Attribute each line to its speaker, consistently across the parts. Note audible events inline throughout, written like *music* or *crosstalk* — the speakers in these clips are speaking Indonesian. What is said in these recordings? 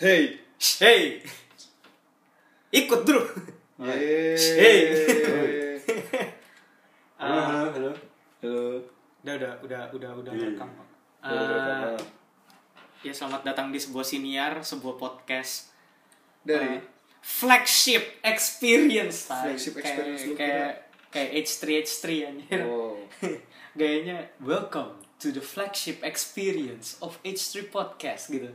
Speaker 1: Hey.
Speaker 2: Hey. Ikut dulu.
Speaker 1: Hai.
Speaker 2: Hey.
Speaker 1: *laughs*
Speaker 3: Halo,
Speaker 2: Ah,
Speaker 3: halo, halo.
Speaker 1: Halo.
Speaker 2: udah udah udah udah udah
Speaker 3: Iya.
Speaker 2: rekam Pak.
Speaker 3: Halo, halo,
Speaker 2: Ah,
Speaker 3: halo.
Speaker 2: ya selamat datang di sebuah siniar, sebuah podcast
Speaker 1: Dari
Speaker 2: eh, flagship experience. Tai.
Speaker 1: Flagship
Speaker 2: Kayak-
Speaker 1: experience, lu
Speaker 2: kayak kayak H3 H3 anjir.
Speaker 1: Oh.
Speaker 2: *laughs* Gayanya welcome to the flagship experience of H3 podcast gitu.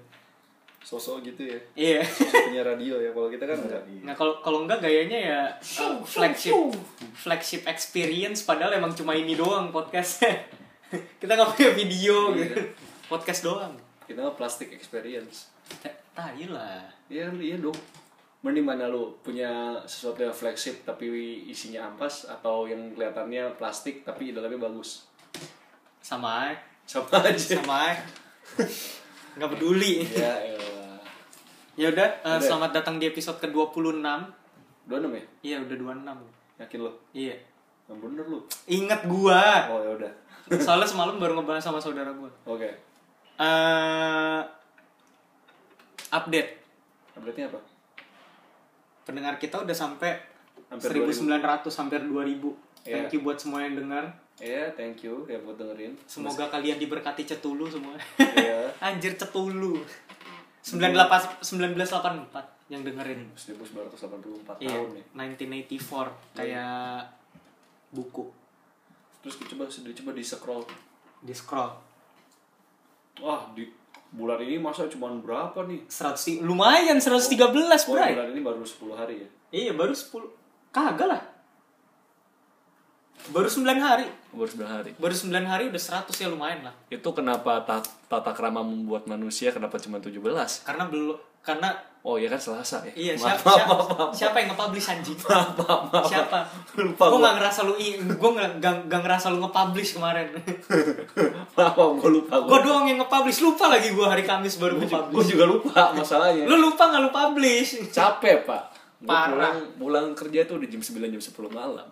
Speaker 1: sosok gitu ya.
Speaker 2: Iya.
Speaker 1: Sosok punya radio ya. Kalau kita kan enggak.
Speaker 2: Nah kalau kalau enggak gayanya ya uh, flagship flagship experience padahal emang cuma ini doang podcastnya. *laughs* Kita nggak punya video gitu. Podcast doang.
Speaker 1: Kita mah plastic experience.
Speaker 2: Ta- Tai lah.
Speaker 1: Iya, iya dong. Mending mana lu punya sesuatu yang flagship tapi isinya ampas atau yang kelihatannya plastik tapi dalamnya bagus.
Speaker 2: Sama aja.
Speaker 1: Sama *laughs* aja.
Speaker 2: Sama aja. Nggak peduli.
Speaker 1: ya, elah.
Speaker 2: Ya udah, eh,
Speaker 1: Udah.
Speaker 2: selamat datang di episode ke-26.
Speaker 1: 26 ya?
Speaker 2: Iya, udah 26.
Speaker 1: Yakin lo?
Speaker 2: Iya.
Speaker 1: Yang bener lu.
Speaker 2: Ingat gua.
Speaker 1: Oh, ya udah.
Speaker 2: Soalnya semalam baru ngebahas sama saudara gua.
Speaker 1: Oke.
Speaker 2: Eh update.
Speaker 1: Update-nya apa?
Speaker 2: pendengar kita udah sampai
Speaker 1: Hampir
Speaker 2: 1900 hampir 2000.
Speaker 1: Iya.
Speaker 2: Thank you buat semua yang dengar.
Speaker 1: Ya, thank you ya buat dengerin.
Speaker 2: Semoga kalian diberkati cetulu semua.
Speaker 1: Iya.
Speaker 2: *laughs* Anjir cetulu. 98 1984 yang dengerin.
Speaker 1: 1984
Speaker 2: Iya,
Speaker 1: tahun ya. Iya.
Speaker 2: 1984 kayak buku
Speaker 1: Terus coba coba di scroll.
Speaker 2: di scroll.
Speaker 1: Wah, di bulan ini masa cuman berapa nih?
Speaker 2: 100 lumayan 113,
Speaker 1: Oh,
Speaker 2: Bray.
Speaker 1: bulan ini baru 10 hari ya.
Speaker 2: Iya, baru 10. Kagak lah. Baru 9 hari.
Speaker 3: Baru 9 hari.
Speaker 2: Baru 9 hari udah 100 ya lumayan lah.
Speaker 3: Itu kenapa ta- tata krama membuat manusia kenapa cuma 17?
Speaker 2: Karena belum karena
Speaker 3: Oh iya kan Selasa ya.
Speaker 2: Iya,
Speaker 3: Maaf.
Speaker 2: siapa, siapa, siapa yang nge-publish anjing?
Speaker 3: *laughs*
Speaker 2: *laughs* Siapa?
Speaker 3: Lupa
Speaker 2: gue
Speaker 3: gua.
Speaker 2: gak ngerasa lu, gue gak, gak, gak ngerasa lu nge-publish *laughs* kemarin.
Speaker 1: Maaf, gue lupa.
Speaker 2: gue doang yang nge-publish, lupa lagi gue hari Kamis baru
Speaker 1: Gue
Speaker 2: nge-publish.
Speaker 1: juga lupa masalahnya.
Speaker 2: Lu lupa gak lu publish?
Speaker 3: Capek, Pak. Gua
Speaker 2: Parah.
Speaker 3: Pulang, pulang kerja tuh udah jam 9 jam 10 malam.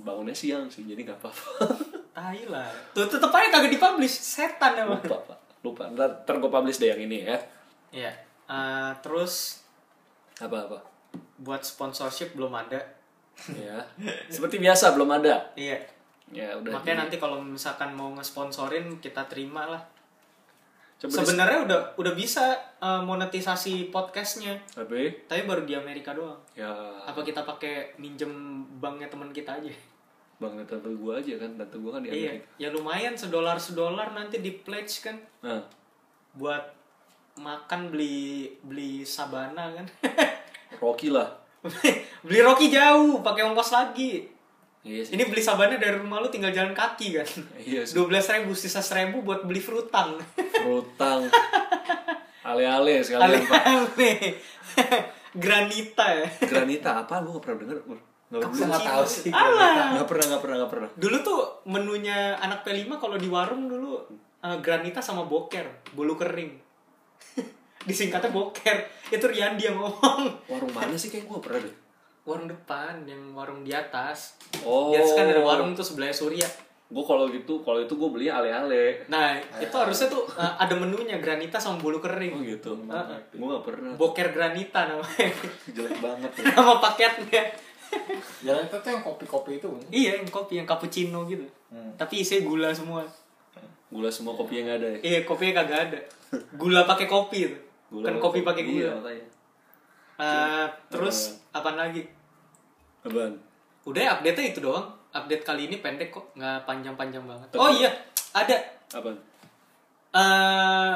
Speaker 3: Bangunnya siang sih, jadi nggak apa-apa. *laughs*
Speaker 2: Tai lah. Tuh tetep aja kagak dipublish, setan emang.
Speaker 3: Lupa, Pak. Lupa. Ntar, ntar gue publish deh yang ini ya.
Speaker 2: Iya. Eh, terus
Speaker 3: Apa-apa.
Speaker 2: buat sponsorship belum ada.
Speaker 3: ya. Seperti biasa belum ada.
Speaker 2: Iya.
Speaker 3: Ya udah.
Speaker 2: Makanya nanti kalau misalkan mau nge-sponsorin kita terima lah.
Speaker 3: Coba di-
Speaker 2: Sebenarnya udah udah bisa eh, monetisasi podcastnya,
Speaker 3: Tapi
Speaker 2: tapi baru di Amerika doang.
Speaker 3: ya
Speaker 2: apa kita pakai minjem banknya teman kita aja
Speaker 3: bang tante gue aja kan tante gue kan di
Speaker 2: iya
Speaker 3: Amerika.
Speaker 2: ya lumayan sedolar sedolar nanti di pledge kan
Speaker 3: Nah,
Speaker 2: buat makan beli beli sabana kan *laughs*
Speaker 3: Rocky lah.
Speaker 2: beli Rocky jauh pakai ongkos lagi
Speaker 3: Iya sih.
Speaker 2: ini beli sabana dari rumah lu tinggal jalan kaki kan
Speaker 3: Iya sih.
Speaker 2: dua belas ribu sisa seribu buat beli frutang
Speaker 3: Frutang. Ale-ale sekalian Pak.
Speaker 2: *laughs* aneh granita ya
Speaker 3: Granita apa? Gue gak pernah denger. Gak
Speaker 2: Cappuccino.
Speaker 3: pernah tahu sih.
Speaker 2: Alah.
Speaker 3: Gak pernah, gak pernah, gak pernah.
Speaker 2: dulu tuh menunya anak P5 kalau di warung dulu eh, granita sama boker bolu kering *laughs* disingkatnya boker itu Rian dia ngomong
Speaker 3: Warung mana sih kayak gue pernah deh.
Speaker 2: *laughs* warung depan yang warung di atas
Speaker 3: Oh.
Speaker 2: di atas kan ada warung tuh sebelahnya Surya
Speaker 3: Gue kalau gitu, kalau itu gue beli ale-ale.
Speaker 2: nah itu harusnya tuh eh, ada menunya granita sama
Speaker 3: Oh
Speaker 2: bolu kering
Speaker 3: gitu.
Speaker 2: Ah,
Speaker 3: Gue gak pernah.
Speaker 2: boker granita namanya *laughs*
Speaker 3: Jelek banget. ya.
Speaker 2: nama paketnya
Speaker 4: Jalan itu tuh yang kopi-kopi itu kan?
Speaker 2: iya yang kopi yang cappuccino gitu tapi isinya gula semua
Speaker 3: Gula semua kopinya gak ada ya.
Speaker 2: iya kopinya kagak ada gula pakai kopi itu
Speaker 3: Gula
Speaker 2: kan
Speaker 3: sama
Speaker 2: kopi pakai gula
Speaker 3: Iya, makanya.
Speaker 2: Eh, terus apaan lagi?
Speaker 3: Apaan?
Speaker 2: Udah ya, update-nya itu doang. Update kali ini pendek kok, nggak panjang-panjang banget. Oh iya, ada.
Speaker 3: Apaan?
Speaker 2: eh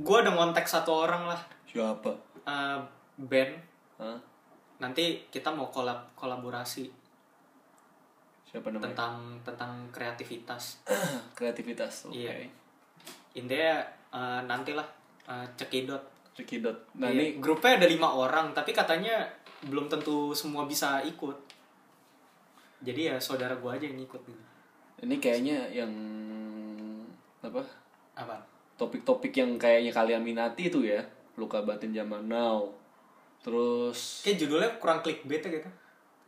Speaker 2: gua ada ngontek satu orang lah
Speaker 3: Siapa?
Speaker 2: eh band.
Speaker 3: Hah?
Speaker 2: Nanti kita mau kolab kolaborasi
Speaker 3: Siapa namanya?
Speaker 2: tentang tentang kreativitas.
Speaker 3: *clears throat* Kreativitas. Oke.
Speaker 2: Iya. Intinya eh, nantilah eh, cekidot.
Speaker 3: Cekidot. Nah,
Speaker 2: Iya,
Speaker 3: ini
Speaker 2: grupnya ada lima orang, tapi katanya belum tentu semua bisa ikut. Jadi ya saudara gua aja yang ikut gitu.
Speaker 3: ini kayaknya yang apa?
Speaker 2: Apaan?
Speaker 3: Topik-topik yang kayaknya kalian minati itu ya. Luka batin zaman now. Terus
Speaker 2: Kayak judulnya kurang clickbait ya gitu.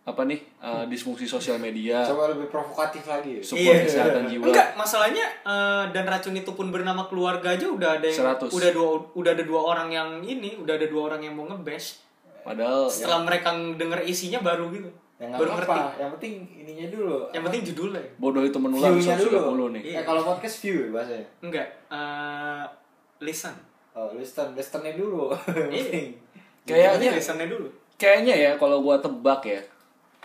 Speaker 3: apa nih eh, disfungsi sosial media
Speaker 2: Iya.
Speaker 4: Coba lebih provokatif lagi. Ya
Speaker 3: support kesehatan jiwa
Speaker 2: Enggak, masalahnya eh, dan racun itu pun bernama keluarga aja udah ada yang,
Speaker 3: 100.
Speaker 2: udah dua udah ada dua orang yang ini, udah ada dua orang yang mau ngebash.
Speaker 3: padahal ya,
Speaker 2: Setelah mereka denger isinya baru gitu.
Speaker 4: Yang
Speaker 2: baru
Speaker 4: apa,
Speaker 2: ngerti.
Speaker 4: yang penting ininya dulu.
Speaker 2: Yang penting judulnya.
Speaker 3: bodoh itu menular
Speaker 4: View-nya
Speaker 3: 130
Speaker 4: dulu.
Speaker 3: nih
Speaker 2: Iya.
Speaker 4: Eh kalau podcast view ya bahasanya.
Speaker 2: Enggak, eh listen.
Speaker 4: Oh, listen, listennya dulu. *laughs*
Speaker 2: Iya.
Speaker 3: Kayaknya-
Speaker 2: listennya dulu.
Speaker 3: kayaknya ya kalau gua tebak ya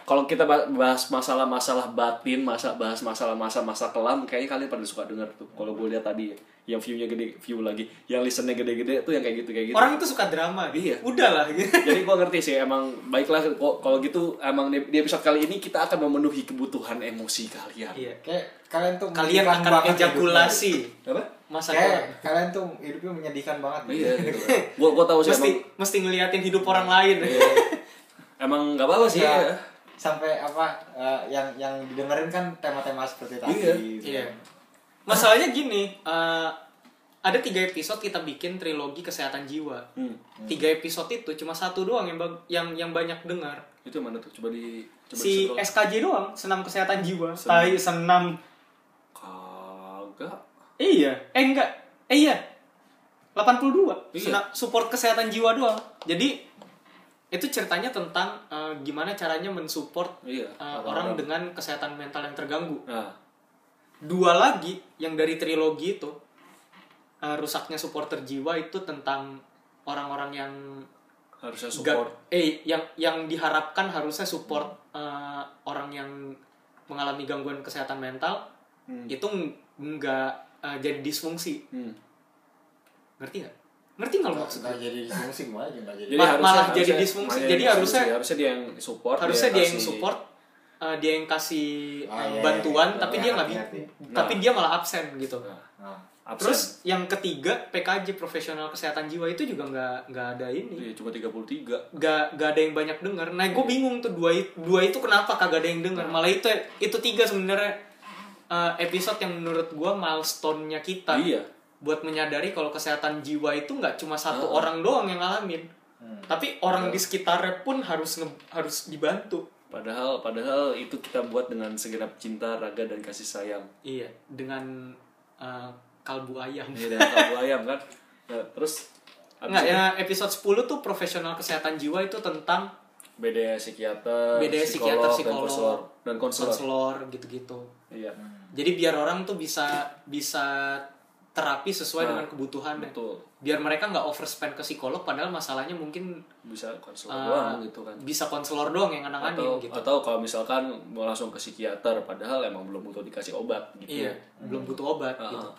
Speaker 3: kalau kita ba- bahas masalah-masalah batin, masa bahas masalah-masalah masa kelam, kayaknya kalian pada suka denger tuh. Kalau gue lihat tadi ya, yang view-nya gede, view lagi, yang listennya gede-gede tuh yang kayak gitu kayak gitu.
Speaker 2: Orang itu suka drama.
Speaker 3: Iya.
Speaker 2: Udahlah gitu.
Speaker 3: Jadi gue ngerti sih emang baiklah kok kalau gitu emang di di episode kali ini kita akan memenuhi kebutuhan emosi kalian.
Speaker 2: Iya.
Speaker 4: Kayak kalian tuh
Speaker 2: Kalian
Speaker 4: menyedihkan
Speaker 2: akan
Speaker 3: gitu.
Speaker 4: banget
Speaker 2: ejakulasi
Speaker 3: Apa?
Speaker 4: hidupnya.
Speaker 2: masa
Speaker 4: Kayak
Speaker 2: depan.
Speaker 4: kalian tuh hidupnya menyedihkan banget. *laughs*
Speaker 3: Iya gitu. Gue gue tahu sih
Speaker 2: mesti
Speaker 3: emang
Speaker 2: mesti ngeliatin hidup orang lain.
Speaker 3: Iya. emang nggak apa-apa sih.
Speaker 4: Iya.
Speaker 3: ya.
Speaker 4: Sampai apa eh, yang yang didengerin kan tema-tema seperti tadi.
Speaker 3: Iya.
Speaker 4: gitu.
Speaker 2: Iya. Masalahnya gini, eh, ada tiga episode kita bikin trilogi kesehatan jiwa.
Speaker 3: Hmm.
Speaker 2: Tiga episode itu cuma satu doang yang bag- yang yang banyak dengar.
Speaker 3: Itu yang mana tuh? Coba di coba
Speaker 2: Si
Speaker 3: di-scroll.
Speaker 2: SKJ doang, senam kesehatan jiwa. Tai senam.
Speaker 3: kagak.
Speaker 2: Iya, eh enggak. Eh iya. 82.
Speaker 3: Iya.
Speaker 2: Senam- support kesehatan jiwa doang. Jadi itu ceritanya tentang eh, gimana caranya mensupport
Speaker 3: Iya,
Speaker 2: eh,
Speaker 3: orang-orang.
Speaker 2: orang dengan kesehatan mental yang terganggu.
Speaker 3: Nah,
Speaker 2: dua lagi yang dari trilogi itu eh, rusaknya supporter jiwa itu tentang orang-orang yang
Speaker 3: harusnya
Speaker 2: ga-
Speaker 3: support.
Speaker 2: eh yang yang diharapkan harusnya support eh, orang yang mengalami gangguan kesehatan mental
Speaker 4: Hmm.
Speaker 2: itu ng- nggak eh, jadi disfungsi
Speaker 3: Hmm.
Speaker 2: ngerti nggak ngerti nggak lo
Speaker 4: Nggak-
Speaker 2: maksudnya Iya.
Speaker 4: nggak jadi disfungsi gimana aja nggak jadi.
Speaker 2: Ma- malah jadi disfungsi.
Speaker 3: malah
Speaker 2: Jadi harusnya-
Speaker 3: harusnya dia yang support.
Speaker 2: harusnya dia, yang
Speaker 3: kasih-
Speaker 2: support eh, dia yang kasih
Speaker 4: ya, Ah,
Speaker 2: eh,
Speaker 4: iya, iya,
Speaker 2: bantuan
Speaker 4: iya.
Speaker 2: tapi
Speaker 4: Iya,
Speaker 2: dia nggak bi-
Speaker 4: hati-hati.
Speaker 2: tapi dia malah absen gitu
Speaker 3: Nah,
Speaker 4: Nah,
Speaker 3: absen.
Speaker 2: Terus yang ketiga PKJ profesional kesehatan jiwa itu juga nggak nggak ada ini,
Speaker 3: Iya, cuma 33.
Speaker 2: nggak nggak ada yang banyak dengar. Nah
Speaker 3: Iya.
Speaker 2: gue bingung tuh dua i- dua itu kenapa kagak ada yang dengar? Malah itu itu tiga sebenarnya eh, episode yang menurut gue milestone-nya kita
Speaker 3: Iya.
Speaker 2: buat menyadari kalau kesehatan jiwa itu nggak cuma satu orang doang yang ngalamin,
Speaker 3: Hmm.
Speaker 2: tapi orang
Speaker 3: Iya.
Speaker 2: di sekitarnya pun harus nge- harus dibantu.
Speaker 3: Padahal padahal itu kita buat dengan segenap cinta, raga dan kasih
Speaker 2: *laughs*
Speaker 3: sayang.
Speaker 2: Iya dengan eh, kalbu ayam.
Speaker 3: Ini dengan kaldu ayam kan. Nah, terus abis
Speaker 2: Nggak
Speaker 3: itu
Speaker 2: ya episode 10 tuh profesional kesehatan jiwa itu tentang
Speaker 3: BDS psikiater,
Speaker 2: beda psikiater psikolog
Speaker 3: konselor dan konselor.
Speaker 2: konselor Hmm. gitu-gitu
Speaker 3: Iya.
Speaker 2: jadi biar orang tuh bisa bisa terapi sesuai dengan kebutuhannya
Speaker 3: Ah, Betul.
Speaker 2: biar mereka nggak overspend ke psikolog padahal masalahnya mungkin
Speaker 3: Bisa konselor
Speaker 2: eh,
Speaker 3: doang gitu kan.
Speaker 2: bisa konselor doang yang
Speaker 3: Atau Ah,
Speaker 2: ngenanganin gitu
Speaker 3: atau kalau misalkan mau langsung ke psikiater padahal emang belum butuh dikasih obat gitu.
Speaker 2: iya belum butuh obat
Speaker 3: Ah,
Speaker 2: gitu
Speaker 3: ah.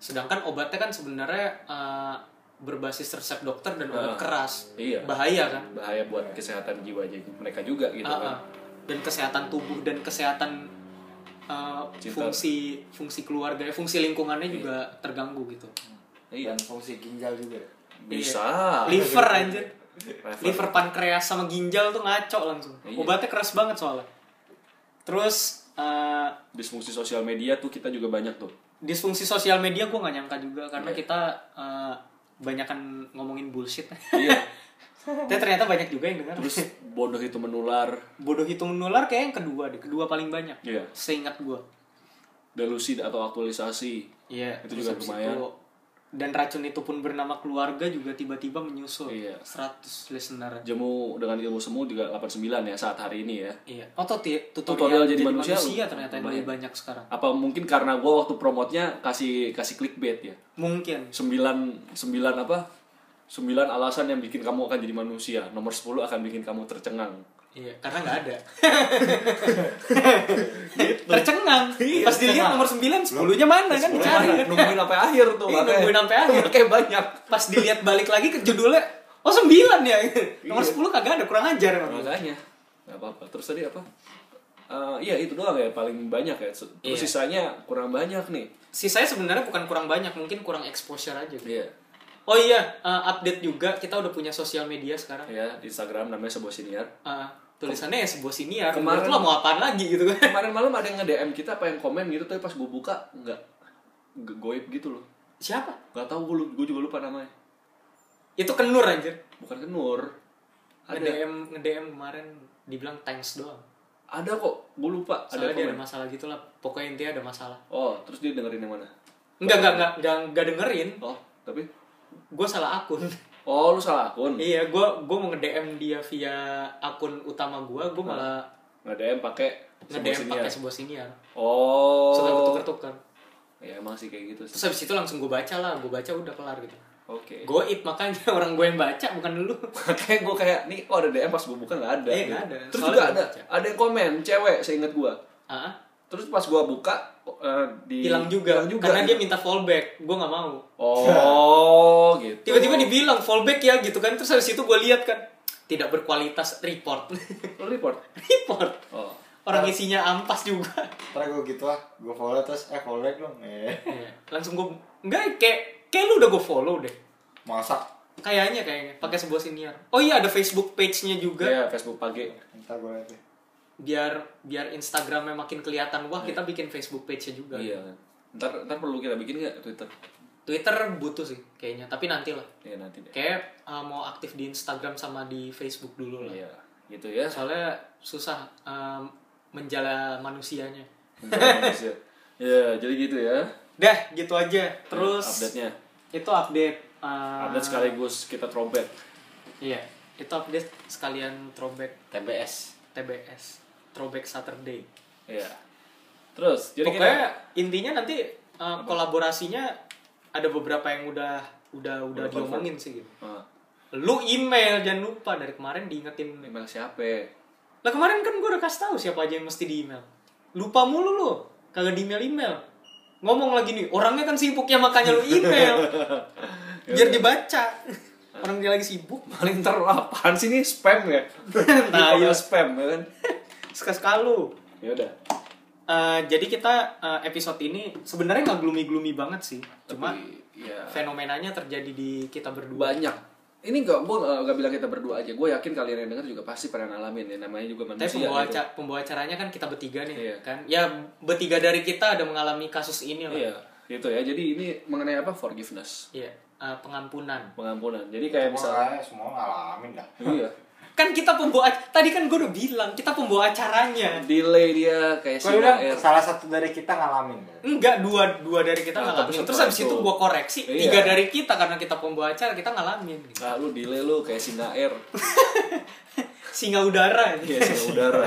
Speaker 2: sedangkan obatnya kan sebenarnya eh, berbasis resep dokter dan
Speaker 3: Ah,
Speaker 2: obat keras
Speaker 3: iya.
Speaker 2: bahaya kan
Speaker 3: Bahaya buat kesehatan jiwa jadi mereka juga gitu
Speaker 2: Ah, ah.
Speaker 3: kan.
Speaker 2: dan kesehatan tubuh dan kesehatan eh,
Speaker 3: Cinta.
Speaker 2: fungsi fungsi keluarga eh, fungsi lingkungannya juga terganggu gitu
Speaker 3: Iya.
Speaker 4: Dan fungsi ginjal juga.
Speaker 3: Bisa.
Speaker 2: liver
Speaker 3: iya.
Speaker 2: anjir
Speaker 3: Liver.
Speaker 2: liver pankreas sama ginjal tuh ngaco langsung
Speaker 3: Iya.
Speaker 2: obatnya keras banget soalnya terus eh,
Speaker 3: Disfungsi sosial media tuh kita juga banyak tuh.
Speaker 2: disfungsi sosial media gue nggak nyangka juga karena kita eh, banyakan ngomongin bullshit
Speaker 3: *laughs* Iya.
Speaker 2: tapi ternyata banyak juga yang dengar
Speaker 3: Terus bodoh itu menular,
Speaker 2: bodoh hitung nular kayak yang kedua deh kedua paling banyak
Speaker 3: Iya.
Speaker 2: seingat gue
Speaker 3: delusi atau aktualisasi.
Speaker 2: Iya.
Speaker 3: Itu
Speaker 2: terus
Speaker 3: juga
Speaker 2: habis
Speaker 3: lumayan.
Speaker 2: itu- Dan racun itu pun bernama keluarga juga tiba-tiba menyusul
Speaker 3: Iya.
Speaker 2: 100 listener.
Speaker 3: Jemu dengan ilmu semu juga 89 ya saat hari ini ya.
Speaker 2: Iya. Oh, tutorial,
Speaker 3: Tutorial jadi manusia lu-
Speaker 2: ternyata yang
Speaker 3: lumayan.
Speaker 2: lebih banyak sekarang.
Speaker 3: Apa mungkin karena gua waktu promotnya kasih kasih clickbait ya.
Speaker 2: Mungkin.
Speaker 3: 9 9 apa? 9 alasan yang bikin kamu akan jadi manusia. Nomor 10 akan bikin kamu tercengang.
Speaker 2: Iya, karena nggak ada.
Speaker 3: Gitu.
Speaker 2: Tercengang.
Speaker 3: Iya,
Speaker 2: Pas dilihat nomor 9, 10-nya mana kan dicari.
Speaker 3: Mana? nungguin sampai akhir tuh.
Speaker 2: Iya,
Speaker 3: Iya, makanya.
Speaker 2: nungguin sampai akhir.
Speaker 3: Makanya banyak.
Speaker 2: Pas dilihat balik lagi ke judulnya, oh 9 ya.
Speaker 3: Iya.
Speaker 2: Nomor 10 kagak ada, kurang ajar emang.
Speaker 3: Makanya. Gak apa-apa. Terus tadi apa? Eh, iya itu doang ya paling banyak ya. Terus
Speaker 2: Iya.
Speaker 3: sisanya kurang banyak nih.
Speaker 2: Sisanya sebenarnya bukan kurang banyak, mungkin kurang exposure aja.
Speaker 3: Iya.
Speaker 2: Oh iya, eh, update juga kita udah punya sosial media sekarang.
Speaker 3: Ya, di Instagram namanya sebuah senior.
Speaker 2: Ah, tulisannya ya sebuah siniar
Speaker 3: Kemarin-
Speaker 2: kemarin lo mau apaan lagi gitu kan
Speaker 3: Kemarin malam ada yang nge-DM kita apa yang komen gitu tapi pas gue buka enggak goib gitu loh.
Speaker 2: siapa
Speaker 3: Gak tau gue, gue juga lupa namanya.
Speaker 2: itu kenur anjir
Speaker 3: Bukan Kenur. Ada.
Speaker 2: nge-DM nge-DM kemarin dibilang thanks doang.
Speaker 3: Ada kok, gue lupa.
Speaker 2: Soalnya dia
Speaker 3: komen.
Speaker 2: ada masalah gitulah. Pokoknya intinya ada masalah.
Speaker 3: Oh, terus dia dengerin yang mana?
Speaker 2: Enggak, enggak, enggak, enggak, enggak dengerin.
Speaker 3: Oh, tapi
Speaker 2: Gue salah *laughs* akun.
Speaker 3: Oh, lu salah akun.
Speaker 2: iya, gue gue mau nge-DM dia via akun utama gue, gue malah
Speaker 3: Nggak DM pakai
Speaker 2: nge-DM
Speaker 3: sini ya.
Speaker 2: pakai sebuah siniar.
Speaker 3: Oh.
Speaker 2: Suka ketukar-tukar.
Speaker 3: Ya emang sih kayak gitu.
Speaker 2: Terus habis itu langsung gue baca lah, gue baca udah kelar gitu.
Speaker 3: Oke.
Speaker 2: Gue it makanya *laughs* orang gue yang baca bukan lu.
Speaker 3: Makanya gue kayak nih kok ada DM pas gue buka nggak ada.
Speaker 2: Iya, nggak ada.
Speaker 3: Terus
Speaker 2: Soalnya
Speaker 3: juga
Speaker 2: nggak
Speaker 3: ada
Speaker 2: baca.
Speaker 3: ada yang komen cewek seingat gue.
Speaker 2: Ah,
Speaker 3: Terus pas gue buka eh, di
Speaker 2: hilang juga.
Speaker 3: hilang
Speaker 2: Karena dia minta fallback, gue nggak mau. *laughs*
Speaker 3: Oh, gitu.
Speaker 2: Tiba-tiba dibilang fallback ya gitu kan. Terus habis itu gue lihat kan tidak berkualitas report. *laughs*
Speaker 3: Lu report.
Speaker 2: report.
Speaker 3: Oh.
Speaker 2: Orang isinya ampas juga.
Speaker 4: Ntar gue gitu ah, gue follow terus eh follow back dong. Eh.
Speaker 2: Iya. Langsung gue enggak kayak kayak lu udah gue follow deh.
Speaker 4: Masak.
Speaker 2: Kayaknya kayaknya pakai sebuah siniar. Oh iya ada Facebook page-nya juga.
Speaker 3: Ya Facebook pagi.
Speaker 4: Ntar gue liat deh.
Speaker 2: Biar biar Instagramnya makin kelihatan. Wah, kita bikin Facebook page-nya juga.
Speaker 3: Iya. Ntar ntar perlu kita bikin nggak Twitter?
Speaker 2: Twitter butuh sih kayaknya, tapi nanti lah.
Speaker 3: Ya nanti deh.
Speaker 2: Kayak uh, mau aktif di Instagram sama di Facebook dulu lah.
Speaker 3: Iya. Gitu ya.
Speaker 2: *laughs* Soalnya susah um, menjala manusianya.
Speaker 3: ya, jadi gitu ya.
Speaker 2: Dah, gitu aja. Terus
Speaker 3: Iya, update-nya.
Speaker 2: itu update uh,
Speaker 3: Update sekaligus kita trompet.
Speaker 2: Iya, itu update sekalian throwback
Speaker 3: TBS.
Speaker 2: TBS, throwback Saturday.
Speaker 3: Iya. Terus, jadi
Speaker 2: Pokoknya
Speaker 3: kita
Speaker 2: intinya nanti uh, kolaborasinya ada beberapa yang udah udah
Speaker 3: Udah
Speaker 2: udah
Speaker 3: confirm.
Speaker 2: diomongin sih gitu.
Speaker 3: Ah,
Speaker 2: Lu email jangan lupa dari kemarin diingetin.
Speaker 3: email siapa? ya?
Speaker 2: Lah kemarin kan gua udah kasih tahu siapa aja yang mesti di email. Lupa mulu lu, kagak di email email. Ngomong lagi nih, orangnya kan sibuk ya makanya lu email.
Speaker 3: *laughs* ya?
Speaker 2: Biar dibaca. Orang dia lagi sibuk.
Speaker 3: Paling ntar apaan sih ini spam *laughs* ya?
Speaker 2: Nah,
Speaker 3: iya
Speaker 2: iya.
Speaker 3: spam ya kan.
Speaker 2: Suka-suka lu.
Speaker 3: Ya udah.
Speaker 2: Eh, jadi kita eh, episode ini sebenarnya nggak gloomy-gloomy banget sih. Cuma
Speaker 3: Tapi, ya
Speaker 2: fenomenanya terjadi di kita berdua.
Speaker 3: banyak. Ini gak, gue gak bilang kita berdua aja. Gue yakin kalian yang denger juga pasti pernah ngalamin ya. Namanya juga
Speaker 2: Tapi
Speaker 3: manusia.
Speaker 2: pembawa,
Speaker 3: gitu.
Speaker 2: aca- pembawa acaranya kan kita bertiga nih
Speaker 3: Iya.
Speaker 2: kan. Ya bertiga dari kita ada mengalami kasus ini lah.
Speaker 3: Iya, gitu ya. Jadi ini mengenai apa? Forgiveness.
Speaker 2: Iya, eh, pengampunan.
Speaker 3: Pengampunan. Jadi
Speaker 4: Ya,
Speaker 3: kayak misalnya.
Speaker 4: Semua, semua ngalamin dah.
Speaker 3: Iya.
Speaker 2: Kan kita pembawa ac- tadi kan gue udah bilang kita pembawa acaranya.
Speaker 3: Delay dia kayak
Speaker 4: Gue
Speaker 3: Sina
Speaker 4: bilang
Speaker 3: Air.
Speaker 4: Ya salah satu dari kita ngalamin.
Speaker 2: Enggak dua dua dari kita
Speaker 3: Nah, tapi
Speaker 2: ngalamin.
Speaker 3: setelah
Speaker 2: Terus habis
Speaker 3: itu-
Speaker 2: itu gue koreksi
Speaker 3: Iya.
Speaker 2: tiga dari kita karena kita pembawa acara kita ngalamin. Gitu.
Speaker 3: Ah, lu delay lu kayak Sina Air.
Speaker 2: Singa udara. gitu.
Speaker 3: Iya, Sina Udara.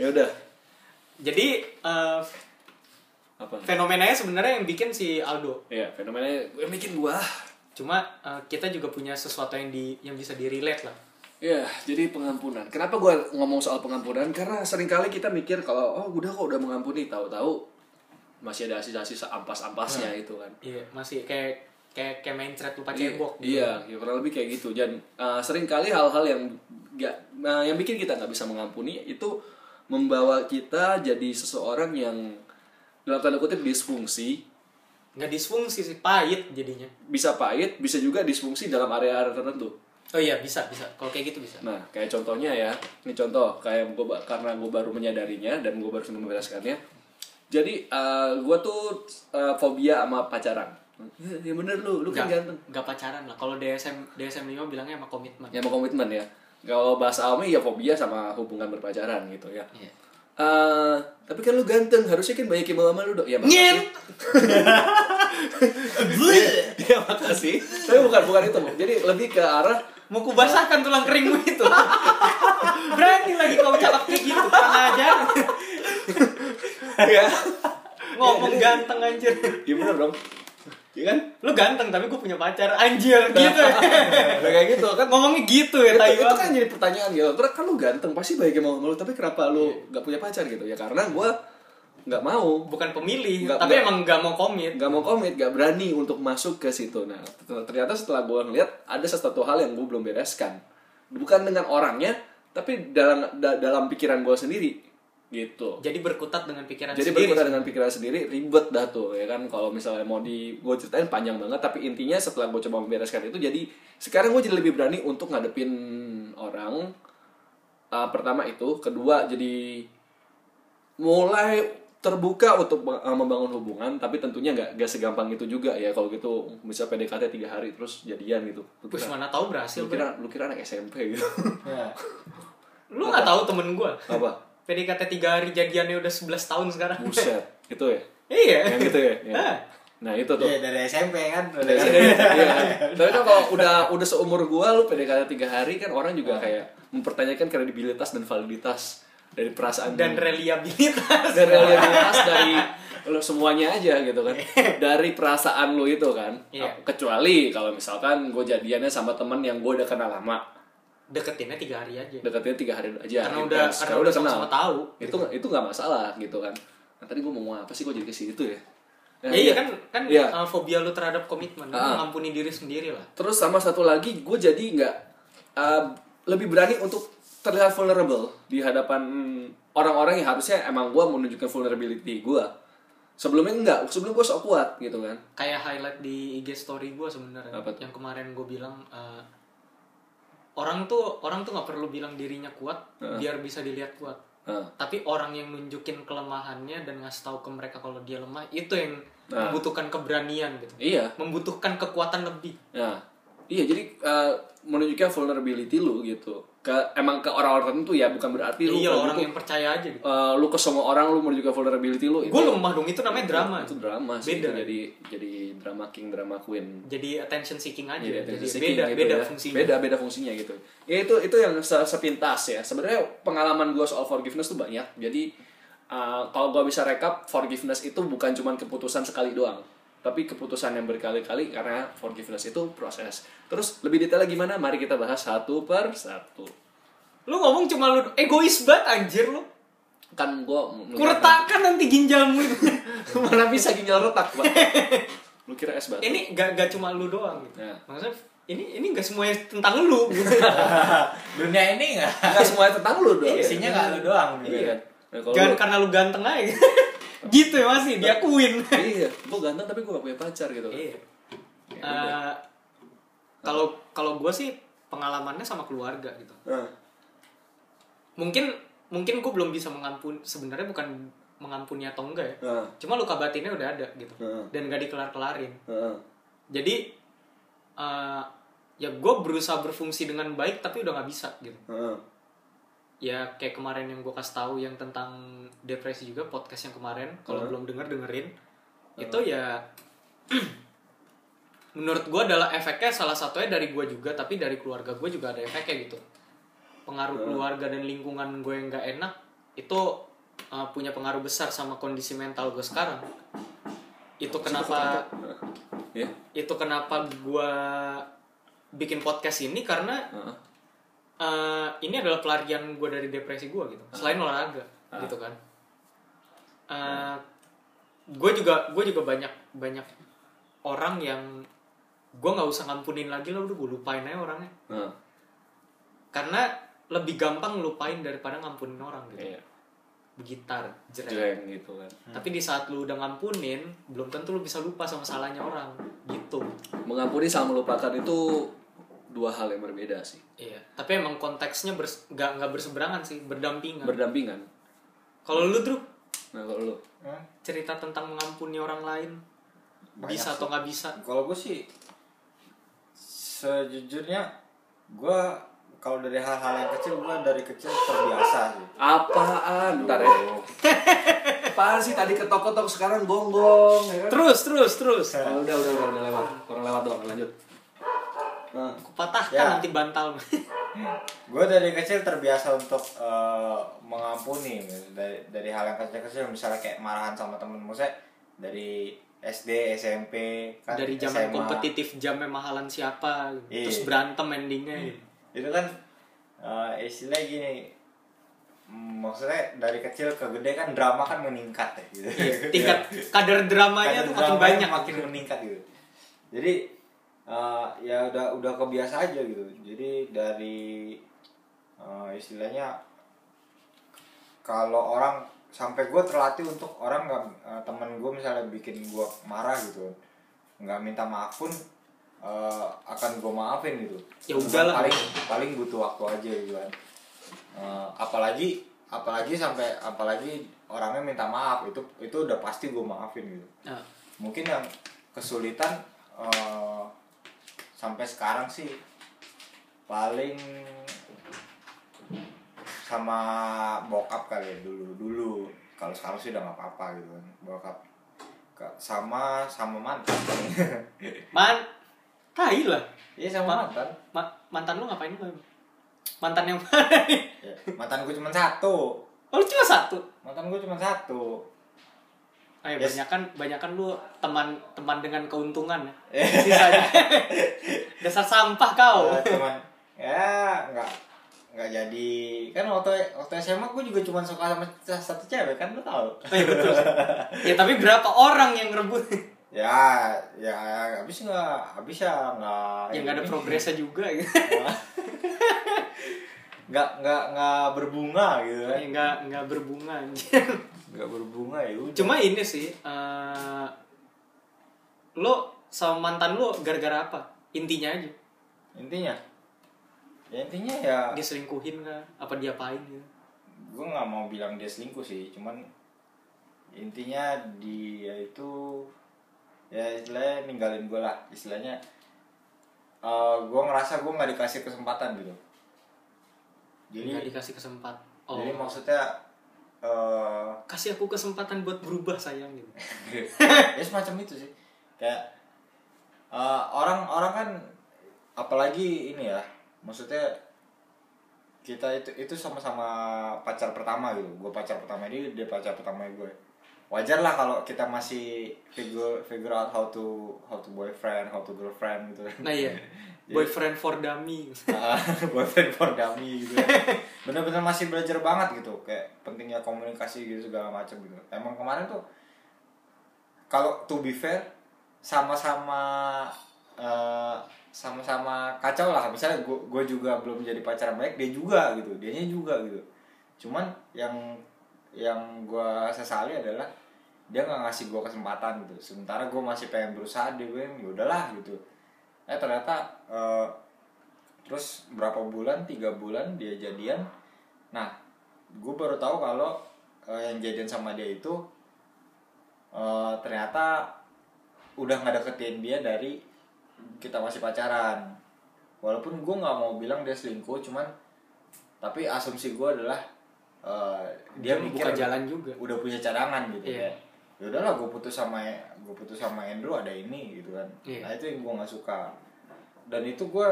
Speaker 3: ya udah.
Speaker 2: *laughs* Jadi eh,
Speaker 3: Apa?
Speaker 2: fenomenanya sebenarnya yang bikin si Aldo.
Speaker 3: Iya, fenomenanya gue bikin gua.
Speaker 2: cuma eh, kita juga punya sesuatu yang di yang bisa di relate lah
Speaker 3: Ya, jadi pengampunan. Kenapa gua ngomong soal pengampunan? Karena seringkali kita mikir kalau oh udah kok udah mengampuni, tahu-tahu masih ada sisa-sisa ampas-ampasnya itu kan.
Speaker 2: iya masih kayak kayak kayak main thread lupa
Speaker 3: Iya,
Speaker 2: cebok gitu.
Speaker 3: Iya, ya, kurang lebih kayak gitu. Dan uh, seringkali hal-hal yang nggak, nah, yang bikin kita nggak bisa mengampuni itu membawa kita jadi seseorang yang dalam tanda kutip disfungsi,
Speaker 2: nggak disfungsi sih pahit jadinya
Speaker 3: bisa pahit, bisa juga disfungsi dalam area-area tertentu.
Speaker 2: oh iya bisa bisa kalau kayak gitu bisa
Speaker 3: Nah, kayak contohnya ya, ini contoh kayak gue karena gue baru menyadarinya dan gue baru membereskannya. Jadi eh, gue tuh eh, fobia sama pacaran. Ya bener lu, lu kan
Speaker 2: Nggak-
Speaker 3: ganteng.
Speaker 2: nggak pacaran lah kalau DSM DSM 5 bilangnya sama komitmen
Speaker 3: Ya mau komitmen ya. Kalau bahasa awamnya ya fobia sama hubungan berpacaran gitu ya.
Speaker 2: Iya.
Speaker 3: Eh, tapi kan lu ganteng, harusnya kan banyak yang mau sama lu dok. Ya makasih. ya makasih. Tapi bukan bukan itu. Bu. Jadi lebih ke arah
Speaker 2: *laughs*
Speaker 3: *laughs*
Speaker 2: mau kubasahkan tulang keringmu itu *laughs* berani lagi kau cakap kayak gitu kurang
Speaker 3: *laughs*
Speaker 2: ajar
Speaker 3: ya.
Speaker 2: ngomong ganteng anjir
Speaker 3: Ya bener dong. Ya kan?
Speaker 2: lu ganteng tapi gue punya pacar anjir gitu
Speaker 3: Nah, kayak gitu kan
Speaker 2: ngomongnya gitu ya
Speaker 3: itu,
Speaker 2: tai
Speaker 3: itu
Speaker 2: banget.
Speaker 3: kan jadi pertanyaan gitu terus kan lu ganteng pasti banyak yang mau sama lu tapi kenapa lu nggak punya pacar gitu ya karena gua nggak mau
Speaker 2: bukan pemilih
Speaker 3: Nggak-
Speaker 2: tapi
Speaker 3: nggak-
Speaker 2: emang nggak mau komit
Speaker 3: nggak mau komit nggak berani untuk masuk ke situ nah ter- ternyata setelah gua ngeliat ada sesuatu hal yang gua belum bereskan bukan dengan orangnya tapi dalam da- dalam pikiran gua sendiri gitu
Speaker 2: jadi berkutat dengan pikiran
Speaker 3: jadi
Speaker 2: sendiri
Speaker 3: berkutat dengan pikiran sendiri ribet dah tuh ya kan kalau misalnya mau di gue ceritain panjang banget tapi intinya setelah gue coba membereskan itu jadi sekarang gue jadi lebih berani untuk ngadepin orang Ah, pertama itu kedua jadi mulai terbuka untuk me- eh, membangun hubungan tapi tentunya nggak nggak segampang itu juga ya kalau gitu bisa PDKT tiga hari terus jadian gitu lu
Speaker 2: Terus
Speaker 3: kira,
Speaker 2: mana tahu berhasil.
Speaker 3: lu
Speaker 2: Bro.
Speaker 3: kira, lu kira anak SMP gitu *laughs*
Speaker 4: Ya.
Speaker 2: Lu nggak tahu temen gue.
Speaker 3: apa
Speaker 2: PDKT 3 hari jadiannya udah 11 tahun sekarang.
Speaker 3: buset itu ya
Speaker 2: *laughs* iya.
Speaker 3: yang gitu ya, ya.
Speaker 2: Hah.
Speaker 3: nah itu tuh
Speaker 4: Iya, dari SMP kan. Dari SMP.
Speaker 3: Iya. Tapi kan kalau udah udah seumur gua lu PDKT tiga hari kan orang
Speaker 2: Nah.
Speaker 3: juga kayak mempertanyakan kredibilitas dan validitas dari perasaan
Speaker 2: Dan reliabilitas. *laughs*
Speaker 3: dan reliabilitas dari lu semuanya aja gitu kan dari perasaan lu itu kan
Speaker 2: Iya.
Speaker 3: kecuali kalau misalkan gue jadiannya sama temen yang gue udah kenal lama
Speaker 2: Deketinnya 3 hari aja.
Speaker 3: deketnya tiga hari aja gitu kan.
Speaker 2: Karena
Speaker 3: intens.
Speaker 2: udah- karena udah sama-sama tahu.
Speaker 3: itu itu nggak masalah gitu kan nah, tadi gue mau ngomong apa sih gue jadi ke situ ya Nah,
Speaker 2: Ya, iya kan kan
Speaker 3: Iya.
Speaker 2: uh, fobia lu terhadap komitmen, Lu
Speaker 3: Ah.
Speaker 2: mengampuni diri sendiri lah.
Speaker 3: Terus sama satu lagi, gue jadi nggak uh, lebih berani untuk terlihat vulnerable di hadapan orang-orang yang harusnya emang gue menunjukkan vulnerability gue. Sebelumnya enggak, sebelum gue sok kuat gitu kan.
Speaker 2: Kayak highlight di IG story gue sebenarnya
Speaker 3: Apa tuh?
Speaker 2: yang kemarin gue bilang uh, orang tuh orang tuh nggak perlu bilang dirinya kuat biar bisa dilihat kuat.
Speaker 3: Nah,
Speaker 2: Tapi orang yang nunjukin kelemahannya dan ngasih tahu ke mereka kalau dia lemah itu yang
Speaker 3: Nah.
Speaker 2: membutuhkan keberanian gitu.
Speaker 3: iya,
Speaker 2: Membutuhkan kekuatan lebih.
Speaker 3: nah, iya jadi uh, menunjukkan vulnerability lu gitu. Ke emang ke orang-orang tertentu ya, bukan berarti lu
Speaker 2: Iya
Speaker 3: kalau
Speaker 2: orang
Speaker 3: gitu,
Speaker 2: yang percaya aja gitu.
Speaker 3: uh, lu ke semua orang lu menunjukkan vulnerability lu.
Speaker 2: Gue lemah dong itu namanya drama.
Speaker 3: Iya. itu drama sih.
Speaker 2: Beda.
Speaker 3: Itu jadi jadi drama king, drama queen.
Speaker 2: Jadi attention seeking aja.
Speaker 3: Jadi
Speaker 2: Iya, Jadi,
Speaker 3: attention seeking
Speaker 2: beda
Speaker 3: gitu
Speaker 2: beda
Speaker 3: ya.
Speaker 2: fungsinya.
Speaker 3: Beda beda fungsinya gitu. Ya itu itu yang se- sepintas ya. Sebenarnya pengalaman gue soal forgiveness tuh banyak. Jadi uh, kalau gue bisa rekap forgiveness itu bukan cuman keputusan sekali doang, tapi keputusan yang berkali-kali karena forgiveness itu proses. Terus lebih detailnya gimana? Mari kita bahas satu per satu.
Speaker 2: Lu ngomong cuma lu egois banget anjir lu.
Speaker 3: Kan gue
Speaker 2: Kuretakan nanti ginjalmu itu.
Speaker 3: *laughs* mana bisa ginjal retak,
Speaker 2: *laughs*
Speaker 3: Pak? Lu kira es batu?
Speaker 2: ini gak, gak cuma lu doang gitu.
Speaker 3: Ya.
Speaker 2: Maksudnya ini ini gak semuanya tentang lu *laughs* gitu.
Speaker 4: Dunia ini enggak.
Speaker 3: Nggak semuanya tentang lu doang.
Speaker 4: Isinya enggak lu doang gitu.
Speaker 3: Iya. Nah, kalau
Speaker 2: Iya, Jangan
Speaker 3: lu-
Speaker 2: karena lu ganteng aja. *laughs* gitu ya masih diakuin.
Speaker 3: iya, gue ganteng tapi gue gak punya pacar gitu. kan.
Speaker 2: Iya.
Speaker 3: Ya udah.
Speaker 2: Eh, Kalau kalau gue sih pengalamannya sama keluarga gitu.
Speaker 3: Nah,
Speaker 2: Mungkin mungkin gue belum bisa mengampun sebenarnya bukan mengampuni atau enggak ya.
Speaker 3: nah,
Speaker 2: Cuma luka batinnya udah ada gitu.
Speaker 3: Heeh.
Speaker 2: Dan gak dikelar-kelarin.
Speaker 3: nah.
Speaker 2: jadi eh, ya gue berusaha berfungsi dengan baik tapi udah nggak bisa gitu
Speaker 3: Heeh.
Speaker 2: ya kayak kemarin yang gue kasih tahu yang tentang depresi juga podcast yang kemarin kalau belum denger dengerin itu ya *clears throat* menurut gue adalah efeknya salah satunya dari gue juga tapi dari keluarga gue juga ada efeknya gitu pengaruh keluarga dan lingkungan gue yang nggak enak itu eh, punya pengaruh besar sama kondisi mental gue sekarang itu kenapa
Speaker 3: Ya.
Speaker 2: itu kenapa gua bikin podcast ini karena
Speaker 3: Heeh.
Speaker 2: eh, ini adalah pelarian gua dari depresi gua gitu selain olahraga gitu kan Eh, gue juga gue juga banyak banyak orang yang gua nggak usah ngampunin lagi lah udah gue lupain aja orangnya
Speaker 3: Nah,
Speaker 2: karena lebih gampang ngelupain daripada ngampunin orang gitu
Speaker 3: iya.
Speaker 2: begitar jereng
Speaker 3: Jreng gitu kan.
Speaker 2: tapi di saat lu udah ngampunin belum tentu lu bisa lupa sama salahnya orang gitu
Speaker 3: Mengampuni sama melupakan itu dua hal yang berbeda sih.
Speaker 2: Iya, tapi emang konteksnya bers nggak nggak berseberangan sih, berdampingan.
Speaker 3: Berdampingan.
Speaker 2: Kalau lu tuh
Speaker 3: Nah, kalau lu.
Speaker 4: Hmm.
Speaker 2: cerita tentang mengampuni orang lain
Speaker 4: Banyak
Speaker 2: bisa atau nggak bisa?
Speaker 4: Kalau gue sih sejujurnya gue kalau dari hal-hal yang kecil gue dari kecil terbiasa sih.
Speaker 3: Apaan? Ntar ya. Apaan sih tadi ketok-ketok sekarang gonggong ya kan?
Speaker 2: Terus terus terus.
Speaker 4: Ya.
Speaker 3: Oh, udah, udah, udah, udah lewat. Orang lewat doang, lanjut. Nah,
Speaker 2: Kupatahkan
Speaker 4: Ya.
Speaker 2: nanti bantal. *laughs*
Speaker 4: Gue dari kecil terbiasa untuk eh, mengampuni gitu. dari dari hal yang kecil-kecil misalnya kayak marahan sama temen maksudnya dari SD SMP kan
Speaker 2: Dari zaman
Speaker 4: SMA.
Speaker 2: kompetitif jamnya mahalan siapa,
Speaker 4: Iya.
Speaker 2: terus berantem endingnya. gitu.
Speaker 4: itu kan eh, istilah gini mm, maksudnya dari kecil ke gede kan drama kan meningkat *laughs* ya gitu.
Speaker 2: Iya, Tingkat kadar dramanya tuh
Speaker 4: Kadar
Speaker 2: makin
Speaker 4: dramanya
Speaker 2: banyak.
Speaker 4: makin meningkat gitu jadi eh, ya udah udah kebiasa aja gitu jadi dari eh, istilahnya kalau orang sampai gue terlatih untuk orang nggak eh, temen gue misalnya bikin gue marah gitu nggak minta maaf pun eh, akan gue maafin gitu
Speaker 2: Ya udahlah.
Speaker 4: paling paling butuh waktu aja gitu kan Eh, apalagi apalagi sampai apalagi orangnya minta maaf itu itu udah pasti gue maafin gitu
Speaker 2: Nah,
Speaker 4: mungkin yang kesulitan eh, sampai sekarang sih paling sama bokap kali ya dulu dulu kalau sekarang sih udah nggak apa-apa gitu kan bokap Ke- sama sama mantan
Speaker 2: man, tai lah.
Speaker 4: iya sama mantan
Speaker 2: Ma- mantan lu ngapain lu? Mantan yang *laughs* mana nih?
Speaker 4: Ya, mantan gue cuma satu
Speaker 2: Oh, lu cuma satu.
Speaker 4: mantan gue cuma satu
Speaker 2: Ayo,
Speaker 4: Yes.
Speaker 2: banyakan, banyakan lu teman teman dengan keuntungan
Speaker 4: *laughs*
Speaker 2: ya. Sisanya *laughs* dasar sampah kau.
Speaker 4: Eh, cuman ya nggak nggak jadi kan waktu waktu SMA gue juga cuman suka sama satu cewek kan lo tau
Speaker 2: Oh, iya,
Speaker 4: *laughs*
Speaker 2: betul. ya tapi berapa orang yang ngerebut?
Speaker 4: ya ya habis nggak habis ya nggak
Speaker 2: yang nggak ada
Speaker 4: ini.
Speaker 2: progresnya juga
Speaker 4: Iya.
Speaker 2: gitu.
Speaker 4: nggak nggak nggak berbunga gitu kan
Speaker 2: *laughs* Ya, nggak nggak berbunga
Speaker 4: Iya.
Speaker 2: anjir.
Speaker 4: nggak berbunga ya udah.
Speaker 2: Cuma ini sih eh lo sama mantan lo gara-gara apa? Intinya aja.
Speaker 4: intinya ya intinya ya
Speaker 2: Dia selingkuhin kan? Apa diapain gitu?
Speaker 4: gue nggak mau bilang dia selingkuh sih cuman intinya dia itu ya istilahnya ninggalin gue lah istilahnya eh gue ngerasa gue nggak dikasih kesempatan gitu
Speaker 2: Nggak
Speaker 4: jadi
Speaker 2: dikasih kesempatan. Oh.
Speaker 4: jadi maksudnya eh
Speaker 2: kasih aku kesempatan buat berubah sayang
Speaker 4: *laughs*
Speaker 2: gitu.
Speaker 4: ya semacam itu sih kayak eh, orang orang kan apalagi ini ya maksudnya kita itu itu sama-sama pacar pertama gitu gue pacar pertama dia dia pacar pertama gue wajar lah kalau kita masih figure figure out how to how to boyfriend how to girlfriend gitu
Speaker 2: Nah iya.
Speaker 4: Jadi-
Speaker 2: Boyfriend for dummy.
Speaker 4: Ah, *laughs* boyfriend for dummy gitu bener-bener masih belajar banget gitu kayak pentingnya komunikasi gitu segala macam gitu emang kemarin tuh kalau to be fair sama-sama eh, sama-sama kacau lah misalnya gue juga belum jadi pacar yang baik dia juga gitu dianya juga gitu cuman yang yang gue sesali adalah dia nggak ngasih gue kesempatan gitu sementara gue masih pengen berusaha dia gue ya udahlah gitu eh ternyata eh, terus berapa bulan tiga bulan dia jadian nah gue baru tahu kalau eh, yang jadian sama dia itu eh, ternyata udah nggak deketin dia dari kita masih pacaran walaupun gue nggak mau bilang dia selingkuh cuman tapi asumsi gue adalah eh, dia mikir
Speaker 2: buka jalan juga.
Speaker 4: udah punya cadangan gitu
Speaker 2: Iya.
Speaker 4: ya ya udahlah gue putus sama gue putus sama Andrew ada ini gitu kan
Speaker 2: Iya.
Speaker 4: nah itu yang gue nggak suka dan itu gue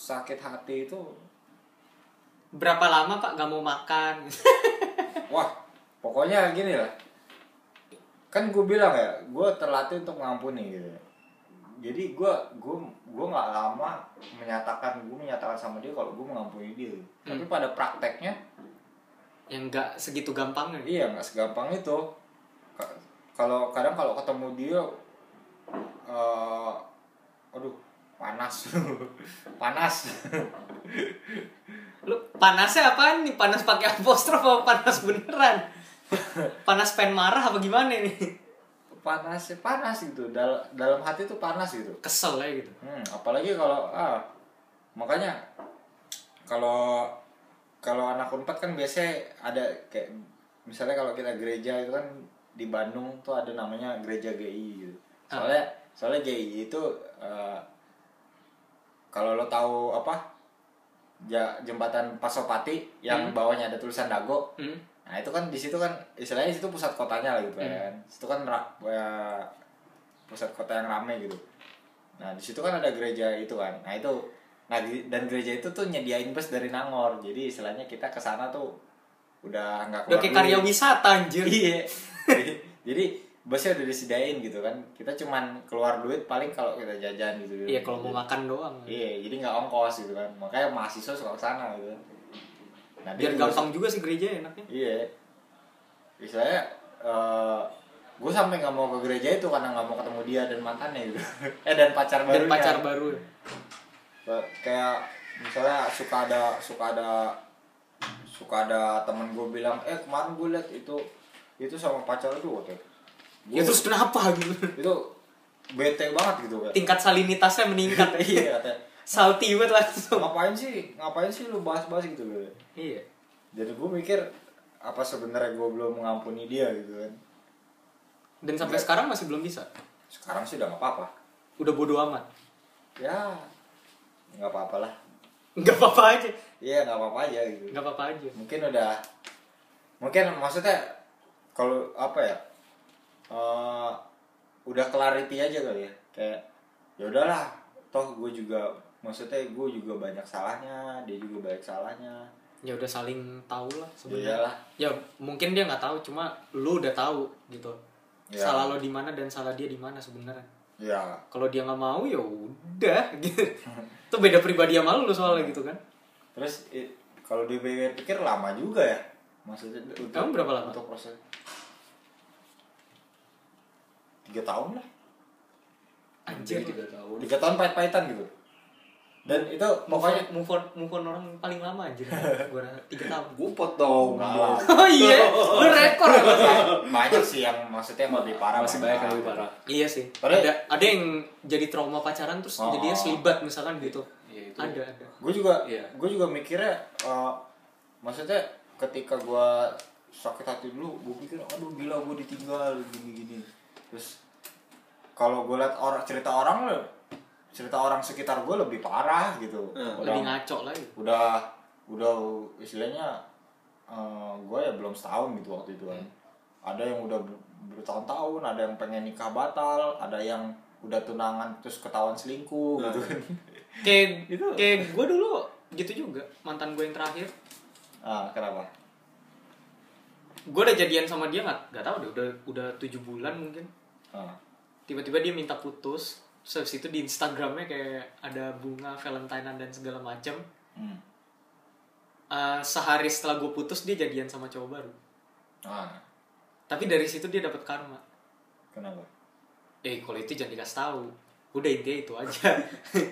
Speaker 4: sakit hati itu
Speaker 2: Berapa lama Pak gak mau makan? *laughs*
Speaker 4: wah pokoknya gini lah kan gue bilang ya gue terlatih untuk ngampuni gitu jadi gue gue gue nggak lama menyatakan gue menyatakan sama dia kalau gue mengampuni dia tapi
Speaker 2: Hmm.
Speaker 4: pada prakteknya
Speaker 2: yang gak segitu gampangnya. gitu.
Speaker 4: Iya nggak segampang itu. Ka- Kalau kadang kalau ketemu dia, eh aduh panas, *laughs* panas. *laughs*
Speaker 2: Lu panasnya apaan nih? Panas pakai apostrof apa panas beneran? panas pengen marah apa gimana nih?
Speaker 4: panas panas gitu Dal dalam hati tuh panas gitu
Speaker 2: Kesel aja gitu.
Speaker 4: hmm, apalagi kalau ah makanya kalau kalau anak unpad kan biasanya ada kayak misalnya kalau kita gereja itu kan di Bandung tuh ada namanya gereja GI gitu soalnya soalnya GI itu eh, kalau lo tahu apa ja, jembatan Pasopati yang bawahnya ada tulisan Dago
Speaker 2: Hmm?
Speaker 4: Nah itu kan di situ kan istilahnya itu pusat kotanya lah gitu kan. Situ kan ra- ya, pusat kota yang rame gitu. Nah di situ kan ada gereja itu kan. Nah itu nah di- dan gereja itu tuh nyediain bus dari Nangor. Jadi istilahnya kita ke sana tuh udah nggak
Speaker 2: Udah
Speaker 4: keluar
Speaker 2: kayak gitu.
Speaker 4: duit.
Speaker 2: karya wisata anjir.
Speaker 4: *laughs* Iya. Jadi- Jadi busnya udah disediain gitu kan. Kita cuman keluar duit paling kalau kita jajan gitu.
Speaker 2: Iya kalau mau makan doang.
Speaker 4: Iya, jadi nggak ongkos gitu kan. Makanya mahasiswa suka ke sana gitu. Nah, dia
Speaker 2: Biar
Speaker 4: juga-
Speaker 2: gampang juga sih gereja enaknya.
Speaker 4: Iya. Misalnya gue sampai nggak mau ke gereja itu karena nggak mau ketemu dia dan mantannya gitu. *laughs* eh dan pacar
Speaker 2: Dan
Speaker 4: barunya.
Speaker 2: pacar baru.
Speaker 4: Ba- Kayak misalnya suka ada suka ada suka ada temen gue bilang eh kemarin gue liat itu itu sama pacar itu waktu itu.
Speaker 2: Ya terus kenapa gitu?
Speaker 4: itu bete banget gitu
Speaker 2: *laughs*
Speaker 4: kan.
Speaker 2: Tingkat salinitasnya *laughs* meningkat.
Speaker 4: *laughs* iya katanya.
Speaker 2: Salty banget langsung.
Speaker 4: Ngapain sih? Ngapain sih lu bahas-bahas gitu? gitu.
Speaker 2: Iya.
Speaker 4: Jadi gue mikir apa sebenarnya gue belum mengampuni dia gitu kan
Speaker 2: Dan sampai sekarang masih belum bisa.
Speaker 4: sekarang sih udah nggak apa-apa
Speaker 2: Udah bodo amat.
Speaker 4: ya nggak apa-apa lah
Speaker 2: Enggak apa-apa aja.
Speaker 4: iya nggak apa-apa aja gitu
Speaker 2: Enggak apa-apa aja.
Speaker 4: mungkin udah mungkin maksudnya kalau apa ya eh, udah clarity aja kali ya kayak ya udahlah toh gue juga maksudnya gue juga banyak salahnya dia juga banyak salahnya
Speaker 2: Ya udah saling tahu lah
Speaker 4: Iyalah.
Speaker 2: sebenarnya. Ya mungkin dia nggak tahu, cuma lu udah tahu gitu.
Speaker 4: Ya.
Speaker 2: Salah lo di mana dan salah dia di mana sebenarnya.
Speaker 4: ya
Speaker 2: Kalau dia nggak mau ya udah *laughs* gitu. Itu beda pribadi sama lu soalnya gitu kan.
Speaker 4: terus i- kalau dipikir-pikir lama juga ya maksudnya untuk,
Speaker 2: Kamu berapa lama?
Speaker 4: untuk proses tiga tahun lah
Speaker 2: Anjir.
Speaker 1: tiga tahun
Speaker 4: tiga tahun pahit-pahitan gitu dan itu pokoknya
Speaker 2: Pokoknya move on, move on orang paling lama anjir.
Speaker 4: *laughs*
Speaker 2: Gua rasa 3 tahun. *laughs*
Speaker 1: gue potong
Speaker 4: Enggak lah.
Speaker 2: Oh iya, lu rekor apa sih?
Speaker 4: banyak sih yang maksudnya yang lebih parah
Speaker 1: masih banyak yang lebih parah
Speaker 2: Iya sih.
Speaker 4: Padahal-
Speaker 2: ada ada yang jadi trauma pacaran terus
Speaker 4: Oh.
Speaker 2: jadinya selibat misalkan gitu.
Speaker 1: Iya, itu.
Speaker 2: Ada ada.
Speaker 4: gue juga
Speaker 1: Iya.
Speaker 4: gue juga mikirnya eh, maksudnya ketika gue sakit hati dulu gue pikir aduh gila gue ditinggal gini gini terus kalau gue liat orang cerita orang cerita orang sekitar gue lebih parah gitu
Speaker 1: Hmm.
Speaker 4: Udah-
Speaker 2: Lebih ngaco lagi.
Speaker 4: udah udah istilahnya gue ya belum setahun gitu waktu itu kan ada yang udah ber- bertahun-tahun ada yang pengen nikah batal ada yang udah tunangan terus ketahuan selingkuh
Speaker 3: Nah.
Speaker 4: gitu kan *laughs*
Speaker 2: Kayak kayak gue dulu gitu juga mantan gue yang terakhir.
Speaker 4: ah kenapa
Speaker 2: Gue udah jadian sama dia nggak nggak tahu deh udah udah tujuh bulan mungkin.
Speaker 4: ah.
Speaker 2: Tiba-tiba dia minta putus. Terus habis itu di Instagramnya kayak ada bunga Valentinean dan segala macam.
Speaker 4: Hmm.
Speaker 2: Eh, sehari setelah gue putus dia jadian sama cowok baru.
Speaker 4: ah
Speaker 2: Tapi dari situ dia dapat karma.
Speaker 4: kenapa
Speaker 2: Eh kalau itu jangan dikasih tahu. Udah intinya itu aja. *laughs*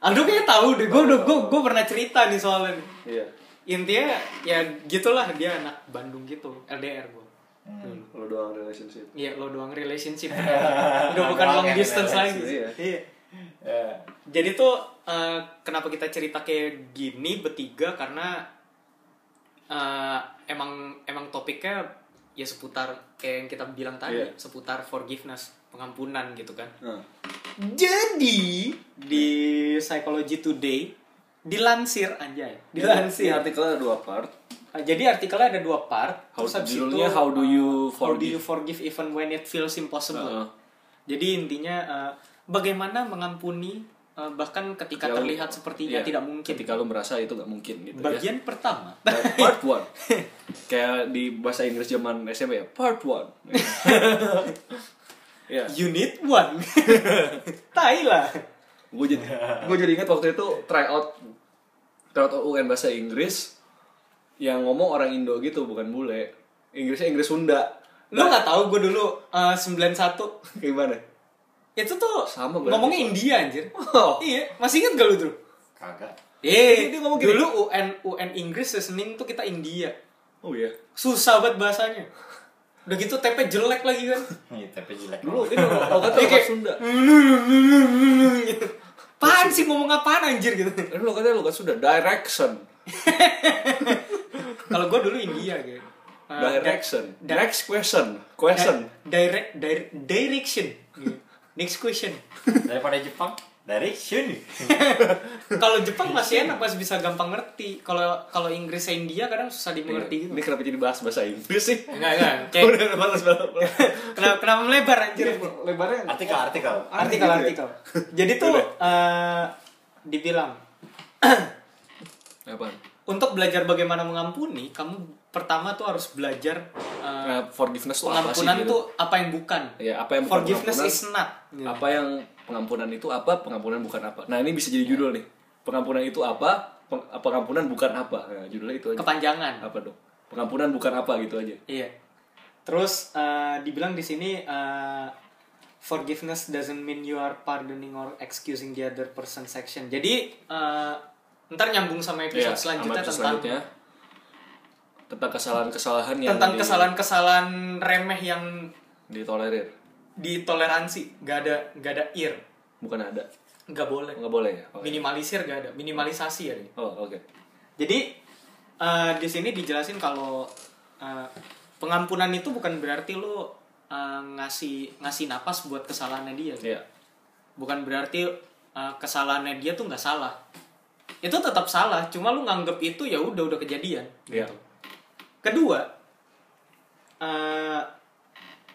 Speaker 2: Aldo kayaknya tahu deh. Gue udah gue gue pernah cerita nih soalnya. nih.
Speaker 1: iya
Speaker 2: Intinya ya gitulah dia anak Bandung gitu. LDR gue.
Speaker 4: Hmm.
Speaker 1: lo doang relationship
Speaker 2: Iya lo
Speaker 1: *laughs*
Speaker 2: doang relationship. udah bukan long
Speaker 4: Doang ya,
Speaker 2: distance lagi.
Speaker 1: iya.
Speaker 2: Iya.
Speaker 4: Ya,
Speaker 2: Jadi tuh eh, kenapa kita cerita kayak gini bertiga karena eh, emang emang topiknya ya seputar kayak yang kita bilang tadi
Speaker 1: Iya.
Speaker 2: seputar forgiveness pengampunan gitu kan.
Speaker 1: Nah,
Speaker 2: Jadi di Psychology Today dilansir anjay,
Speaker 1: Ini
Speaker 2: dilansir.
Speaker 1: artikelnya ada dua part.
Speaker 2: Nah, Jadi artikelnya ada dua part.
Speaker 3: How-
Speaker 2: terus habis
Speaker 3: judulnya
Speaker 2: itu,
Speaker 3: How do you
Speaker 2: uh, How do
Speaker 3: forgive?
Speaker 2: you forgive even when it feels impossible?
Speaker 3: Heeh.
Speaker 2: Jadi intinya uh, bagaimana mengampuni uh, bahkan
Speaker 3: Ketika
Speaker 2: ketika
Speaker 3: lu-
Speaker 2: terlihat sepertinya
Speaker 3: iya,
Speaker 2: tidak mungkin.
Speaker 3: Ketika lu merasa itu nggak mungkin gitu ya.
Speaker 2: Bagian pertama.
Speaker 3: Part one. Kayak di bahasa Inggris zaman SMP ya. Part
Speaker 2: *laughs*
Speaker 3: one. ya.
Speaker 2: Unit one. *laughs* tai lah.
Speaker 3: gue jadi gue jadi ingat waktu itu tryout tryout UN bahasa Inggris yang ngomong orang Indo gitu bukan bule Inggrisnya Inggris Sunda
Speaker 2: Lu nggak tahu gue dulu uh, 91
Speaker 3: gimana
Speaker 2: itu tuh
Speaker 3: Sama berarti.
Speaker 2: ngomongnya India anjir.
Speaker 3: Oh.
Speaker 2: Iya, masih ingat gak lu tuh?
Speaker 4: kagak. *laughs*
Speaker 2: Eh,
Speaker 3: Dia ngomong gini.
Speaker 2: dulu UN UN Inggris ya Senin tuh kita India.
Speaker 3: oh iya
Speaker 2: Susah banget bahasanya. Udah gitu TP jelek lagi kan.
Speaker 4: Nih, tapi jelek.
Speaker 3: dulu
Speaker 4: banget.
Speaker 3: ini kalau kata
Speaker 2: Dia
Speaker 3: orang
Speaker 2: kayak,
Speaker 3: Sunda
Speaker 2: gitu. Apaan sih ngomong apaan anjir gitu.
Speaker 3: ini lo katanya lo kan Sunda direction
Speaker 2: Kalau gua dulu India kayak. Eh,
Speaker 3: direction
Speaker 2: di-
Speaker 3: next question
Speaker 2: di-
Speaker 3: question
Speaker 2: Direct dir- direction. Gitu. Next question.
Speaker 4: Daripada Jepang, dari sini.
Speaker 2: Kalau Jepang masih enak masih bisa gampang ngerti. Kalau kalau Inggris sama India kadang susah dimengerti gitu.
Speaker 3: ini kenapa jadi bahas bahasa Inggris sih
Speaker 2: Enggak enggak. Kayak
Speaker 3: Iya. udah bahas bahas
Speaker 2: kenapa kenapa melebar anjir?
Speaker 1: Lebarnya
Speaker 4: Artikel, artikel.
Speaker 2: artikel artikel jadi tuh eh, dibilang
Speaker 3: apa
Speaker 2: untuk belajar bagaimana mengampuni kamu pertama tuh harus belajar eh,
Speaker 3: Nah, forgiveness tuh apa sih
Speaker 2: pengampunan
Speaker 3: gitu?
Speaker 2: tuh apa yang bukan
Speaker 3: Ya, apa yang bukan
Speaker 2: forgiveness
Speaker 3: pengampunan?
Speaker 2: is not Gitu.
Speaker 3: apa yang pengampunan itu apa pengampunan bukan apa nah ini bisa jadi judul
Speaker 2: Iya.
Speaker 3: nih pengampunan itu apa Peng- pengampunan bukan apa nah, judulnya itu aja
Speaker 2: kepanjangan
Speaker 3: apa dong pengampunan bukan apa gitu aja
Speaker 2: iya terus eh, dibilang di sini eh, forgiveness doesn't mean you are pardoning or excusing the other person's action jadi eh, ntar nyambung sama episode
Speaker 3: Iya,
Speaker 2: selanjutnya
Speaker 3: sama episode
Speaker 2: tentang
Speaker 3: selanjutnya Iya, tentang kesalahan-kesalahan yang
Speaker 2: tentang
Speaker 3: di-
Speaker 2: kesalahan-kesalahan remeh yang
Speaker 3: ditolerir
Speaker 2: ditoleransi gak ada gak ada ir
Speaker 3: bukan ada
Speaker 2: nggak boleh
Speaker 3: nggak boleh ya
Speaker 2: Oh, iya.
Speaker 3: Oke.
Speaker 2: minimalisir gak ada minimalisasi ya ini.
Speaker 3: oh oke
Speaker 2: jadi eh, di sini dijelasin kalau eh, pengampunan itu bukan berarti lo eh, ngasih ngasih napas buat kesalahannya dia gitu.
Speaker 3: Iya.
Speaker 2: bukan berarti eh, kesalahannya dia tuh nggak salah itu tetap salah cuma lu nganggep itu ya udah udah kejadian
Speaker 3: Iya.
Speaker 2: gitu. kedua eh,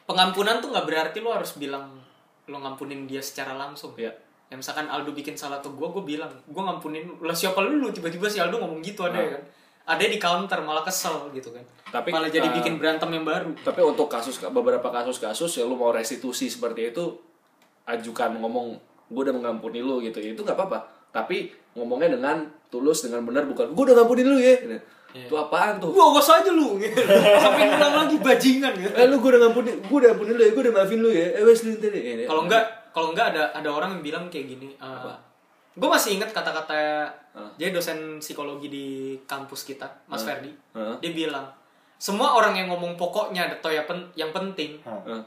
Speaker 2: pengampunan tuh nggak berarti lu harus bilang lu ngampunin dia secara langsung
Speaker 3: Iya.
Speaker 2: ya misalkan Aldo bikin salah ke gue gue bilang gue ngampunin lu." lah siapa lu lu?" tiba-tiba si Aldo ngomong gitu ada ya kan ada di counter malah kesel gitu kan
Speaker 3: Ah. Tapi,
Speaker 2: malah jadi
Speaker 3: eh,
Speaker 2: bikin berantem yang baru
Speaker 3: Tapi untuk kasus beberapa kasus-kasus yang lu mau restitusi seperti itu ajukan ngomong gue udah mengampuni lu gitu itu nggak apa-apa tapi ngomongnya dengan tulus dengan benar bukan gue udah ngampuni lu ya itu apaan tuh
Speaker 2: gue awas aja lu gitu.
Speaker 3: *laughs*
Speaker 2: sampai pulang lagi bajingan gitu
Speaker 3: eh lu gue udah ngampuni gue udah ngampuni lu ya gue udah maafin lu ya eh wes lu ntar ya
Speaker 2: kalau enggak kalau enggak ada ada orang yang bilang kayak gini gue masih ingat kata-kata dia dosen psikologi di kampus kita Mas Ferdi
Speaker 3: Heeh.
Speaker 2: dia bilang semua orang yang ngomong pokoknya atau ya pen- yang penting
Speaker 3: Heeh.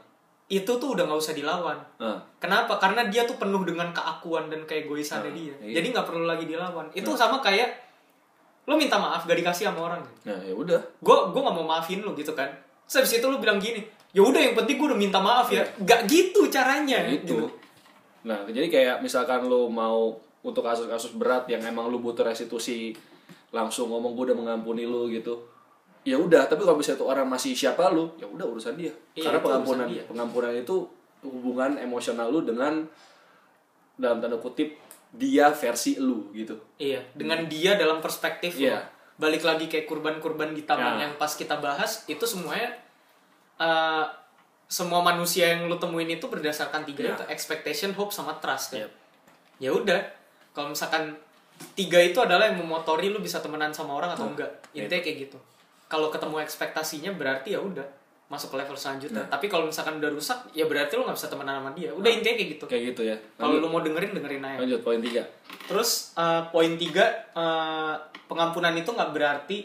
Speaker 2: itu tuh udah nggak usah dilawan
Speaker 3: Heeh.
Speaker 2: Kenapa? Karena dia tuh penuh dengan keakuan dan keegoisannya dia.
Speaker 3: iya.
Speaker 2: Jadi nggak perlu lagi dilawan. Itu sama kayak lo minta maaf gak dikasih sama orang.
Speaker 3: nah ya udah
Speaker 2: Gue gue nggak mau maafin lo gitu kan. Terus habis itu lo bilang gini, ya udah yang penting gue udah minta maaf ya. Gak gitu caranya.
Speaker 3: itu
Speaker 2: Gitu.
Speaker 3: nah jadi kayak misalkan lu mau untuk kasus-kasus berat yang emang lu butuh restitusi langsung ngomong gue udah mengampuni lu gitu ya udah tapi kalau misalnya tuh orang masih siapa lu ya udah urusan dia
Speaker 2: Iya,
Speaker 3: karena
Speaker 2: itu urusan
Speaker 3: pengampunan
Speaker 2: dia.
Speaker 3: pengampunan itu hubungan emosional lu dengan dalam tanda kutip dia versi lu gitu
Speaker 2: Iya. Dengan dia dalam perspektif lo.
Speaker 3: Iya.
Speaker 2: Balik lagi kayak kurban-kurban di taman
Speaker 3: Ya.
Speaker 2: yang pas kita bahas itu semuanya. eh, semua manusia yang lo temuin itu berdasarkan tiga
Speaker 3: Ya.
Speaker 2: itu expectation, hope, sama trust kan. ya udah kalau misalkan tiga itu adalah yang memotori lu bisa temenan sama orang atau enggak
Speaker 3: Ya
Speaker 2: intinya kayak gitu kalau ketemu ekspektasinya berarti ya udah masuk ke level selanjutnya
Speaker 3: Ya.
Speaker 2: tapi kalau misalkan udah rusak ya berarti lu nggak bisa temenan sama dia
Speaker 3: Nah.
Speaker 2: udah intinya kayak gitu
Speaker 3: kayak gitu ya
Speaker 2: kalau
Speaker 3: lanjut,
Speaker 2: lu mau dengerin dengerin aja
Speaker 3: lanjut poin tiga
Speaker 2: terus eh, poin tiga eh, pengampunan itu nggak berarti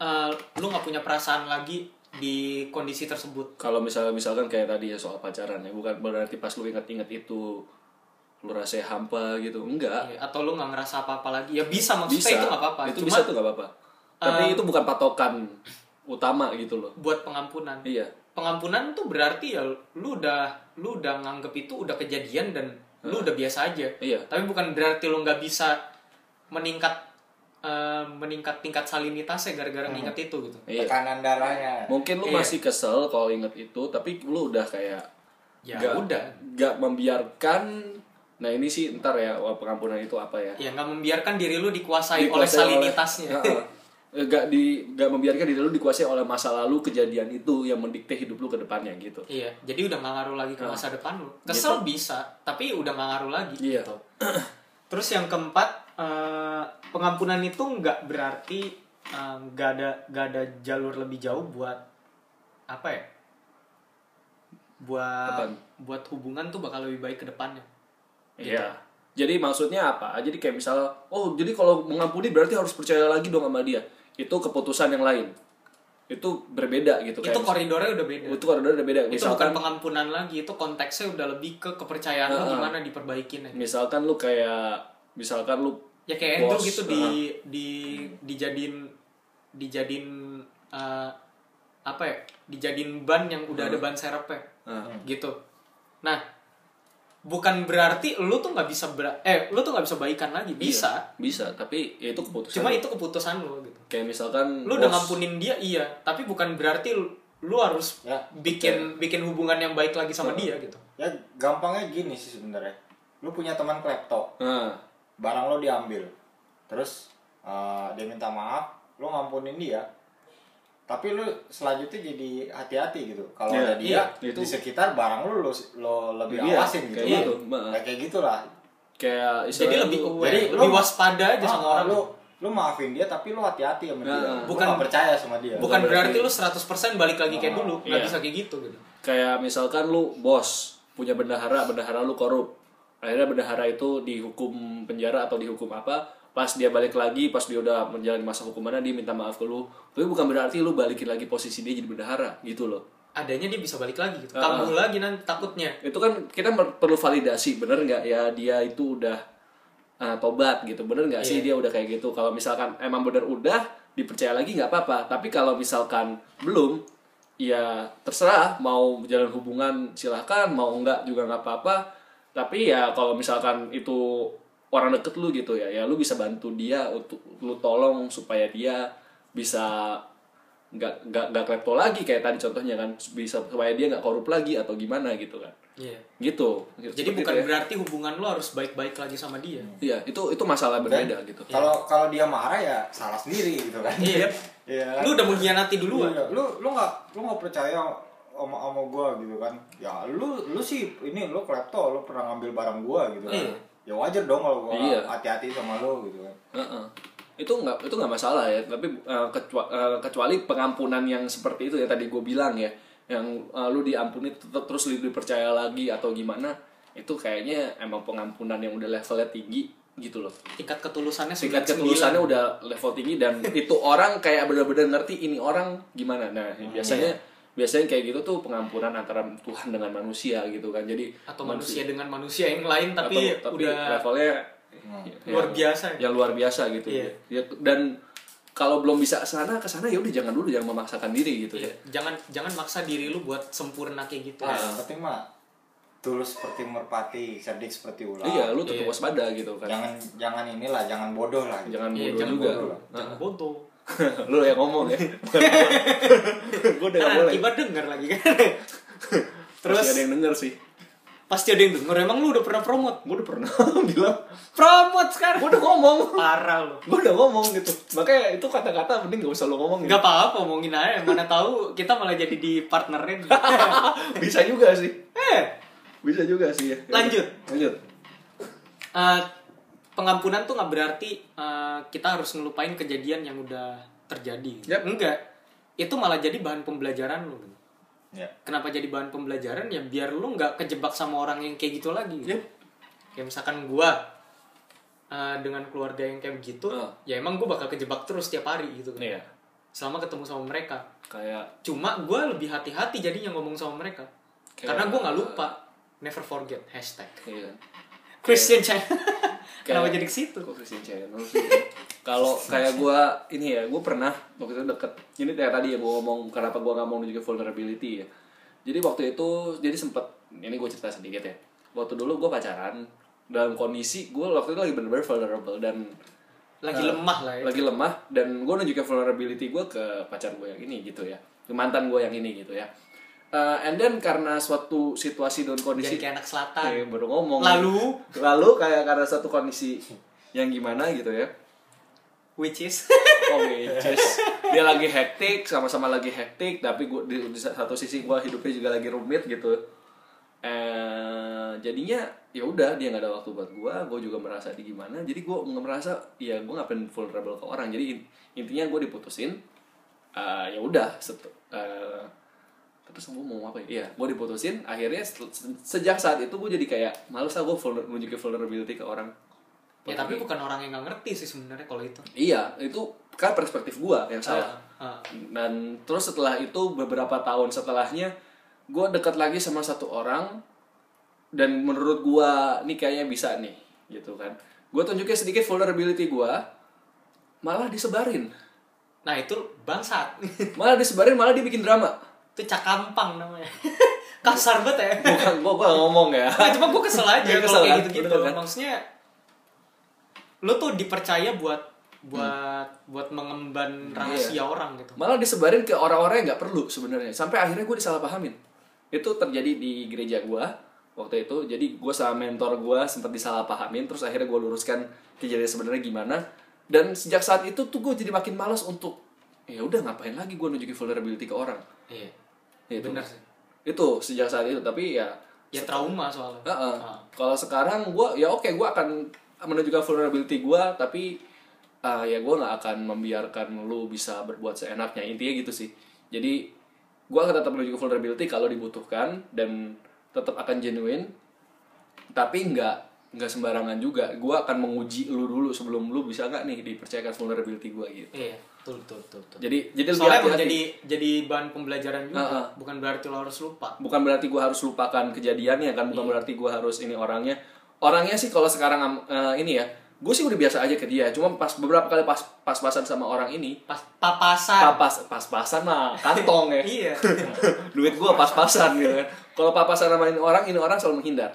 Speaker 2: eh, lu nggak punya perasaan lagi di kondisi tersebut
Speaker 3: kalau misalnya misalkan kayak tadi ya soal pacaran ya bukan berarti pas lu inget-inget itu lu rasanya hampa gitu enggak
Speaker 2: Ya, atau lu nggak ngerasa apa apa lagi ya bisa maksudnya
Speaker 3: bisa
Speaker 2: itu nggak eh, apa apa
Speaker 3: itu bisa tuh nggak apa-apa tapi itu bukan patokan utama gitu loh
Speaker 2: buat pengampunan
Speaker 3: iya
Speaker 2: pengampunan tuh berarti ya lu udah lu udah nganggep itu udah kejadian dan lu udah biasa aja.
Speaker 3: Iya.
Speaker 2: Tapi bukan berarti lu nggak bisa meningkat eh, meningkat tingkat salinitasnya gara-gara nginget itu gitu.
Speaker 3: iya
Speaker 4: tekanan darahnya
Speaker 3: mungkin lu
Speaker 2: Iya.
Speaker 3: masih kesel kalau inget itu tapi lu udah kayak
Speaker 2: Ya
Speaker 3: nggak-
Speaker 2: udah.
Speaker 3: nggak membiarkan nah ini sih ntar ya wah, pengampunan itu apa ya
Speaker 2: Ya nggak membiarkan diri lu dikuasai, oleh
Speaker 3: Dikuasai
Speaker 2: salinitasnya.
Speaker 3: *laughs* Heeh. nggak di nggak membiarkan diri lu dikuasai oleh masa lalu kejadian itu yang mendikte hidup lu ke depannya gitu
Speaker 2: Iya, jadi udah nggak ngaruh lagi ke masa depan lu. Kesel bisa, tapi udah nggak ngaruh lagi.
Speaker 3: Iya.
Speaker 2: gitu. *clears throat* Terus yang keempat, eh, pengampunan itu nggak berarti eh, nggak ada nggak ada jalur lebih jauh buat apa ya? Buat
Speaker 3: Apaan?
Speaker 2: buat hubungan tuh bakal lebih baik ke depannya.
Speaker 3: Iya. Jadi maksudnya apa? Jadi kayak misal, oh jadi kalau mengampuni berarti harus percaya lagi dong sama dia. Itu keputusan yang lain. Itu berbeda gitu.
Speaker 2: itu
Speaker 3: kayak
Speaker 2: koridornya udah beda.
Speaker 3: misal- itu koridor udah beda.
Speaker 2: Itu bukan
Speaker 3: Misalkan,
Speaker 2: pengampunan lagi, itu konteksnya udah lebih ke kepercayaan lu
Speaker 3: Heeh.
Speaker 2: gimana diperbaikinnya.
Speaker 3: misalkan lu kayak, misalkan lu
Speaker 2: ya kayak Andrew
Speaker 3: Bos,
Speaker 2: gitu di di dijadiin dijadiin eh, apa ya dijadiin ban yang udah ada ban serepnya gitu nah bukan berarti lu tuh nggak bisa ber eh lu tuh nggak bisa baikan lagi bisa
Speaker 3: bisa, tapi ya itu keputusan.
Speaker 2: cuma itu keputusan lu gitu
Speaker 3: kayak misalkan
Speaker 2: lu udah
Speaker 3: bos-
Speaker 2: ngampunin dia iya tapi bukan berarti lu, lu harus
Speaker 4: Ya.
Speaker 2: bikin bikin hubungan yang baik lagi sama dia gitu
Speaker 4: ya gampangnya gini sih sebenarnya lu punya teman klepto
Speaker 3: Nah,
Speaker 4: barang lo diambil terus uh, dia minta maaf lo ngampunin dia tapi lu selanjutnya jadi hati-hati gitu kalau
Speaker 3: Iya,
Speaker 4: ada dia
Speaker 3: iya,
Speaker 4: di
Speaker 3: itu.
Speaker 4: sekitar barang lu lo, lebih
Speaker 3: Iya,
Speaker 4: awasin
Speaker 3: kayak
Speaker 4: gitu kan.
Speaker 3: gitu, Mbak.
Speaker 4: Ya, kayak gitulah
Speaker 3: kayak
Speaker 2: jadi
Speaker 3: istilahnya
Speaker 2: lebih
Speaker 3: lu-
Speaker 2: aware
Speaker 4: jadi lu- Ah,
Speaker 2: lebih waspada aja
Speaker 3: Ah,
Speaker 2: sama orang
Speaker 4: lu lu maafin dia tapi lu hati-hati sama dia
Speaker 3: Nah,
Speaker 2: bukan-
Speaker 4: bukan percaya sama dia
Speaker 2: bukan berarti lu 100% balik lagi kayak dulu nggak
Speaker 3: Iya.
Speaker 2: bisa kayak gitu gitu
Speaker 3: kayak misalkan lu bos punya bendahara bendahara lu korup akhirnya bendahara itu dihukum penjara atau dihukum apa pas dia balik lagi pas dia udah menjalani masa hukumannya dia minta maaf ke lu tapi bukan berarti lu balikin lagi posisi dia jadi bendahara gitu loh
Speaker 2: adanya dia bisa balik lagi
Speaker 3: Ah.
Speaker 2: gitu. Kamu lagi nanti takutnya.
Speaker 3: itu kan kita mer- perlu validasi bener nggak ya dia ah, itu udah uh, tobat gitu bener nggak sih dia udah kayak gitu kalau misalkan emang bener udah dipercaya lagi nggak apa-apa tapi kalau misalkan belum ya terserah mau jalan hubungan silahkan mau enggak juga nggak apa-apa tapi ya kalau misalkan itu orang deket lu gitu ya ya lu bisa bantu dia untuk lu tolong supaya dia bisa nggak nggak nggak klepto lagi kayak tadi contohnya kan bisa supaya dia nggak korup lagi atau gimana gitu kan
Speaker 2: Iya.
Speaker 3: gitu
Speaker 2: Jadi
Speaker 3: Seperti
Speaker 2: bukan
Speaker 3: itu ya.
Speaker 2: berarti hubungan lo harus baik-baik lagi sama dia.
Speaker 3: Iya, itu itu
Speaker 2: Kan?
Speaker 3: masalah berbeda gitu.
Speaker 4: Kalau kalau dia marah ya salah sendiri gitu kan.
Speaker 2: Iya.
Speaker 4: Iya. kan?
Speaker 2: Lu udah mengkhianati duluan.
Speaker 4: Iya, lu lu nggak lu nggak percaya sama sama gua gitu kan ya lu lu sih ini lu klepto lu pernah ngambil barang gua gitu kan
Speaker 2: Iya.
Speaker 4: ya wajar dong kalau gua
Speaker 3: Iya.
Speaker 4: hati-hati sama lu gitu kan
Speaker 3: Heeh. itu nggak itu nggak masalah ya tapi eh, kecua- eh, kecuali pengampunan yang seperti itu ya tadi gue bilang ya yang eh, lu diampuni tetap terus lu dipercaya lagi atau gimana itu kayaknya emang pengampunan yang udah levelnya tinggi gitu loh
Speaker 2: Tingkat ketulusannya
Speaker 3: singkat
Speaker 2: 99.
Speaker 3: ketulusannya udah level tinggi dan itu orang kayak bener-bener ngerti ini orang gimana
Speaker 2: Oh,
Speaker 3: nah
Speaker 2: iya.
Speaker 3: biasanya biasanya kayak gitu tuh pengampunan antara Tuhan dengan manusia gitu kan jadi
Speaker 2: atau manusia dengan manusia yang lain tapi,
Speaker 3: atau-
Speaker 2: udah
Speaker 3: levelnya ya,
Speaker 2: luar biasa.
Speaker 3: yang luar biasa gitu
Speaker 2: Iya.
Speaker 3: ya dan kalau belum bisa sana ke sana ya udah jangan dulu jangan memaksakan diri gitu ya
Speaker 2: Iya. Jangan jangan maksa diri lu buat sempurna kayak gitu.
Speaker 4: nah
Speaker 3: Ah,
Speaker 4: yang penting mah tulus seperti merpati cerdik seperti ular
Speaker 3: iya lu tetap
Speaker 2: Iya.
Speaker 3: waspada gitu kan
Speaker 4: jangan jangan inilah jangan bodoh lah gitu.
Speaker 3: jangan bodoh
Speaker 2: Iya, jangan
Speaker 3: juga Ah.
Speaker 4: bodoh.
Speaker 2: Jangan bodoh.
Speaker 3: *laughs* lu yang ngomong *laughs* ya gue udah gak
Speaker 2: Kan
Speaker 3: boleh
Speaker 2: akibat denger lagi kan. *laughs*
Speaker 3: terus
Speaker 2: Terus
Speaker 3: gak ada yang denger sih
Speaker 2: pasti ada yang denger. Emang lu udah pernah promote?
Speaker 3: gue udah pernah *laughs* bilang
Speaker 2: Promote sekarang.
Speaker 3: gue udah *laughs* ngomong
Speaker 2: Parah lu.
Speaker 3: gue udah ngomong gitu makanya itu kata-kata mending gak usah lu ngomong gitu.
Speaker 2: Gak apa-apa ngomongin aja. Mana tahu kita malah jadi di partnerin.
Speaker 3: *laughs* *laughs* bisa juga sih
Speaker 2: eh,
Speaker 3: bisa juga sih ya
Speaker 2: Lanjut.
Speaker 3: lanjut
Speaker 2: eh, pengampunan tuh nggak berarti eh, kita harus ngelupain kejadian yang udah terjadi.
Speaker 3: Yap.
Speaker 2: Enggak. Itu malah jadi bahan pembelajaran lu.
Speaker 4: ya
Speaker 2: Kenapa jadi bahan pembelajaran? Ya biar lu nggak kejebak sama orang yang kayak gitu lagi.
Speaker 3: Yap.
Speaker 2: Kayak misalkan gua eh, dengan keluarga yang kayak begitu,
Speaker 3: Ah.
Speaker 2: ya emang gua bakal kejebak terus tiap hari gitu. kan.
Speaker 3: Iya.
Speaker 2: Selama ketemu sama mereka.
Speaker 3: kayak
Speaker 2: Cuma gua lebih hati-hati jadinya ngomong sama mereka.
Speaker 3: Kayak-
Speaker 2: Karena gua nggak lupa. Never forget hashtag.
Speaker 3: iya kan
Speaker 2: Christian
Speaker 3: *laughs*
Speaker 2: Channel. Kenapa
Speaker 3: Kayak-
Speaker 2: jadi ke situ?
Speaker 3: Kok Christian Channel sih? Kalau kayak gua ini ya, gua pernah waktu itu deket. Ini kayak tadi yang gua ngomong kenapa gua nggak mau juga vulnerability ya. Jadi waktu itu jadi sempet ini gue cerita sedikit ya. Waktu dulu gua pacaran dalam kondisi gua waktu itu lagi bener-bener vulnerable dan
Speaker 2: Lagi
Speaker 3: eh,
Speaker 2: lemah lah ya.
Speaker 3: lagi lemah dan gue nunjukin vulnerability gue ke pacar gue yang ini gitu ya ke mantan gue yang ini gitu ya Eh, and then karena suatu situasi dan
Speaker 2: Jadi
Speaker 3: kondisi
Speaker 2: kayak anak selatan.
Speaker 3: Eh, baru ngomong
Speaker 2: Lalu?
Speaker 3: lalu kayak karena satu kondisi yang gimana gitu ya
Speaker 2: Which
Speaker 3: *laughs*
Speaker 2: is
Speaker 3: oh bitches. dia lagi hektik sama-sama lagi hektik tapi gua di, di satu sisi gua hidupnya juga lagi rumit gitu eh jadinya ya udah dia nggak ada waktu buat gua gua juga merasa di gimana jadi gua nggak merasa ya gua ngapain vulnerable ke orang jadi in- intinya gua diputusin Eh, ya udah set- eh, terus gue mau apa ya? Iya, gue diputusin. Akhirnya se- se- sejak saat itu gue jadi kayak males lah gue vulner- nunjukin vulnerability ke orang.
Speaker 2: ya tapi bukan orang yang nggak ngerti sih sebenarnya kalau itu.
Speaker 3: Iya, itu kan perspektif gua yang salah.
Speaker 2: Ah, ah.
Speaker 3: Dan terus setelah itu beberapa tahun setelahnya gua dekat lagi sama satu orang dan menurut gua nih kayaknya bisa nih gitu kan. Gua tunjukin sedikit vulnerability gua malah disebarin.
Speaker 2: Nah, itu bangsat. *laughs*
Speaker 3: Malah disebarin, malah dibikin drama.
Speaker 2: itu cakampang
Speaker 3: *laughs*
Speaker 2: namanya. Kasar banget ya.
Speaker 3: Bukan gua, gua ngomong ya.
Speaker 2: Nah, cuma gue kesel
Speaker 3: *laughs*
Speaker 2: aja
Speaker 3: Iya, kesel
Speaker 2: kalau kayak
Speaker 3: kan?
Speaker 2: gitu-gitu.
Speaker 3: Bener kan?
Speaker 2: Maksudnya lu tuh dipercaya buat buat buat
Speaker 3: Iya.
Speaker 2: mengemban rahasia orang gitu.
Speaker 3: malah disebarin ke orang-orang yang nggak perlu sebenarnya sampai akhirnya gue disalahpahamin itu terjadi di gereja gue waktu itu jadi gue sama mentor gue sempat disalahpahamin terus akhirnya gue luruskan kejadian sebenarnya gimana dan sejak saat itu tuh gue jadi makin malas untuk ya udah ngapain lagi gue nunjukin vulnerability ke orang
Speaker 2: Iya.
Speaker 3: itu
Speaker 2: Bener sih.
Speaker 3: itu sejak saat itu tapi ya
Speaker 2: Ya trauma soalnya.
Speaker 3: Heeh.
Speaker 2: Ah.
Speaker 3: Kalau sekarang gue ya oke gue akan menunjukkan vulnerability gue tapi ah, ya gue nggak akan membiarkan lu bisa berbuat seenaknya intinya gitu sih. Jadi gue akan tetap menunjukkan vulnerability kalau dibutuhkan dan tetap akan genuine tapi nggak nggak sembarangan juga. Gue akan menguji lu dulu sebelum lu bisa nggak nih dipercayakan vulnerability gue gitu.
Speaker 2: Iya, betul betul betul. betul.
Speaker 3: Jadi jadi lebih
Speaker 2: Soalnya emang
Speaker 3: hati-hati.
Speaker 2: jadi jadi bahan pembelajaran juga,
Speaker 3: Ah, ah.
Speaker 2: bukan berarti lo harus lupa.
Speaker 3: bukan berarti gue harus lupakan kejadiannya kan bukan berarti gue harus ini orangnya orangnya sih kalau sekarang am- eh, ini ya gue sih udah biasa aja ke dia cuma pas beberapa kali pas pas pasan sama orang ini
Speaker 2: Pas papasan.
Speaker 3: papas pas pasan mah kantong ya *laughs*
Speaker 2: Iya.
Speaker 3: duit gue pas pasan gitu kan kalau papasan sama ini orang ini orang selalu menghindar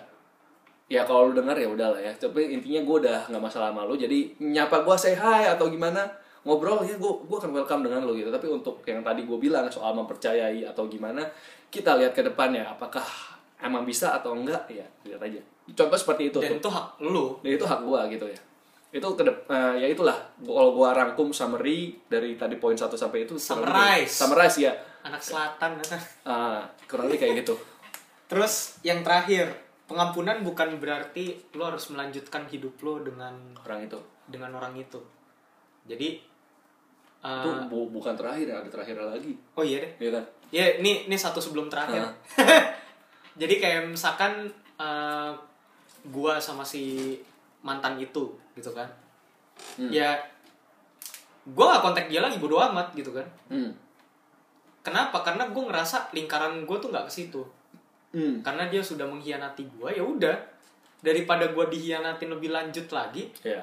Speaker 3: ya kalau lu dengar ya udahlah ya tapi intinya gue udah nggak masalah sama lu jadi nyapa gue say hi atau gimana ngobrol ya gue gue akan welcome dengan lu gitu tapi untuk yang tadi gue bilang soal mempercayai atau gimana kita lihat ke depannya apakah emang bisa atau enggak ya lihat aja contoh seperti itu tuh
Speaker 2: Dan itu hak lu.
Speaker 3: ya itu hak gua gitu ya itu ke dep- eh, ya itulah kalau gua rangkum summary dari tadi poin 1 sampai itu kurang lebih-
Speaker 2: Summarize.
Speaker 3: summarize ya
Speaker 2: Anak selatan. *laughs*
Speaker 3: Ah, kurang lebih kayak gitu
Speaker 2: Terus yang terakhir, pengampunan bukan berarti lu harus melanjutkan hidup lu dengan
Speaker 3: orang itu
Speaker 2: dengan orang itu. Jadi eh,
Speaker 3: itu bu- bukan terakhir ya ada terakhir lagi
Speaker 2: oh iya deh.
Speaker 3: ya kan
Speaker 2: Ya, ini ini satu sebelum terakhir.
Speaker 3: Hah.
Speaker 2: *laughs* Jadi kayak misalkan eh, gua sama si mantan itu gitu kan. Ya gua gak kontak dia lagi bodo amat gitu kan.
Speaker 3: hmm.
Speaker 2: Kenapa? Karena gua ngerasa lingkaran gua tuh nggak ke situ.
Speaker 3: Hmm.
Speaker 2: Karena dia sudah mengkhianati gua, ya udah. Daripada gua dihianatin lebih lanjut lagi,
Speaker 3: ya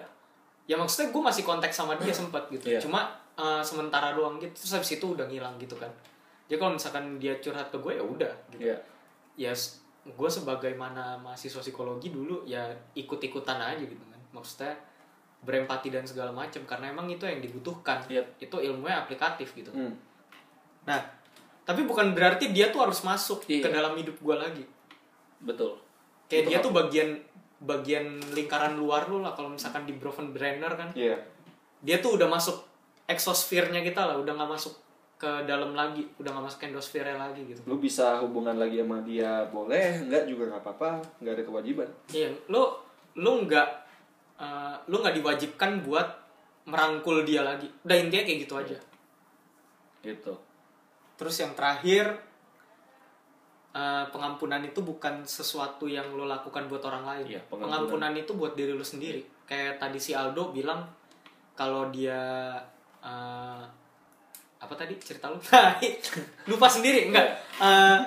Speaker 2: ya maksudnya gue masih kontak sama dia sempat gitu
Speaker 3: Iya.
Speaker 2: cuma eh, sementara doang gitu terus habis itu udah ngilang gitu kan jadi kalau misalkan dia curhat ke gue ya udah gitu
Speaker 3: ya
Speaker 2: ya gue sebagai mana mahasiswa psikologi dulu ya ikut-ikutan aja gitu kan maksudnya berempati dan segala macam karena emang itu yang dibutuhkan
Speaker 3: Iya.
Speaker 2: itu ilmunya aplikatif gitu
Speaker 3: hmm.
Speaker 2: nah tapi bukan berarti dia tuh harus masuk
Speaker 3: Iya.
Speaker 2: ke dalam hidup gue lagi
Speaker 3: betul
Speaker 2: kayak
Speaker 3: Itu
Speaker 2: dia
Speaker 3: hak-
Speaker 2: tuh bagian bagian lingkaran luar lu lah kalau misalkan di Broven Brenner kan
Speaker 3: Iya.
Speaker 2: dia tuh udah masuk exosphere-nya kita lah, udah nggak masuk ke dalam lagi, udah nggak masuk ke endosfere lagi gitu.
Speaker 3: lu bisa hubungan lagi sama dia boleh enggak juga nggak apa-apa nggak ada kewajiban
Speaker 2: Iya, lu lu nggak eh, lu nggak diwajibkan buat merangkul dia lagi. Udah intinya kayak gitu aja.
Speaker 3: gitu
Speaker 2: Terus yang terakhir eh, pengampunan itu bukan sesuatu yang lo lakukan buat orang lain.
Speaker 3: Iya, pengampunan.
Speaker 2: pengampunan. itu buat diri lo sendiri. Kayak tadi si Aldo bilang kalau dia eh, apa tadi cerita lu? *laughs* Lupa sendiri enggak? Eh,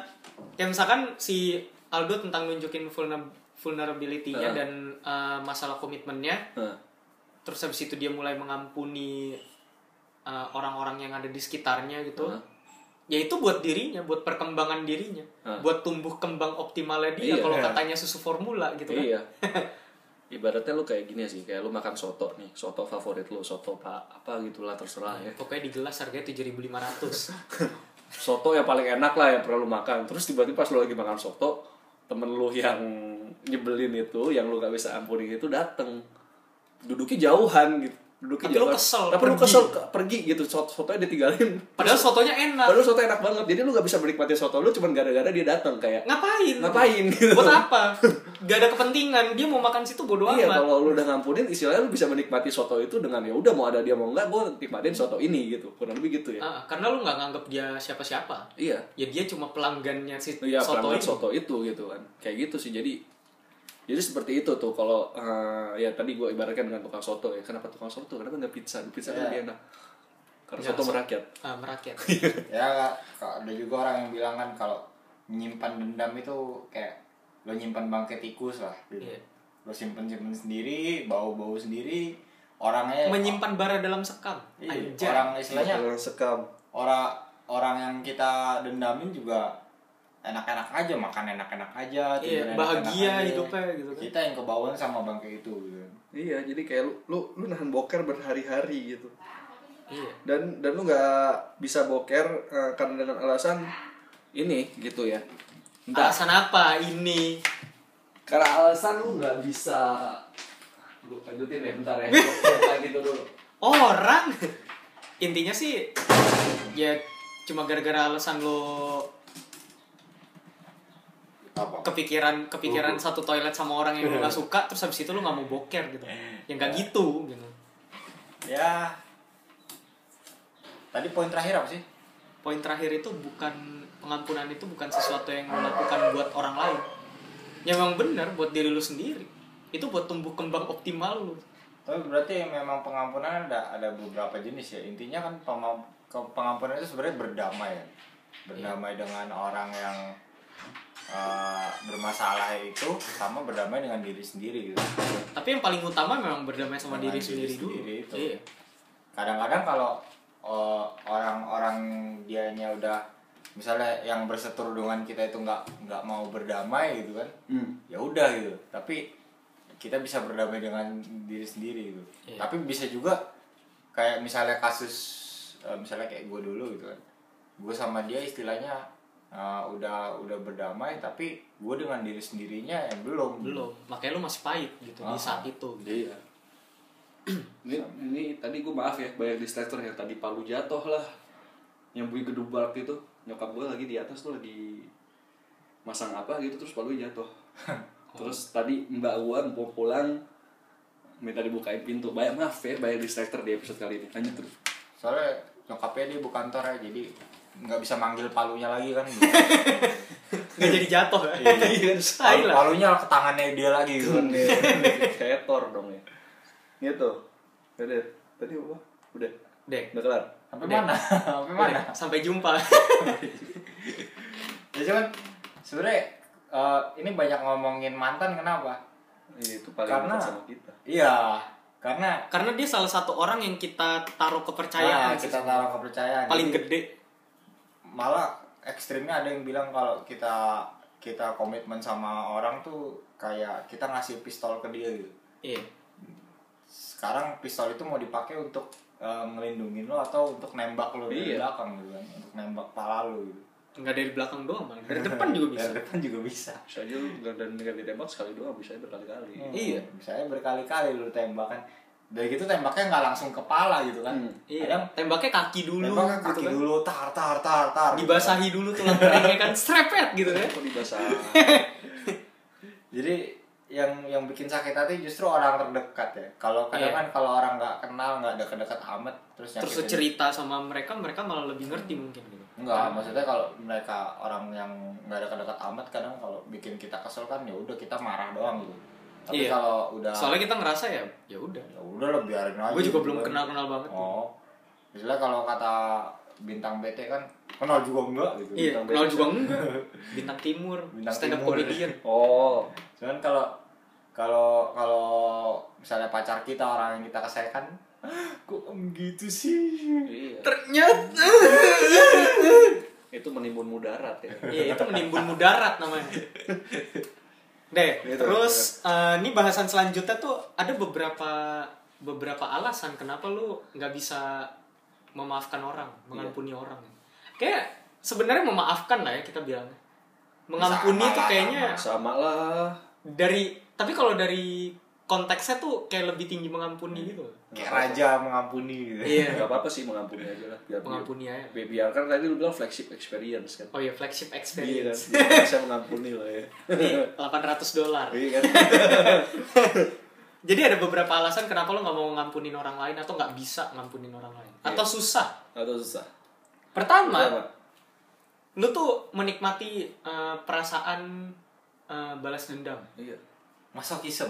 Speaker 2: kayak misalkan si Aldo tentang nunjukin vulner- vulnerability-nya
Speaker 3: Heeh.
Speaker 2: dan eh, masalah komitmennya
Speaker 3: Hah.
Speaker 2: terus habis itu dia mulai mengampuni uh, orang-orang yang ada di sekitarnya gitu
Speaker 3: Hah?
Speaker 2: ya itu buat dirinya buat perkembangan dirinya
Speaker 3: Hah?
Speaker 2: buat tumbuh kembang optimalnya dia
Speaker 3: Iya.
Speaker 2: kalau katanya susu formula gitu kan
Speaker 3: Iya. *laughs* Ibaratnya lu kayak gini sih, kayak lu makan soto nih, soto favorit lu, soto pa- apa gitulah terserah ya.
Speaker 2: pokoknya di gelas harganya 7.500
Speaker 3: Soto yang paling enak lah yang pernah lu makan. Terus tiba-tiba pas lu lagi makan soto, temen lu yang nyebelin itu, yang lu gak bisa ampuni itu dateng. Duduknya jauhan gitu. Duduknya
Speaker 2: Tapi lu kesel,
Speaker 3: Tapi lu
Speaker 2: pergi.
Speaker 3: kesel ke- pergi gitu, soto sotonya ditinggalin.
Speaker 2: padahal sotonya enak
Speaker 3: Padahal soto enak banget, jadi lu gak bisa menikmati soto lu cuman gara-gara dia dateng kayak
Speaker 2: ngapain
Speaker 3: ngapain gitu.
Speaker 2: buat apa gak ada kepentingan dia mau makan situ bodo
Speaker 3: Iya,
Speaker 2: amat
Speaker 3: kalau lu udah ngampunin istilahnya lu bisa menikmati soto itu dengan ya udah mau ada dia mau enggak, gua nikmatin soto ini gitu. Kurang lebih gitu ya.
Speaker 2: Ah, karena lu nggak nganggap dia siapa-siapa
Speaker 3: Iya.
Speaker 2: ya dia cuma pelanggannya si
Speaker 3: Iya,
Speaker 2: soto
Speaker 3: soto
Speaker 2: ini
Speaker 3: soto itu gitu kan. Kayak gitu sih. Jadi jadi seperti itu tuh kalau eh, ya tadi gua ibaratkan dengan tukang soto ya. Kenapa tukang soto? Kenapa enggak pizza? Pizza kan
Speaker 4: Iya.
Speaker 3: lebih enak. Karena
Speaker 2: Iya,
Speaker 3: soto
Speaker 2: so-
Speaker 3: merakyat.
Speaker 2: Ah, merakyat
Speaker 3: Iya.
Speaker 4: ya kak, ada juga orang yang bilang kan kalau nyimpan dendam itu kayak lo nyimpan bangkai tikus lah gitu.
Speaker 2: Iya.
Speaker 4: lo simpen simpen sendiri bau bau sendiri orangnya
Speaker 2: menyimpan bara dalam sekam
Speaker 4: Iya,
Speaker 2: Anjay.
Speaker 4: orang
Speaker 3: Iya.
Speaker 4: istilahnya
Speaker 3: sekam.
Speaker 4: orang orang yang kita dendamin juga enak-enak aja makan enak-enak aja
Speaker 2: Iya,
Speaker 4: tidur
Speaker 2: bahagia
Speaker 4: enak-enak aja.
Speaker 2: hidupnya gitu kan.
Speaker 4: kita yang kebawan sama bangkai itu gitu kan.
Speaker 3: Iya, jadi kayak lu lu, lu nahan boker berhari-hari gitu.
Speaker 2: Iya.
Speaker 3: dan dan lu nggak bisa boker eh, karena dengan alasan ini gitu ya entah
Speaker 2: Alasan apa ini?
Speaker 3: karena alasan lu nggak bisa lu lanjutin ya bentar *laughs* ya Gua gitu dulu
Speaker 2: Orang. Intinya sih ya cuma gara-gara alasan lo
Speaker 4: apa
Speaker 2: kepikiran kepikiran satu toilet sama orang yang lo *laughs* gak suka terus habis itu lo nggak mau boker gitu. Yang gak gitu gitu.
Speaker 4: ya tadi poin terakhir apa sih
Speaker 2: Poin terakhir itu bukan pengampunan itu bukan sesuatu yang lo lakukan buat orang lain. Ya memang benar buat diri lo sendiri. Itu buat tumbuh kembang optimal lo.
Speaker 4: Tapi berarti memang pengampunan ada ada beberapa jenis ya. Intinya kan pema-
Speaker 2: Iya.
Speaker 4: ke- pengampunan itu sebenarnya berdamai. ya. Berdamai dengan orang yang eh, bermasalah itu sama berdamai dengan diri sendiri gitu.
Speaker 2: Tapi yang paling utama memang berdamai sama
Speaker 4: Dengan
Speaker 2: diri sendiri dulu.
Speaker 4: itu.
Speaker 2: Iya.
Speaker 4: Kadang-kadang kalau eh, orang-orang dianya udah misalnya yang berseteru dengan kita itu nggak nggak mau berdamai gitu kan, ya udah gitu. Tapi kita bisa berdamai dengan diri sendiri gitu.
Speaker 2: Iya.
Speaker 4: Tapi bisa juga kayak misalnya kasus eh, misalnya kayak gue dulu gitu kan, gue sama dia istilahnya eh, udah udah berdamai tapi gue dengan diri sendirinya yang belum
Speaker 2: Belum. Makanya lu masih pahit gitu
Speaker 4: Ah.
Speaker 2: di saat itu.
Speaker 4: *laughs*
Speaker 3: Iya. ini, ini tadi gue maaf ya banyak distractor yang tadi palu jatuh lah yang bunyi gedubak itu nyokap gue lagi di atas tuh lagi masang apa gitu terus palu *laughs* jatuh terus tadi mbak gue mau pulang minta dibukain pintu banyak maaf ya banyak distractor di episode kali ini lanjut *laughs* terus
Speaker 4: soalnya nyokapnya dia bu kantor ya jadi nggak bisa manggil palunya lagi kan
Speaker 2: Nggak jadi jatuh ya. *laughs* Iya,
Speaker 4: Palu,
Speaker 2: style lah.
Speaker 4: palunya ke tangannya dia lagi gitu kan
Speaker 3: setor dong ya gitu udah tadi apa udah
Speaker 2: Dek.
Speaker 3: udah kelar
Speaker 4: sampai mana sampai mana
Speaker 2: Dek, Sampai jumpa.
Speaker 4: *laughs* ya cuman sebenarnya eh, ini banyak ngomongin mantan kenapa
Speaker 3: Iya, itu paling
Speaker 4: Karena-
Speaker 3: dekat sama kita
Speaker 4: iya karena
Speaker 2: Karena dia salah satu orang yang kita taruh
Speaker 4: nah,
Speaker 2: kepercayaan. sih.
Speaker 4: kita taruh kepercayaan
Speaker 2: paling
Speaker 4: Jadi,
Speaker 2: gede.
Speaker 4: malah ekstrimnya ada yang bilang kalau kita kita komitmen sama orang tuh kayak kita ngasih pistol ke dia gitu
Speaker 2: Iya.
Speaker 4: sekarang pistol itu mau dipakai untuk eh, ngelindungin lo atau untuk nembak lo dari
Speaker 3: Iya.
Speaker 4: belakang gitu kan untuk nembak pala lo gitu
Speaker 2: Nggak dari belakang doang malah.
Speaker 4: *laughs*
Speaker 2: Dari depan juga bisa.
Speaker 4: dari depan juga bisa
Speaker 3: bisa aja lu nggak- dan nggak ditembak sekali doang bisa aja berkali-kali
Speaker 2: Iya.
Speaker 4: misalnya berkali-kali lo tembakan dari gitu tembaknya nggak langsung kepala gitu kan
Speaker 3: Hmm.
Speaker 2: Iya.
Speaker 4: kadang
Speaker 2: Tembaknya kaki dulu.
Speaker 4: tembaknya kaki
Speaker 2: gitu kan.
Speaker 4: dulu tar tar tar tar gitu kan.
Speaker 2: Dibasahi dulu tulang keringnya kan strepet gitu kan.
Speaker 3: kok dibahasa
Speaker 4: jadi yang yang bikin sakit hati justru orang terdekat ya kalau kadang
Speaker 2: Iya.
Speaker 4: kan kalau orang nggak kenal nggak dekat-dekat amat terus
Speaker 2: Terus
Speaker 4: nyakitin.
Speaker 2: cerita sama mereka, mereka malah lebih ngerti mungkin gitu.
Speaker 4: Enggak, maksudnya kalau mereka orang yang nggak dekat-dekat amat kadang kalau bikin kita kesel kan ya udah kita marah doang gitu. Tapi
Speaker 2: Iya.
Speaker 4: kalau udah
Speaker 2: Soalnya kita ngerasa ya, ya udah.
Speaker 4: ya udah lah biarin aja.
Speaker 2: Gue juga
Speaker 4: gitu
Speaker 2: belum
Speaker 4: kan.
Speaker 2: kenal-kenal banget.
Speaker 4: Oh. Misalnya kalau kata bintang BT kan kenal juga enggak gitu.
Speaker 2: Iya,
Speaker 4: Bintang
Speaker 2: kenal
Speaker 4: BT.
Speaker 2: juga
Speaker 4: *laughs*
Speaker 2: enggak. Bintang Timur,
Speaker 4: Bintang
Speaker 2: stand up
Speaker 4: Timur.
Speaker 2: comedian.
Speaker 3: oh
Speaker 4: Cuman kalau kalau kalau misalnya pacar kita orang yang kita kesekan *gasps* kok em gitu sih.
Speaker 3: iya
Speaker 2: Ternyata
Speaker 3: itu menimbun mudarat ya
Speaker 2: Iya, itu menimbun mudarat namanya. Deh, terus eh, ini bahasan selanjutnya tuh ada beberapa beberapa alasan kenapa lu nggak bisa memaafkan orang, mengampuni orang. Kayak sebenarnya memaafkan lah ya kita bilangnya. Mengampuni
Speaker 4: Sama
Speaker 2: tuh
Speaker 4: lah,
Speaker 2: kayaknya
Speaker 3: sama lah
Speaker 2: dari tapi kalau dari konteksnya tuh kayak lebih tinggi mengampuni gitu.
Speaker 4: Kayak raja mengampuni gitu.
Speaker 2: Iya,
Speaker 3: nggak apa-apa sih mengampuni aja lah biar
Speaker 2: mengampuni aja.
Speaker 3: biar, biar kan tadi lu bilang flagship experience kan
Speaker 2: Oh iya, flagship
Speaker 3: iya
Speaker 2: *laughs*
Speaker 3: kan
Speaker 2: experience.
Speaker 3: Biar bisa mengampuni lah ya
Speaker 2: Ini 800 dolar.
Speaker 3: iya kan
Speaker 2: Jadi ada beberapa alasan kenapa lo nggak mau ngampunin orang lain atau nggak bisa ngampunin orang lain
Speaker 3: Iya.
Speaker 2: atau susah.
Speaker 3: atau susah Iya,
Speaker 2: Pertama,
Speaker 3: Pertama,
Speaker 2: lo tuh menikmati eh, perasaan eh, balas dendam.
Speaker 3: iya
Speaker 4: Masokisme.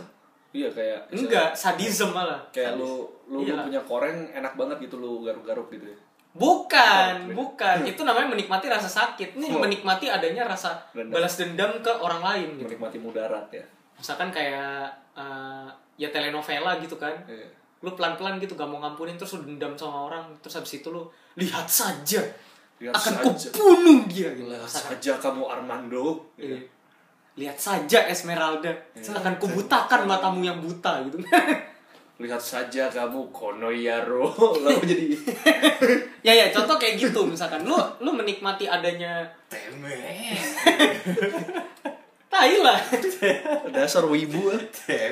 Speaker 3: iya kayak
Speaker 2: Enggak, sadism malah.
Speaker 3: kayak lu lu, lu
Speaker 2: Iya.
Speaker 3: punya koreng enak banget gitu lu garuk-garuk gitu ya
Speaker 2: Bukan, bukan. Itu namanya menikmati rasa sakit.
Speaker 3: Iya.
Speaker 2: Ini
Speaker 3: Oh.
Speaker 2: menikmati adanya rasa
Speaker 3: Dendam.
Speaker 2: balas dendam ke orang lain gitu.
Speaker 3: menikmati mudarat ya
Speaker 2: Misalkan kayak eh, ya telenovela gitu kan.
Speaker 3: iya
Speaker 2: Lu pelan-pelan gitu gak mau ngampunin terus lu dendam sama orang, terus habis itu lu lihat saja.
Speaker 3: Lihat
Speaker 2: akan
Speaker 3: saja.
Speaker 2: kubunuh dia gitu.
Speaker 3: Lihat
Speaker 2: Masa-
Speaker 3: saja kamu Armando
Speaker 2: Iya. Lihat saja Esmeralda,
Speaker 3: Iya.
Speaker 2: akan kubutakan matamu yang buta gitu. *laughs*
Speaker 3: lihat saja kamu Konoyaro *laughs* lalu jadi
Speaker 2: ya ya, contoh kayak gitu misalkan lu lu menikmati adanya
Speaker 4: Temeh.
Speaker 2: tai
Speaker 3: *laughs*
Speaker 2: lah.
Speaker 3: dasar wibu ah.
Speaker 4: Temeh.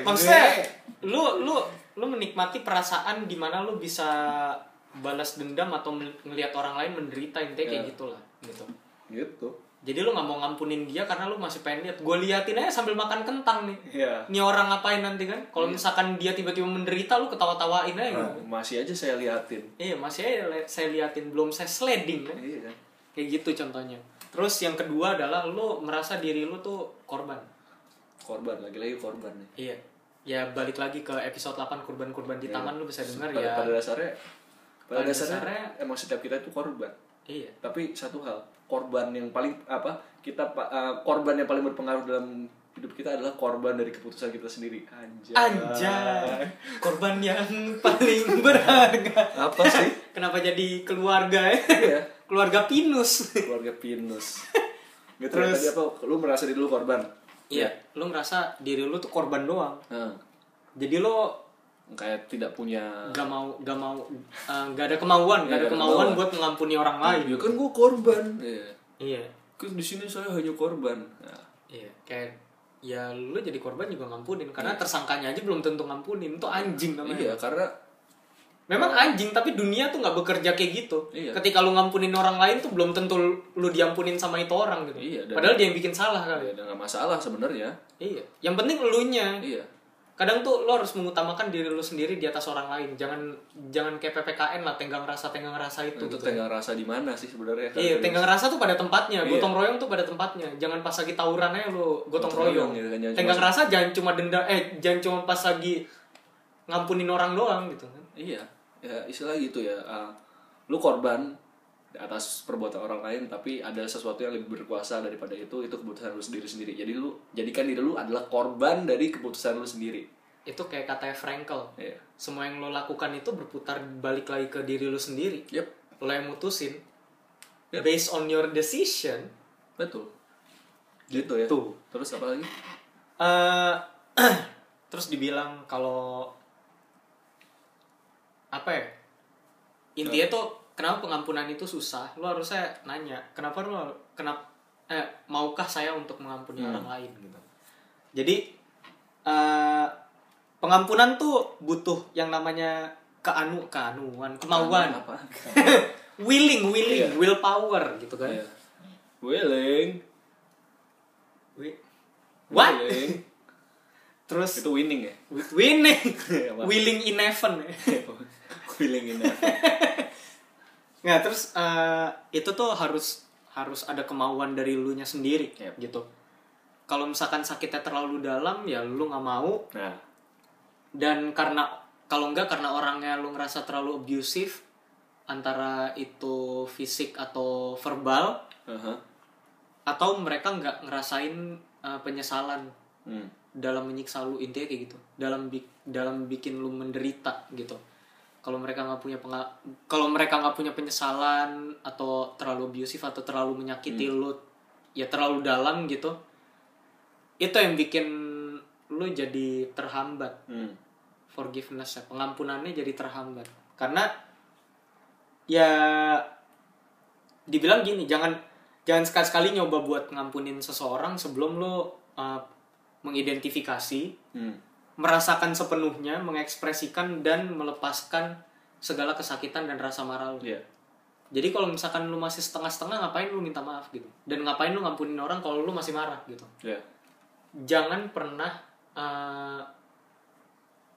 Speaker 3: Iya.
Speaker 2: Maksudnya lu lu lu menikmati perasaan dimana lu bisa balas dendam atau mel- ngelihat orang lain menderita intinya
Speaker 3: Iya.
Speaker 2: kayak gitulah gitu.
Speaker 3: gitu
Speaker 2: Jadi lu nggak mau ngampunin dia karena lu masih pengen lihat. Gue liatin aja sambil makan kentang nih.
Speaker 3: ya
Speaker 2: Ini orang ngapain nanti kan? Kalau misalkan dia tiba-tiba menderita lu ketawa-tawain aja gitu.
Speaker 3: masih aja saya liatin
Speaker 2: Iya, masih aja le- saya liatin belum saya sliding kan.
Speaker 3: iya kan
Speaker 2: Kayak gitu contohnya. Terus yang kedua adalah lu merasa diri lu tuh korban.
Speaker 3: korban lagi-lagi korban nih
Speaker 2: Iya. Ya balik lagi ke episode 8 kurban-kurban di taman lu bisa dengar
Speaker 3: pada,
Speaker 2: ya.
Speaker 3: pada dasarnya pada,
Speaker 2: Pada
Speaker 3: dasarnya,
Speaker 2: dasarnya-
Speaker 3: emang setiap kita itu korban
Speaker 2: Iya.
Speaker 3: Tapi satu hal, korban yang paling apa? Kita pa- eh, korban yang paling berpengaruh dalam hidup kita adalah korban dari keputusan kita sendiri. Anjay.
Speaker 2: Anjay, korban yang paling berharga.
Speaker 3: Apa sih?
Speaker 2: Kenapa jadi keluarga ya?
Speaker 3: *laughs* Iya.
Speaker 2: keluarga pinus.
Speaker 3: Keluarga
Speaker 2: *laughs*
Speaker 3: pinus. Gitu
Speaker 2: Terus-
Speaker 3: tadi apa? Lu merasa diri lu korban.
Speaker 2: Iya, lu ngerasa diri lu tuh korban doang.
Speaker 3: Nah,
Speaker 2: Jadi lo
Speaker 3: kayak tidak punya
Speaker 2: gak mau gak mau eh, gak ada kemauan, gak ada kemauan buat mengampuni orang
Speaker 3: Ya
Speaker 2: lain.
Speaker 3: kan gua korban. Iya.
Speaker 2: Iya.
Speaker 3: Kan di sini saya hanya korban. Nah,
Speaker 2: Iya, kayak ya lu jadi korban juga ngampunin karena tersangkanya aja belum tentu ngampunin. Itu anjing namanya.
Speaker 3: iya, karena
Speaker 2: Memang anjing tapi dunia tuh nggak bekerja kayak gitu.
Speaker 3: Iya.
Speaker 2: Ketika lu ngampunin orang lain tuh belum tentu lu diampunin sama itu orang gitu.
Speaker 3: Iya, dan-
Speaker 2: Padahal dia yang bikin salah kali.
Speaker 3: ya ada nggak masalah sebenarnya.
Speaker 2: Iya. Yang penting elunya.
Speaker 3: Iya.
Speaker 2: Kadang tuh lo harus mengutamakan diri lu sendiri di atas orang lain. Jangan jangan kayak PPKN lah tenggang rasa tenggang rasa itu.
Speaker 3: Itu
Speaker 2: gitu.
Speaker 3: tenggang rasa di mana sih sebenarnya?
Speaker 2: Iya, tenggang rasa tuh pada tempatnya,
Speaker 3: Iya.
Speaker 2: gotong royong tuh pada tempatnya. Jangan pas lagi tawuran aja lu gotong,
Speaker 3: Gotong royong
Speaker 2: royong.
Speaker 3: gitu kan, jangan
Speaker 2: tenggang
Speaker 3: cuma-
Speaker 2: rasa jangan cuma denda eh jangan cuma pas lagi ngampunin orang doang gitu kan.
Speaker 3: Iya, ya istilah gitu ya. ah, lu korban atas perbuatan orang lain, tapi ada sesuatu yang lebih berkuasa daripada itu. Itu keputusan lu sendiri sendiri. Jadi lu jadikan diri lu adalah korban dari keputusan lu sendiri.
Speaker 2: Itu kayak katanya Frankel.
Speaker 3: Iya.
Speaker 2: Semua yang lo lakukan itu berputar balik lagi ke diri lo sendiri.
Speaker 3: Yep,
Speaker 2: Lo yang mutusin
Speaker 3: Iya.
Speaker 2: based on your decision.
Speaker 3: betul. Gitu ya.
Speaker 2: Gitu.
Speaker 3: Terus apa lagi?
Speaker 2: eh *clears throat* terus dibilang kalau apa ya? Intinya tuh kenapa pengampunan itu susah? Lo harusnya nanya, kenapa lo kenapa eh maukah saya untuk mengampuni orang lain gitu. Jadi eh pengampunan tuh butuh yang namanya keanu keanuan, kemauan.
Speaker 3: Apa?
Speaker 2: *laughs* willing, willing, willpower gitu kan.
Speaker 3: Iya. Willing.
Speaker 2: Wi- What?
Speaker 3: Willing.
Speaker 2: Terus
Speaker 3: Itu winning ya.
Speaker 2: Wi- winning,
Speaker 3: Apa?
Speaker 2: willing in heaven.
Speaker 3: willing ini.
Speaker 2: Nah terus eh, itu tuh harus harus ada kemauan dari lu nya sendiri
Speaker 3: Yep.
Speaker 2: gitu. Kalau misalkan sakitnya terlalu dalam ya lu nggak mau
Speaker 3: Nah,
Speaker 2: dan karena kalau enggak karena orangnya lu ngerasa terlalu abusive antara itu fisik atau verbal
Speaker 3: uh-huh.
Speaker 2: atau mereka nggak ngerasain eh, penyesalan
Speaker 3: Hmm.
Speaker 2: dalam menyiksa lu intinya kayak gitu dalam bi- dalam bikin lu menderita gitu kalau mereka nggak punya penga- kalau mereka nggak punya penyesalan atau terlalu abusive atau terlalu menyakiti lu ya terlalu dalam gitu itu yang bikin lu jadi terhambat
Speaker 3: Hmm.
Speaker 2: forgiveness pengampunannya jadi terhambat karena ya dibilang gini jangan jangan sekali-sekali nyoba buat ngampunin seseorang sebelum lo uh, mengidentifikasi
Speaker 3: Hmm.
Speaker 2: merasakan sepenuhnya mengekspresikan dan melepaskan segala kesakitan dan rasa marah lo
Speaker 3: Iya.
Speaker 2: jadi kalau misalkan lu masih setengah-setengah ngapain lu minta maaf gitu dan ngapain lu ngampunin orang kalau lu masih marah gitu
Speaker 3: Iya.
Speaker 2: jangan pernah eh,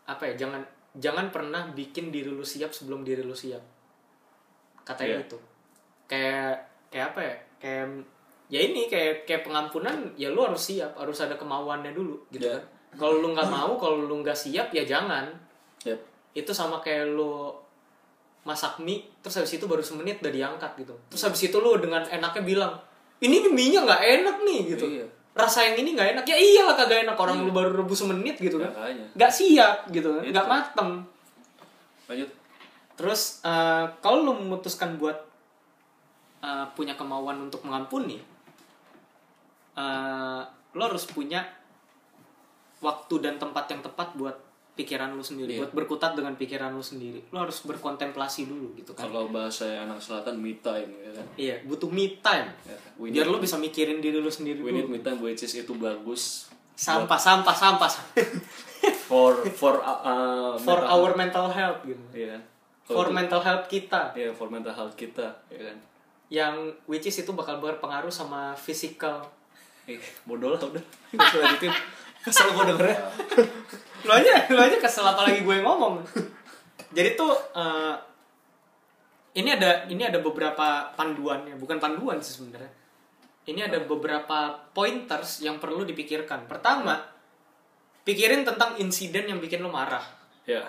Speaker 2: apa ya jangan jangan pernah bikin diri lu siap sebelum diri lu siap katanya
Speaker 3: Iya.
Speaker 2: itu kayak kayak apa ya kayak ya ini kayak kayak pengampunan ya lu harus siap harus ada kemauannya dulu gitu
Speaker 3: Iya.
Speaker 2: kan kalau lu nggak mau kalau lu nggak siap ya jangan
Speaker 3: Yep.
Speaker 2: itu sama kayak lu masak mie terus habis itu baru semenit udah diangkat gitu terus habis itu lu dengan enaknya bilang ini nih mie-nya nggak enak nih gitu
Speaker 3: Iya.
Speaker 2: rasa yang ini nggak enak ya iyalah kagak enak orang lu baru rebus semenit gitu kan
Speaker 3: Ya, Makanya.
Speaker 2: nggak siap gitu kan
Speaker 3: Itu.
Speaker 2: nggak mateng
Speaker 3: Lanjut.
Speaker 2: terus eh, kalau lu memutuskan buat eh, punya kemauan untuk mengampuni eh, lo harus punya waktu dan tempat yang tepat buat pikiran lu sendiri
Speaker 3: Iya.
Speaker 2: buat berkutat dengan pikiran lu sendiri lo harus berkontemplasi dulu gitu kan
Speaker 3: Kalau bahasa anak selatan me time ya kan.
Speaker 2: iya butuh me time
Speaker 3: Ya, we
Speaker 2: biar
Speaker 3: need-
Speaker 2: lo bisa mikirin diri lu sendiri
Speaker 3: We need me
Speaker 2: dulu
Speaker 3: time which is itu bagus
Speaker 2: sampah sampah
Speaker 3: *laughs*
Speaker 2: sampah
Speaker 3: for for uh,
Speaker 2: for
Speaker 3: mental-
Speaker 2: our mental health gitu
Speaker 3: Iya kan?
Speaker 2: for
Speaker 3: Kalau-
Speaker 2: mental health kita
Speaker 3: iya, for mental health kita, ya kan.
Speaker 2: yang which is itu bakal berpengaruh sama physical
Speaker 3: Eh, bodoh lah udah. *laughs* Nggak usah lanjutin. Kesel gua ya. dengernya.
Speaker 2: lo aja lo aja kesel apalagi gue ngomong jadi tuh eh, ini ada ini ada beberapa panduannya bukan panduan sih sebenarnya ini ada beberapa pointers yang perlu dipikirkan pertama pikirin tentang insiden yang bikin lo marah
Speaker 3: Ya.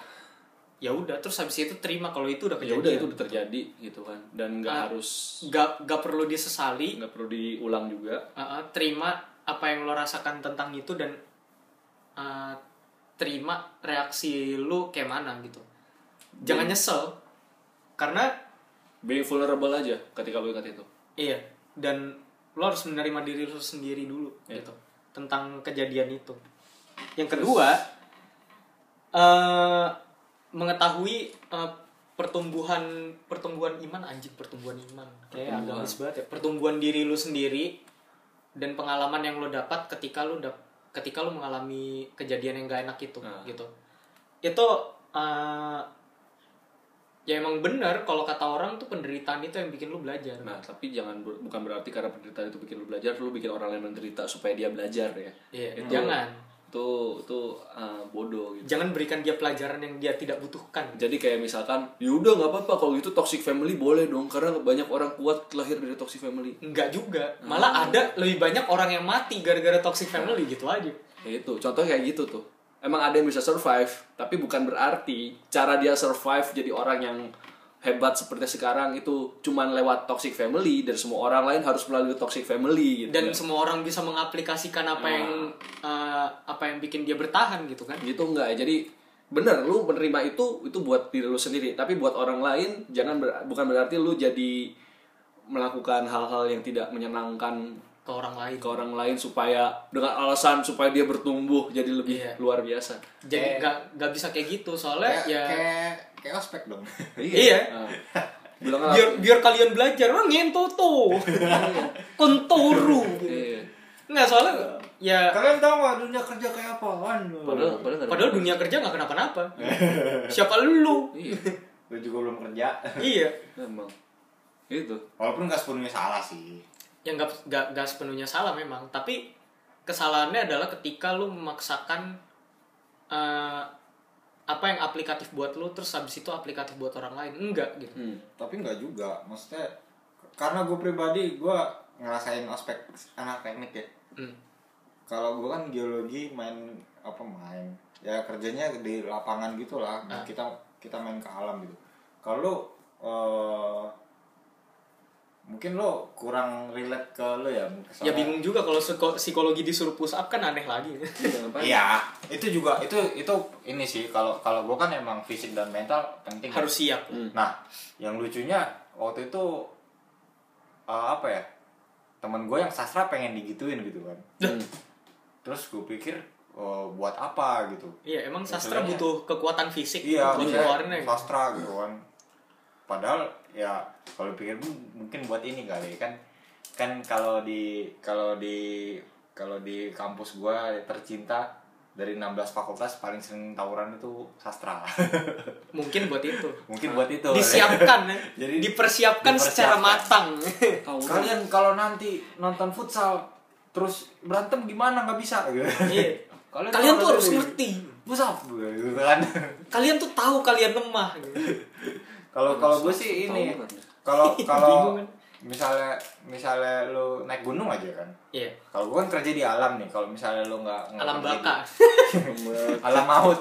Speaker 2: ya udah terus habis itu terima kalau itu udah
Speaker 3: ya
Speaker 2: kejadian
Speaker 3: udah itu udah terjadi gitu kan dan nggak
Speaker 2: Ah.
Speaker 3: harus
Speaker 2: gak gak perlu disesali
Speaker 3: nggak perlu diulang juga
Speaker 2: Uh, uh, terima apa yang lo rasakan tentang itu dan uh, terima reaksi lo kayak mana gitu jangan nyesel karena
Speaker 3: be vulnerable aja ketika lo ingat itu
Speaker 2: iya dan lo harus menerima diri lo sendiri dulu gitu tentang kejadian itu yang kedua eh mengetahui eh, pertumbuhan pertumbuhan iman anjing pertumbuhan iman kayak
Speaker 3: Pertumbuhan.
Speaker 2: agamis banget ya pertumbuhan diri lu sendiri dan pengalaman yang lo dapat ketika lo dap ketika lo mengalami kejadian yang gak enak itu
Speaker 3: Nah.
Speaker 2: gitu itu eh, ya emang bener kalau kata orang tuh penderitaan itu yang bikin lo belajar
Speaker 3: nah tapi jangan ber- bukan berarti karena penderitaan itu bikin lo belajar lo bikin orang lain menderita supaya dia belajar ya
Speaker 2: Iya,
Speaker 3: Itu-
Speaker 2: jangan
Speaker 3: itu itu eh, bodoh gitu
Speaker 2: jangan berikan dia pelajaran yang dia tidak butuhkan
Speaker 3: jadi kayak misalkan ya udah nggak apa-apa kalau gitu toxic family boleh dong karena banyak orang kuat lahir dari toxic family
Speaker 2: Enggak juga.
Speaker 4: Hmm.
Speaker 2: Malah ada lebih banyak orang yang mati gara-gara toxic family gitu aja.
Speaker 3: Ya itu, contoh kayak gitu tuh. Emang ada yang bisa survive, tapi bukan berarti cara dia survive jadi orang yang hebat seperti sekarang itu cuman lewat toxic family dan semua orang lain harus melalui toxic family gitu.
Speaker 4: Iya.
Speaker 2: Dan
Speaker 3: kan.
Speaker 2: semua orang bisa mengaplikasikan apa
Speaker 4: Hmm.
Speaker 2: yang eh, apa yang bikin dia bertahan gitu kan.
Speaker 3: gitu enggak ya. Jadi bener lu menerima itu itu buat diri lu sendiri, tapi buat orang lain jangan ber- bukan berarti lu jadi melakukan hal-hal yang tidak menyenangkan
Speaker 2: Ke orang lain.
Speaker 3: ke orang lain supaya dengan alasan supaya dia bertumbuh jadi lebih
Speaker 2: Iya.
Speaker 3: luar biasa.
Speaker 2: Jadi
Speaker 4: Kayak-
Speaker 2: nggak nggak bisa kayak gitu soalnya
Speaker 4: Kayak-
Speaker 2: ya
Speaker 4: kayak kayak ospek dong *laughs*
Speaker 2: Iya.
Speaker 3: Nah, bilang aja,
Speaker 2: biar biar kalian belajar orang ngentoto.
Speaker 4: *laughs*
Speaker 2: Kontoru. gitu.
Speaker 3: iya.
Speaker 2: Nggak soalnya ya
Speaker 4: kalian tahu nggak dunia kerja kayak apa
Speaker 3: Padahal, padahal,
Speaker 4: Waduh.
Speaker 3: nggak ada
Speaker 2: padahal
Speaker 3: apa-apa.
Speaker 2: dunia kerja nggak kenapa-napa.
Speaker 4: *laughs*
Speaker 2: Siapa lu?
Speaker 3: Iya,
Speaker 4: lu juga belum kerja
Speaker 2: iya.
Speaker 3: emang. Itu.
Speaker 4: walaupun nggak sepenuhnya salah sih
Speaker 2: yang nggak nggak nggak sepenuhnya salah memang tapi kesalahannya adalah ketika lu memaksakan eh, apa yang aplikatif buat lu terus habis itu aplikatif buat orang lain enggak gitu
Speaker 3: Hmm.
Speaker 4: tapi nggak juga maksudnya karena gue pribadi gue ngerasain ospek anak teknik ya
Speaker 2: Hmm.
Speaker 4: kalau gue kan geologi main apa main ya kerjanya di lapangan gitulah nah,
Speaker 2: Ah.
Speaker 4: kita kita main ke alam gitu kalau lu, eh, mungkin lo kurang relate ke lo ya mungkin
Speaker 2: ya
Speaker 4: soalnya-
Speaker 2: bingung juga kalau psiko- psikologi disuruh push up kan aneh lagi
Speaker 4: iya itu juga itu itu ini sih kalau kalau gue kan emang fisik dan mental penting
Speaker 2: harus siap lah.
Speaker 4: Nah, yang lucunya waktu itu eh, apa ya? Temen gue yang sastra pengen digituin gitu kan.
Speaker 3: Hmm.
Speaker 4: Terus gue pikir eh, buat apa gitu.
Speaker 2: iya emang sastra
Speaker 4: Masalahnya-
Speaker 2: butuh kekuatan fisik
Speaker 4: Iya,
Speaker 2: buat
Speaker 4: maksudnya
Speaker 2: keluarinnya gitu.
Speaker 4: sastra gitu kan. Padahal ya kalau pikir "Hmm, mungkin buat ini kali kan kan kalau di kalau di kalau di kampus gua tercinta dari 16 fakultas paling sering tawuran itu sastra. *laughs*
Speaker 2: mungkin buat itu
Speaker 4: mungkin buat itu.
Speaker 2: disiapkan ya.
Speaker 4: *laughs* Jadi-
Speaker 2: dipersiapkan secara
Speaker 4: dipersiapkan. *laughs*
Speaker 2: matang
Speaker 3: kan?
Speaker 4: kalian kalau nanti nonton futsal terus berantem gimana nggak bisa gitu.
Speaker 2: Iya. kalian tuh harus ngerti
Speaker 4: Pusap gitu kan.
Speaker 2: kalian tuh tahu kalian lemah
Speaker 4: *laughs*
Speaker 2: gitu.
Speaker 4: Kalau kalau gue sih ini
Speaker 3: Tawuran.
Speaker 4: *laughs* kalau kalau
Speaker 2: Bingung kan.
Speaker 4: misalnya misalnya lu naik gunung aja kan.
Speaker 2: Iya.
Speaker 4: Kalau gue kan kerja di alam nih, kalau misalnya lu nggak nggak
Speaker 2: Alam
Speaker 4: kerja di-
Speaker 2: baka.
Speaker 4: alam
Speaker 2: *laughs*
Speaker 4: maut.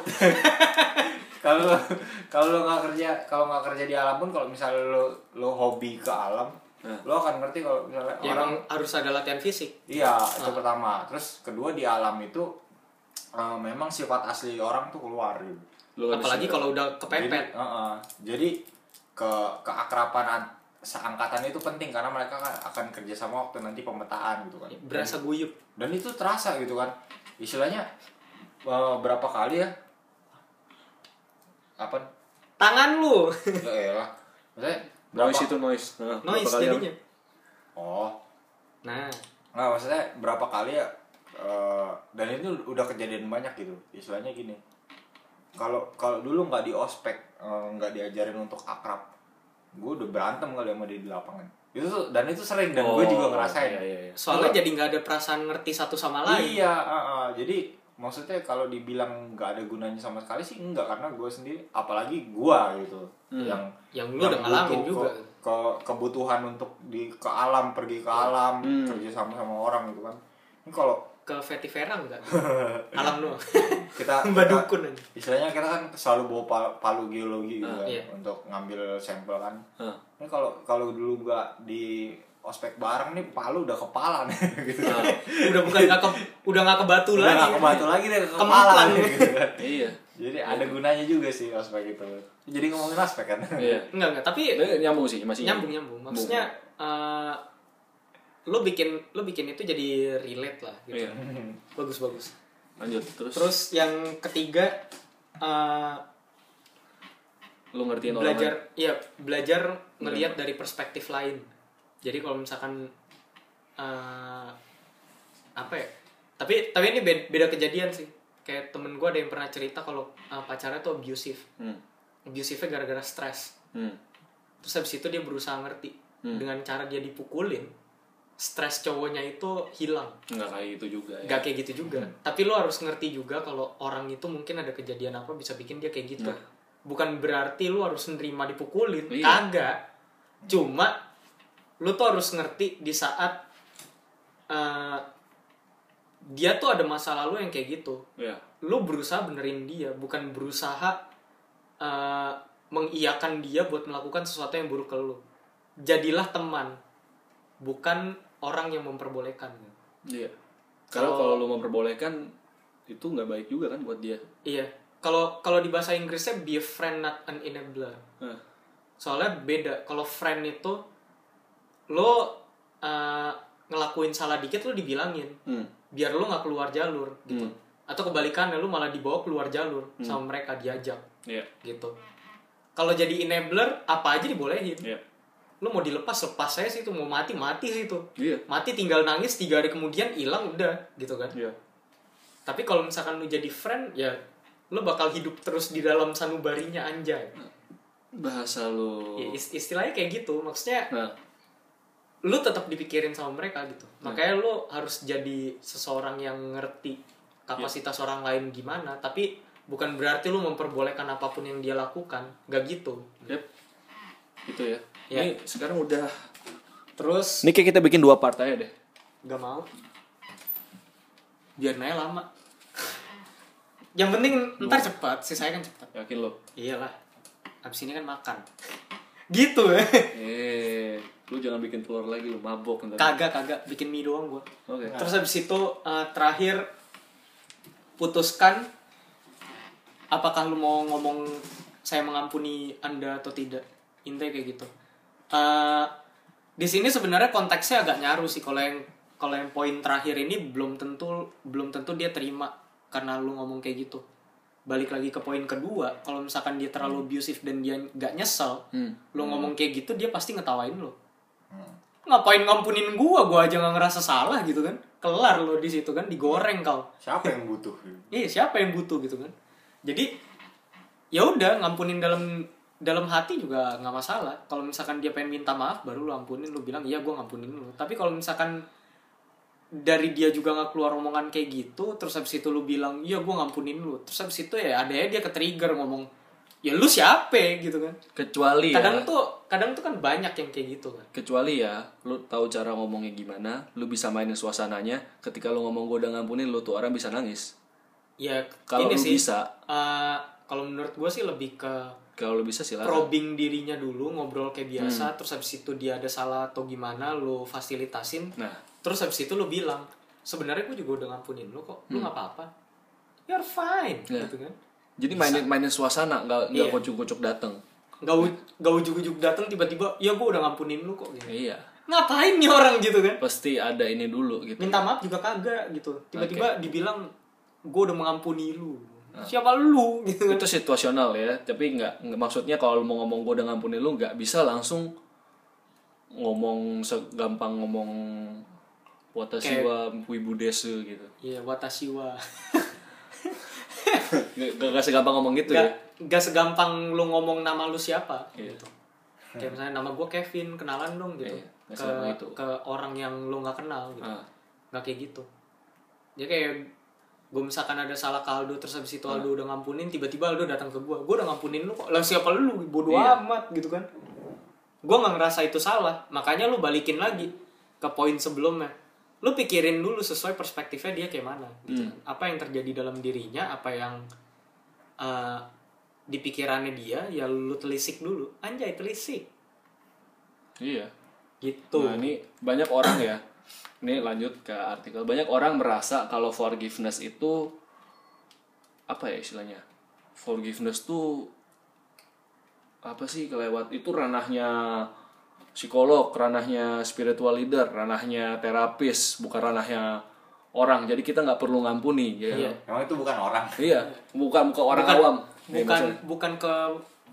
Speaker 4: Kalau lu- kalau lu nggak kerja kalau nggak kerja di alam pun kalau misalnya lu lu hobi ke alam,
Speaker 3: Nah.
Speaker 4: lu akan ngerti kalau misalnya
Speaker 2: Ya,
Speaker 4: orang
Speaker 2: emang harus ada latihan fisik.
Speaker 4: Iya, itu pertama. Terus kedua di alam itu eh, memang sifat asli orang tuh keluar gitu.
Speaker 3: Lu habis
Speaker 2: Apalagi
Speaker 3: itu.
Speaker 2: kalau udah
Speaker 4: Jadi,
Speaker 2: kepepet.
Speaker 4: eh, eh, jadi ke keakraban an- seangkatan itu penting karena mereka kan akan kerja sama waktu nanti pemetaan gitu kan.
Speaker 2: Berasa guyup.
Speaker 4: Dan itu terasa gitu kan. Istilahnya eh, berapa kali ya? Apa?
Speaker 2: Tangan lu.
Speaker 4: Ya lah. Maksudnya berapa?
Speaker 3: noise itu noise. Nah,
Speaker 2: Noise
Speaker 3: berapa kali
Speaker 2: jadinya.
Speaker 4: Oh,
Speaker 2: Nah,
Speaker 4: Nggak, maksudnya berapa kali ya eh, dan itu udah kejadian banyak gitu istilahnya gini kalau kalau dulu nggak di ospek eh, nggak diajarin untuk akrab gue udah berantem kali sama dia di lapangan itu tuh- dan itu sering dan
Speaker 3: Oh,
Speaker 4: gue juga ngerasain
Speaker 3: iya, iya, iya.
Speaker 2: soalnya jadi nggak ada perasaan ngerti satu sama lain.
Speaker 4: Iya, ah, ah. jadi maksudnya kalau dibilang nggak ada gunanya sama sekali sih enggak karena gue sendiri apalagi gue gitu yang
Speaker 2: Hmm. Yang lu udah ngalamin
Speaker 4: butuh
Speaker 2: juga.
Speaker 4: ke, ke-
Speaker 2: Hmm.
Speaker 4: kebutuhan untuk di ke alam pergi ke alam kerja sama sama orang gitu kan ini kalau
Speaker 2: ke Fatty Vera enggak? Alam doang.
Speaker 4: kita
Speaker 2: *laughs* Mbak
Speaker 4: kita-
Speaker 2: Dukun aja.
Speaker 4: istilahnya kita kan selalu bawa pa- palu geologi gitu kan,
Speaker 2: iya.
Speaker 4: untuk ngambil sampel kan
Speaker 1: Ah.
Speaker 4: ini kalau kalau dulu gua di ospek bareng nih palu udah kepala nih *laughs* gitu
Speaker 2: udah bukan nggak ke udah nggak ke batu
Speaker 4: udah
Speaker 2: Ah. lagi.
Speaker 4: nggak kebatu lagi deh ke kepala
Speaker 2: Kememplan.
Speaker 4: nih, gitu
Speaker 2: *laughs*
Speaker 4: kan.
Speaker 1: Iya.
Speaker 4: jadi ada gunanya juga sih ospek itu jadi ngomongin ospek kan
Speaker 1: Iya.
Speaker 2: Enggak enggak, tapi
Speaker 1: Eh, nyambung sih masih
Speaker 2: nyambung nyambung. Maksudnya eh, lo bikin lo bikin itu jadi relate lah gitu.
Speaker 1: Iya.
Speaker 2: Bagus bagus.
Speaker 1: Lanjut terus.
Speaker 2: Terus yang ketiga eh,
Speaker 1: lu ngertiin orang
Speaker 2: belajar iya belajar melihat dari perspektif lain jadi kalau misalkan eh, apa ya tapi tapi ini beda, beda kejadian sih kayak temen gue ada yang pernah cerita kalau eh, pacarnya tuh abusive
Speaker 1: Hmm.
Speaker 2: abusive gara-gara stres
Speaker 1: Hmm.
Speaker 2: terus habis itu dia berusaha ngerti dengan cara dia dipukulin stres cowoknya itu hilang
Speaker 1: Enggak kayak itu juga ya.
Speaker 2: Gak kayak gitu juga. Tapi lo harus ngerti juga kalau orang itu mungkin ada kejadian apa bisa bikin dia kayak gitu. Bukan berarti lo harus nerima dipukulin.
Speaker 1: Iya.
Speaker 2: Kagak. Cuma lo tuh harus ngerti di saat eh, dia tuh ada masa lalu yang kayak gitu.
Speaker 1: Iya.
Speaker 2: Lo berusaha benerin dia, bukan berusaha eh, mengiyakan dia buat melakukan sesuatu yang buruk ke lo. Jadilah teman, bukan orang yang memperbolehkan.
Speaker 1: Iya. Karena kalau
Speaker 2: Kalau-
Speaker 1: lu memperbolehkan itu nggak baik juga kan buat dia.
Speaker 2: Iya. Kalau kalau di bahasa Inggrisnya be a friend not an enabler.
Speaker 1: Nah,
Speaker 2: Soalnya beda. Kalau friend itu lo eh, ngelakuin salah dikit lo dibilangin
Speaker 1: Hmm.
Speaker 2: biar lo nggak keluar jalur gitu. Atau kebalikannya lo malah dibawa keluar jalur sama mereka diajak
Speaker 1: Iya.
Speaker 2: gitu. Kalau jadi enabler apa aja dibolehin.
Speaker 1: Iya.
Speaker 2: Lo mau dilepas lepas saya sih itu mau mati mati sih itu.
Speaker 1: Iya.
Speaker 2: Mati tinggal nangis tiga hari kemudian hilang udah gitu kan.
Speaker 1: Iya.
Speaker 2: Tapi kalau misalkan lu jadi friend, ya lu bakal hidup terus di dalam sanubarinya anjay.
Speaker 1: Bahasa lu.
Speaker 2: Ya, is- istilahnya kayak gitu. Maksudnya
Speaker 1: Nah,
Speaker 2: lu tetap dipikirin sama mereka gitu. Makanya lu harus jadi seseorang yang ngerti kapasitas orang lain gimana, tapi bukan berarti lu memperbolehkan apapun yang dia lakukan. Gak gitu.
Speaker 1: yep. Itu ya.
Speaker 2: Iya.
Speaker 1: Ini sekarang udah
Speaker 2: Terus
Speaker 1: Ini kayak kita bikin dua part aja deh.
Speaker 2: gak mau. Biar naik lama. *laughs* yang penting ntar cepat, sisanya kan cepat.
Speaker 1: Yakin lo?
Speaker 2: Iyalah. Abis ini kan makan. Gitu ya.
Speaker 1: Eh, lu jangan bikin telur lagi lu mabok ntar.
Speaker 2: Kagak kagak bikin mie doang gua.
Speaker 1: Oke.
Speaker 2: Terus habis itu eh, terakhir putuskan apakah lu mau ngomong saya mengampuni Anda atau tidak. Intinya kayak gitu. Eh di sini sebenarnya konteksnya agak nyaru sih kalau yang kalau yang poin terakhir ini belum tentu belum tentu dia terima karena lu ngomong kayak gitu. Balik lagi ke poin kedua, kalau misalkan dia terlalu abusive dan dia nggak nyesel, lu ngomong kayak gitu dia pasti ngetawain lu ngapain ngampunin gua gua aja nggak ngerasa salah gitu kan kelar lo di situ kan digoreng kau
Speaker 4: siapa yang butuh
Speaker 2: iya siapa yang butuh gitu kan jadi ya udah ngampunin dalam dalam hati juga nggak masalah kalau misalkan dia pengen minta maaf baru lu ampunin lu bilang iya gua ngampunin lu tapi kalau misalkan dari dia juga nggak keluar omongan kayak gitu terus habis itu lu bilang iya gua ngampunin lu terus habis itu ya ada dia ke trigger ngomong ya lu siapa gitu kan
Speaker 1: Kecuali ya.
Speaker 2: kadang tuh kadang tuh kan banyak yang kayak gitu kan
Speaker 1: kecuali ya lu tahu cara ngomongnya gimana lu bisa mainin suasananya ketika lu ngomong gue udah ngampunin lu tuh orang bisa nangis
Speaker 2: ya
Speaker 1: kalau
Speaker 2: ini
Speaker 1: lu
Speaker 2: sih,
Speaker 1: bisa
Speaker 2: eh, kalau menurut gue sih lebih ke
Speaker 1: kalau lu bisa silakan
Speaker 2: probing dirinya dulu ngobrol kayak biasa terus habis itu dia ada salah atau gimana lo fasilitasin
Speaker 1: nah
Speaker 2: terus habis itu lo bilang sebenarnya gue juga udah ngampunin lo kok lo nggak apa-apa you're fine gitu kan
Speaker 1: jadi mainin mainin suasana nggak nggak
Speaker 2: Iya.
Speaker 1: kocok-kocok dateng
Speaker 2: gak, u- gak ujuk-ujuk datang tiba-tiba ya gue udah ngampunin lo kok gitu.
Speaker 1: iya
Speaker 2: ngapain nih orang gitu kan
Speaker 1: pasti ada ini dulu gitu
Speaker 2: minta maaf juga kagak gitu tiba-tiba dibilang gue udah mengampuni lu siapa lu *laughs* gitu kan
Speaker 1: itu situasional ya tapi nggak nggak- maksudnya kalau lu mau ngomong gue udah ngampunin lu nggak bisa langsung ngomong segampang ngomong watashi wa wibu desu gitu
Speaker 2: iya watashi wa
Speaker 1: nggak nggak segampang ngomong gitu
Speaker 2: gak,
Speaker 1: ya
Speaker 2: gak segampang lu ngomong nama lu siapa gitu. Kayak misalnya nama gue Kevin, kenalan dong gitu.
Speaker 1: Iya, gak
Speaker 2: ke,
Speaker 1: segampang itu.
Speaker 2: ke orang yang lu gak kenal gitu.
Speaker 1: Ah.
Speaker 2: Gak kayak gitu. Ya kayak gue misalkan ada salah ke Aldo terus habis itu Aldo udah ngampunin tiba-tiba Aldo datang ke gue gue udah ngampunin lu kok lah siapa lu bodoh amat gitu kan gue nggak ngerasa itu salah makanya lu balikin lagi ke poin sebelumnya lu pikirin dulu sesuai perspektifnya dia kayak mana gitu. apa yang terjadi dalam dirinya apa yang eh, di pikirannya dia ya lu telisik dulu anjay telisik
Speaker 3: Iya.
Speaker 2: gitu
Speaker 3: Nah, ini banyak orang ya. Ini lanjut ke artikel. Banyak orang merasa kalau forgiveness itu apa ya istilahnya? Forgiveness tuh apa sih kelewat itu ranahnya psikolog, ranahnya spiritual leader, ranahnya terapis, bukan ranahnya orang. Jadi kita nggak perlu ngampuni. Ya.
Speaker 2: Iya.
Speaker 4: Emang itu bukan orang.
Speaker 3: Iya, bukan bukan orang
Speaker 2: bukan,
Speaker 3: awam. Nih,
Speaker 2: bukan
Speaker 3: maksudnya.
Speaker 2: bukan ke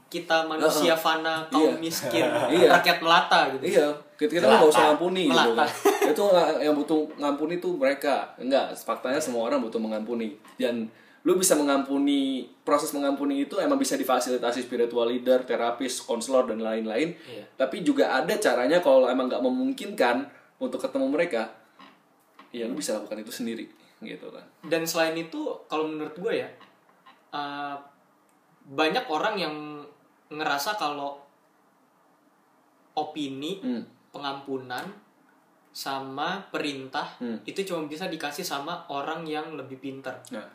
Speaker 2: kita manusia fana kaum
Speaker 3: Iya.
Speaker 2: miskin
Speaker 3: *laughs* Iya.
Speaker 2: rakyat melata gitu
Speaker 3: Iya, kita kita nggak usah
Speaker 4: Melata.
Speaker 3: ngampuni gitu kan. Itu nggak- yang butuh ngampuni tuh mereka. Enggak, faktanya semua orang butuh mengampuni. Dan lu bisa mengampuni proses mengampuni itu emang bisa difasilitasi spiritual leader, terapis, konselor dan lain-lain.
Speaker 2: Iya.
Speaker 3: Tapi juga ada caranya kalau emang nggak memungkinkan untuk ketemu mereka, ya lu bisa lakukan itu sendiri gitu kan.
Speaker 2: dan selain itu kalau menurut gue ya eh, banyak orang yang ngerasa kalau opini
Speaker 3: Hmm.
Speaker 2: pengampunan sama perintah
Speaker 3: Hmm.
Speaker 2: itu cuma bisa dikasih sama orang yang lebih pintar
Speaker 3: Nah,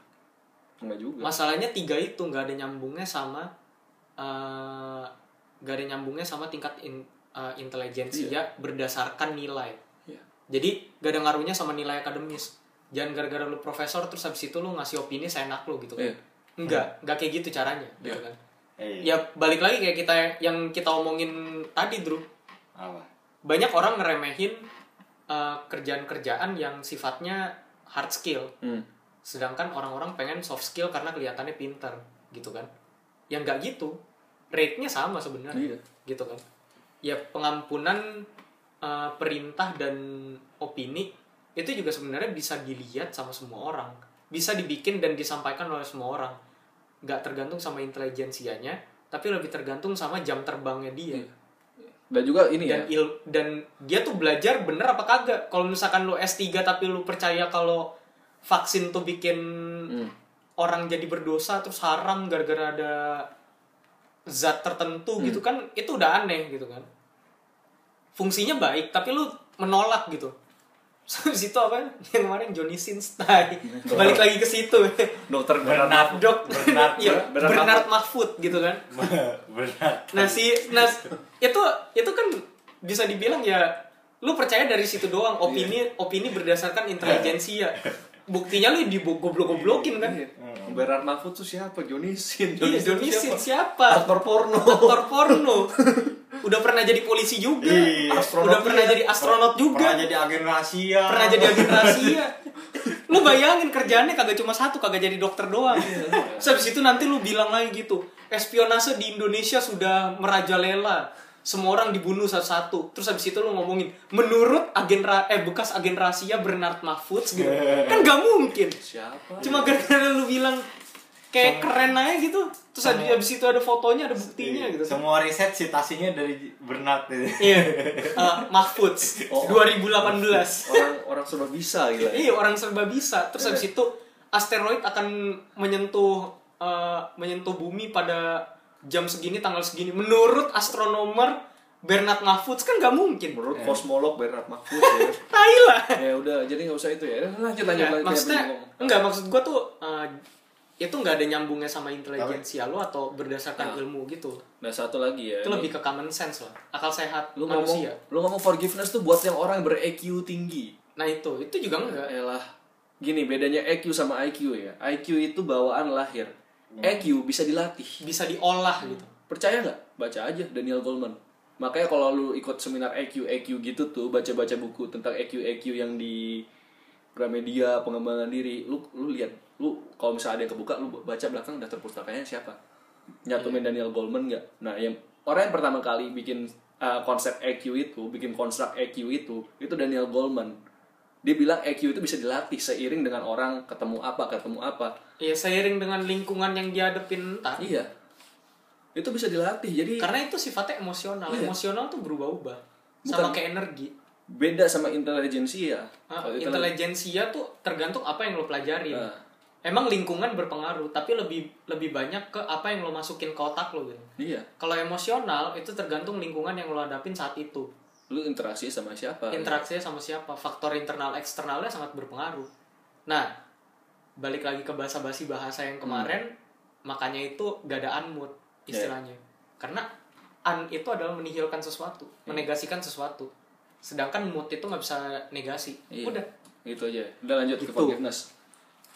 Speaker 3: enggak juga.
Speaker 2: masalahnya tiga itu nggak ada nyambungnya sama eh, nggak ada nyambungnya sama tingkat in, eh, intelijensia berdasarkan nilai
Speaker 3: Iya.
Speaker 2: jadi nggak ada ngaruhnya sama nilai akademis jangan gara-gara lu profesor terus habis itu lu ngasih opini seenak lu gitu kan
Speaker 3: Iya.
Speaker 2: enggak enggak kayak gitu caranya gitu kan
Speaker 4: Eh,
Speaker 2: ya balik lagi kayak kita yang kita omongin tadi Drew
Speaker 4: Apa?
Speaker 2: banyak orang ngeremehin eh, kerjaan-kerjaan yang sifatnya hard skill
Speaker 3: Hmm.
Speaker 2: sedangkan orang-orang pengen soft skill karena kelihatannya pinter gitu kan yang nggak gitu rate-nya sama sebenarnya
Speaker 3: Iya.
Speaker 2: gitu kan ya pengampunan eh, perintah dan opini itu juga sebenarnya bisa dilihat sama semua orang bisa dibikin dan disampaikan oleh semua orang nggak tergantung sama intelijensianya tapi lebih tergantung sama jam terbangnya dia
Speaker 3: Dan juga ini ya.
Speaker 2: dan il- dan dia tuh belajar bener apa kagak kalau misalkan lu S3 tapi lu percaya kalau vaksin tuh bikin
Speaker 3: Hmm.
Speaker 2: orang jadi berdosa terus haram gara-gara ada zat tertentu gitu kan itu udah aneh gitu kan fungsinya baik tapi lu menolak gitu *laughs* Terus habis itu apa yang kemarin Johnny Sinstai balik lagi ke situ
Speaker 3: Dokter
Speaker 4: Bernard.
Speaker 2: dok *laughs*
Speaker 4: Bernard.
Speaker 2: ya,
Speaker 3: Bernard
Speaker 2: Bernard Mahfud gitu kan
Speaker 4: *laughs* Bernard.
Speaker 2: Nah si nah itu itu kan bisa dibilang ya lu percaya dari situ doang
Speaker 4: Iya.
Speaker 2: opini opini berdasarkan intelijensia. Buktinya lu digoblok-goblokin
Speaker 4: Iya.
Speaker 2: kan.
Speaker 3: Iya. Bernard Mahfud tuh siapa? Johnny Sin.
Speaker 2: Iya,
Speaker 3: Sin
Speaker 2: Johnny Sin
Speaker 3: siapa?
Speaker 2: siapa?
Speaker 3: Aktor porno.
Speaker 2: Aktor porno. Udah pernah jadi polisi juga.
Speaker 4: Iya,
Speaker 2: Udah
Speaker 4: astronot
Speaker 2: pernah
Speaker 4: juga.
Speaker 2: jadi astronot juga.
Speaker 4: Pernah jadi agen rahasia.
Speaker 2: Pernah jadi agen rahasia. Iya. Lu bayangin kerjaannya kagak cuma satu, kagak jadi dokter doang. Terus habis itu nanti lu bilang lagi gitu, espionase di Indonesia sudah merajalela. Semua orang dibunuh satu-satu. Terus habis itu lu ngomongin, menurut agen ra- eh bekas agen rahasia Bernard Mahfud gitu. Kan gak mungkin.
Speaker 3: Siapa?
Speaker 2: Cuma gara-gara lu bilang kayak keren aja gitu. Terus habis itu ada fotonya, ada buktinya gitu.
Speaker 4: Iya, Semua riset citasinya dari gitu. Bernard.
Speaker 2: Iya. Eh, Mahfud 2018.
Speaker 3: Orang orang serba bisa gila.
Speaker 2: Iya orang serba bisa.
Speaker 3: Iya.
Speaker 2: Terus habis itu asteroid akan menyentuh eh, menyentuh bumi pada jam segini tanggal segini. Menurut astronomer Bernard Mahfudz kan nggak mungkin.
Speaker 3: Menurut kosmolog Bernard Mahfud ya.
Speaker 2: Tai lah.
Speaker 3: ya udah, jadi nggak usah itu ya. Lanjut lanjut
Speaker 2: Nggak,
Speaker 3: lanjut.
Speaker 2: maksudnya
Speaker 3: Kenapa ngomong?
Speaker 2: enggak maksud gua tuh eh, itu nggak ada nyambungnya sama intelijensia lo atau berdasarkan ilmu gitu.
Speaker 3: Nah satu lagi ya.
Speaker 2: Itu
Speaker 3: ini.
Speaker 2: lebih ke common sense lah, akal sehat
Speaker 3: lu ngomong
Speaker 2: manusia.
Speaker 3: lu ngomong forgiveness tuh buat yang orang ber EQ tinggi.
Speaker 2: Nah itu itu juga enggak.
Speaker 3: Elah. Gini bedanya EQ sama IQ ya. IQ itu bawaan lahir. EQ bisa dilatih.
Speaker 2: bisa diolah gitu.
Speaker 3: Percaya nggak? Baca aja Daniel Goleman. Makanya kalau lu ikut seminar EQ EQ gitu tuh, baca-baca buku tentang E EQ EQ yang di Gramedia pengembangan diri, lu lu lihat, lu kalau misalnya ada yang kebuka, lu baca belakang daftar pustakanya siapa? Nyatumin Daniel Goleman nggak? Nah, yang orang yang pertama kali bikin uh, konsep EQ itu, bikin konstruk EQ itu, itu Daniel Goleman. Dia bilang EQ itu bisa dilatih seiring dengan orang ketemu apa, ketemu apa.
Speaker 2: Ya seiring dengan lingkungan yang dihadapin entah.
Speaker 3: Iya. Itu bisa dilatih. Jadi
Speaker 2: Karena itu sifatnya emosional.
Speaker 3: Iya.
Speaker 2: Emosional tuh berubah-ubah. Sama
Speaker 3: Bukan-
Speaker 2: kayak energi.
Speaker 3: beda sama intelijensia.
Speaker 2: Ah,
Speaker 3: Kalau intele-
Speaker 2: intelijensia tuh tergantung apa yang lo pelajarin.
Speaker 3: Oh, Ah.
Speaker 2: Emang lingkungan berpengaruh, tapi lebih lebih banyak ke apa yang lo masukin ke otak lo gitu.
Speaker 3: Iya.
Speaker 2: Kalau emosional itu tergantung lingkungan yang lo hadapin saat itu.
Speaker 3: lu interaksi sama siapa
Speaker 2: interaksinya sama siapa faktor internal eksternalnya sangat berpengaruh nah balik lagi ke bahasa basi bahasa yang kemarin makanya itu gak ada unmood istilahnya karena un itu adalah menihilkan sesuatu menegasikan sesuatu sedangkan mood itu nggak bisa negasi
Speaker 3: Iya.
Speaker 2: udah
Speaker 3: itu aja udah lanjut ke
Speaker 2: Gitu.
Speaker 3: forgiveness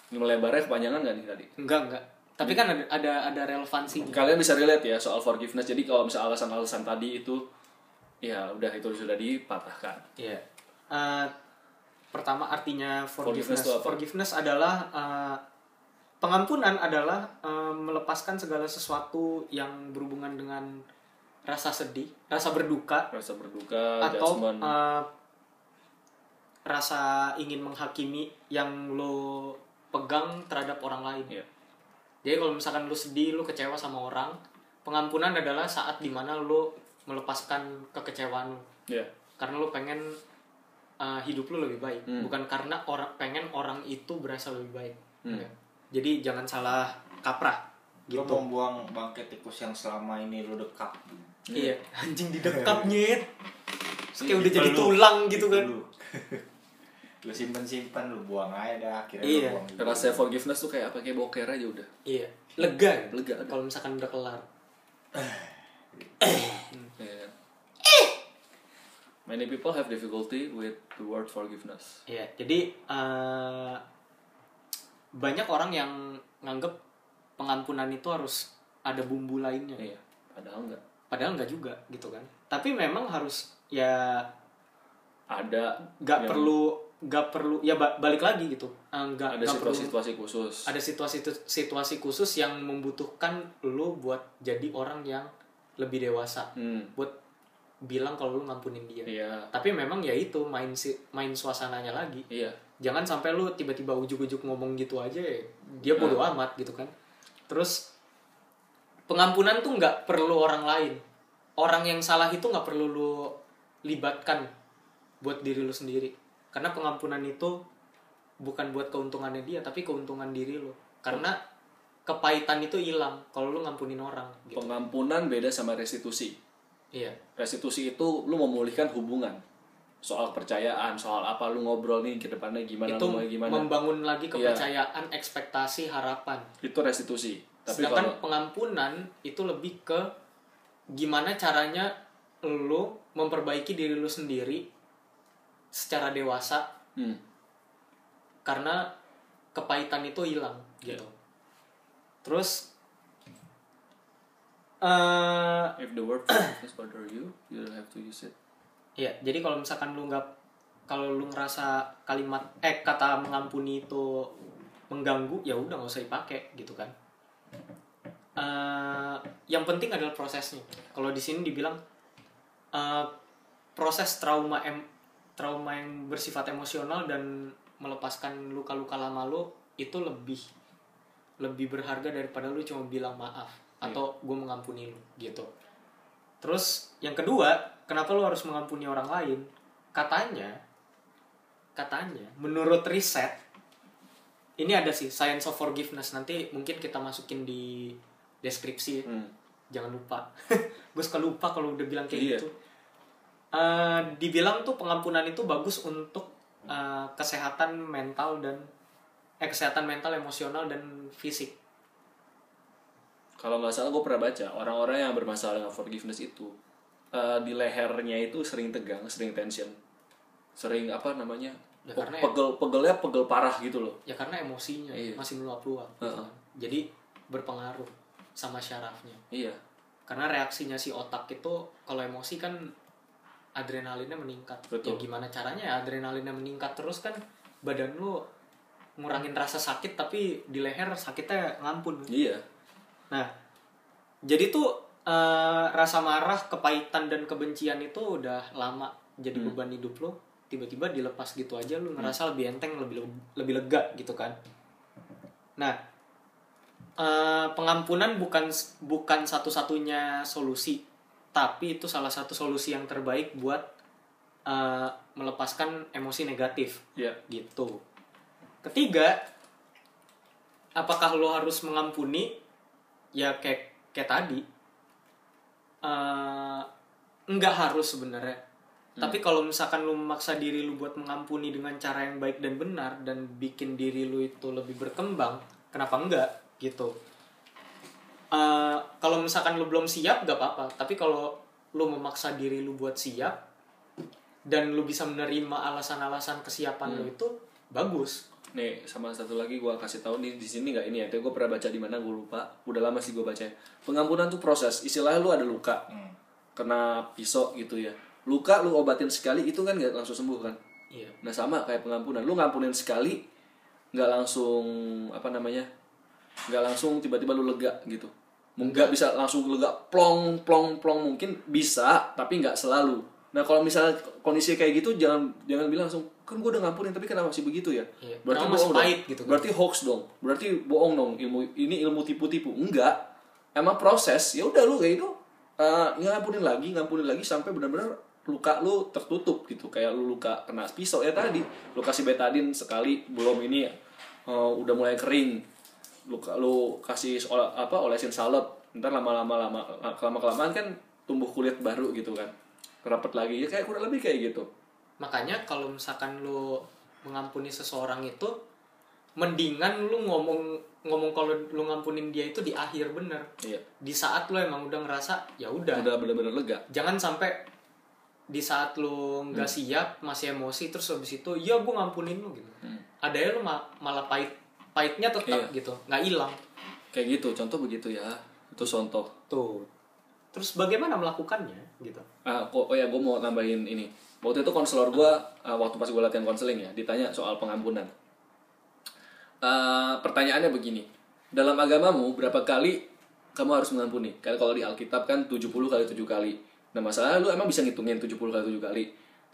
Speaker 3: ini melebarnya kepanjangan gak nih tadi
Speaker 2: enggak enggak tapi kan ada ada, ada relevansinya
Speaker 3: kalian bisa relate ya soal forgiveness jadi kalau misal alasan-alasan tadi itu ya udah itu sudah dipatahkan
Speaker 2: Iya. Eh, pertama artinya
Speaker 3: Forgiveness
Speaker 2: forgiveness.
Speaker 3: itu apa?
Speaker 2: Forgiveness adalah eh, pengampunan adalah eh, melepaskan segala sesuatu yang berhubungan dengan rasa sedih, rasa berduka
Speaker 3: rasa berduka
Speaker 2: atau
Speaker 3: judgment
Speaker 2: eh, rasa ingin menghakimi yang lo pegang terhadap orang lain.
Speaker 3: Iya.
Speaker 2: Jadi kalau misalkan lu sedih, lu kecewa sama orang, pengampunan adalah saat dimana lu melepaskan kekecewaan lu
Speaker 3: ya
Speaker 2: karena lu pengen uh, hidup lu lebih baik
Speaker 3: Hmm.
Speaker 2: bukan karena orang pengen orang itu berasa lebih baik
Speaker 3: Hmm.
Speaker 2: Ya. jadi jangan salah kaprah gitu.
Speaker 4: Lu membuang bangkai tikus yang selama ini lu dekap.
Speaker 3: *laughs*
Speaker 2: iya anjing didekap nyet Terus
Speaker 3: Iya,
Speaker 2: kayak udah jadi
Speaker 4: Lu-
Speaker 2: tulang gitu kan
Speaker 4: Lu, *laughs* lu simpen-simpen, lu buang aja dah. Akhirnya
Speaker 2: Iya.
Speaker 4: lu buang. juga.
Speaker 3: rasa forgiveness tuh kayak apa kayak boker aja udah
Speaker 2: iya lega ya?
Speaker 3: Lega.
Speaker 2: kalau misalkan udah kelar
Speaker 3: Ya. many people have difficulty with the word forgiveness
Speaker 2: iya jadi uh, banyak orang yang nganggep pengampunan itu harus ada bumbu lainnya
Speaker 3: iya padahal nggak
Speaker 2: padahal nggak juga gitu kan tapi memang harus ya
Speaker 3: ada
Speaker 2: nggak
Speaker 3: yang-
Speaker 2: perlu nggak perlu ya ba- balik lagi gitu Eh, nggak
Speaker 3: ada
Speaker 2: nggak perlu
Speaker 3: situasi-situasi khusus
Speaker 2: ada situasi situasi khusus yang membutuhkan lu buat jadi orang yang lebih dewasa
Speaker 3: hmm
Speaker 2: buat bilang kalau lu ngampunin dia
Speaker 3: iya
Speaker 2: tapi memang ya itu main si main suasananya lagi
Speaker 3: iya
Speaker 2: jangan sampai lu tiba-tiba ujuk-ujuk ngomong gitu aja ya, dia bodo
Speaker 3: Hmm.
Speaker 2: amat gitu kan terus pengampunan tuh nggak perlu orang lain orang yang salah itu nggak perlu lu libatkan buat diri lu sendiri karena pengampunan itu bukan buat keuntungannya dia tapi keuntungan diri lu karena kepahitan itu hilang kalau lu ngampunin orang gitu
Speaker 3: pengampunan beda sama restitusi
Speaker 2: iya
Speaker 3: restitusi itu lu memulihkan hubungan soal percayaan soal apa lu ngobrol nih ke depannya gimana
Speaker 2: itu
Speaker 3: lu mau gimana
Speaker 2: membangun lagi
Speaker 3: Iya.
Speaker 2: kepercayaan ekspektasi harapan
Speaker 3: itu restitusi tapi
Speaker 2: Sedangkan
Speaker 3: kalau
Speaker 2: pengampunan itu lebih ke gimana caranya lo memperbaiki diri lo sendiri secara dewasa
Speaker 3: hmm,
Speaker 2: karena kepahitan itu hilang
Speaker 3: Iya.
Speaker 2: gitu. Terus eh
Speaker 3: if the word forgiveness bother you you don't have to use it
Speaker 2: ya jadi kalau misalkan lu nggak kalau lu ngerasa kalimat eh kata mengampuni itu mengganggu ya udah nggak usah dipakai gitu kan Eh, yang penting adalah prosesnya kalau di sini dibilang eh, proses trauma em trauma yang bersifat emosional dan melepaskan luka-luka lama lu itu lebih lebih berharga daripada lu cuma bilang maaf atau gue mengampuni lu gitu Terus yang kedua, kenapa lo harus mengampuni orang lain? Katanya, katanya, menurut riset, ini ada sih science of forgiveness nanti mungkin kita masukin di deskripsi,
Speaker 3: Hmm.
Speaker 2: jangan lupa. *laughs* Gue suka lupa kalau udah bilang kayak
Speaker 3: Iya.
Speaker 2: gitu. Eh, dibilang tuh pengampunan itu bagus untuk eh, kesehatan mental dan eh, kesehatan mental emosional dan fisik.
Speaker 3: kalau nggak salah gue pernah baca orang-orang yang bermasalah dengan forgiveness itu eh, di lehernya itu sering tegang sering tension sering apa namanya
Speaker 2: Ya,
Speaker 3: pe-
Speaker 2: karena ya-
Speaker 3: pegel pegelnya pegel parah gitu loh
Speaker 2: ya karena emosinya
Speaker 3: Iya.
Speaker 2: masih meluap-luap gitu
Speaker 3: Heeh.
Speaker 2: kan. jadi berpengaruh sama syarafnya
Speaker 3: iya
Speaker 2: karena reaksinya si otak itu kalau emosi kan adrenalinnya meningkat
Speaker 3: Betul.
Speaker 2: ya gimana caranya ya adrenalinnya meningkat terus kan badan lu ngurangin rasa sakit tapi di leher sakitnya ngampun
Speaker 3: iya
Speaker 2: nah jadi tuh eh, rasa marah kepahitan dan kebencian itu udah lama jadi beban hidup lo tiba-tiba dilepas gitu aja lu ngerasa lebih enteng lebih lebih lega gitu kan nah eh, pengampunan bukan bukan satu-satunya solusi tapi itu salah satu solusi yang terbaik buat eh, melepaskan emosi negatif
Speaker 3: iya
Speaker 2: gitu. Ketiga, apakah lo harus mengampuni? Ya kayak kayak tadi, Eh, nggak harus sebenarnya. Tapi kalau misalkan lu memaksa diri lu buat mengampuni dengan cara yang baik dan benar dan bikin diri lu itu lebih berkembang, kenapa enggak gitu? Eh, kalau misalkan lu belum siap gak apa-apa, tapi kalau lu memaksa diri lu buat siap dan lu bisa menerima alasan-alasan kesiapan lu itu bagus.
Speaker 3: Nih, sama satu lagi gua kasih tahu nih di sini nggak ini ya. Tapi gua pernah baca di mana gua lupa. Udah lama sih gua baca. ya. Pengampunan tuh proses. Istilahnya lu ada luka. Kena pisau gitu ya. Luka lu obatin sekali itu kan nggak langsung sembuh kan?
Speaker 2: Iya.
Speaker 3: Nah, sama kayak pengampunan. Lu ngampunin sekali nggak langsung apa namanya? nggak langsung tiba-tiba lu lega gitu. Nggak bisa langsung lega plong plong plong mungkin bisa, tapi nggak selalu. Nah, kalau misalnya kondisi kayak gitu jangan jangan bilang langsung kan gue udah ngampunin tapi kenapa masih begitu ya?
Speaker 2: Iya.
Speaker 3: Berarti
Speaker 2: Kenapa masih
Speaker 3: bohong dong.
Speaker 2: pahit gitu kan?
Speaker 3: Berarti hoax dong. Berarti bohong dong. Ilmu ini ilmu tipu-tipu. Enggak. Emang proses. Ya udah lu kayak itu eh, ngampunin lagi, ngampunin lagi sampai benar-benar luka lu tertutup gitu. Kayak lu luka kena pisau ya tadi. Lu kasih betadin sekali belum ini eh, udah mulai kering. Lu lu kasih ola- apa olesin salep. Ntar lama-lama lama lama kelamaan kan tumbuh kulit baru gitu kan. Rapat lagi. Ya kayak kurang lebih kayak gitu.
Speaker 2: Makanya kalau misalkan lu mengampuni seseorang itu mendingan lu ngomong ngomong kalau lu ngampunin dia itu di akhir bener.
Speaker 3: Iya.
Speaker 2: Di saat lu emang udah ngerasa ya udah.
Speaker 3: Udah benar-benar lega.
Speaker 2: Jangan sampai di saat lu nggak siap masih emosi terus habis itu ya gue ngampunin lu gitu. Ada ya lu ma- malah pahit pahitnya tetap gitu, nggak hilang.
Speaker 3: Kayak gitu, contoh begitu ya. Itu contoh.
Speaker 2: Tuh. Terus bagaimana melakukannya gitu?
Speaker 3: Ah, ko- oh ya, gue mau nambahin ini. Waktu itu konselor gue, waktu pas gue latihan konseling ya, ditanya soal pengampunan. Eh, pertanyaannya begini, dalam agamamu berapa kali kamu harus mengampuni? Karena kalau di Alkitab kan 70 kali 7 kali. Nah masalah lu emang bisa ngitungin 70 kali 7 kali.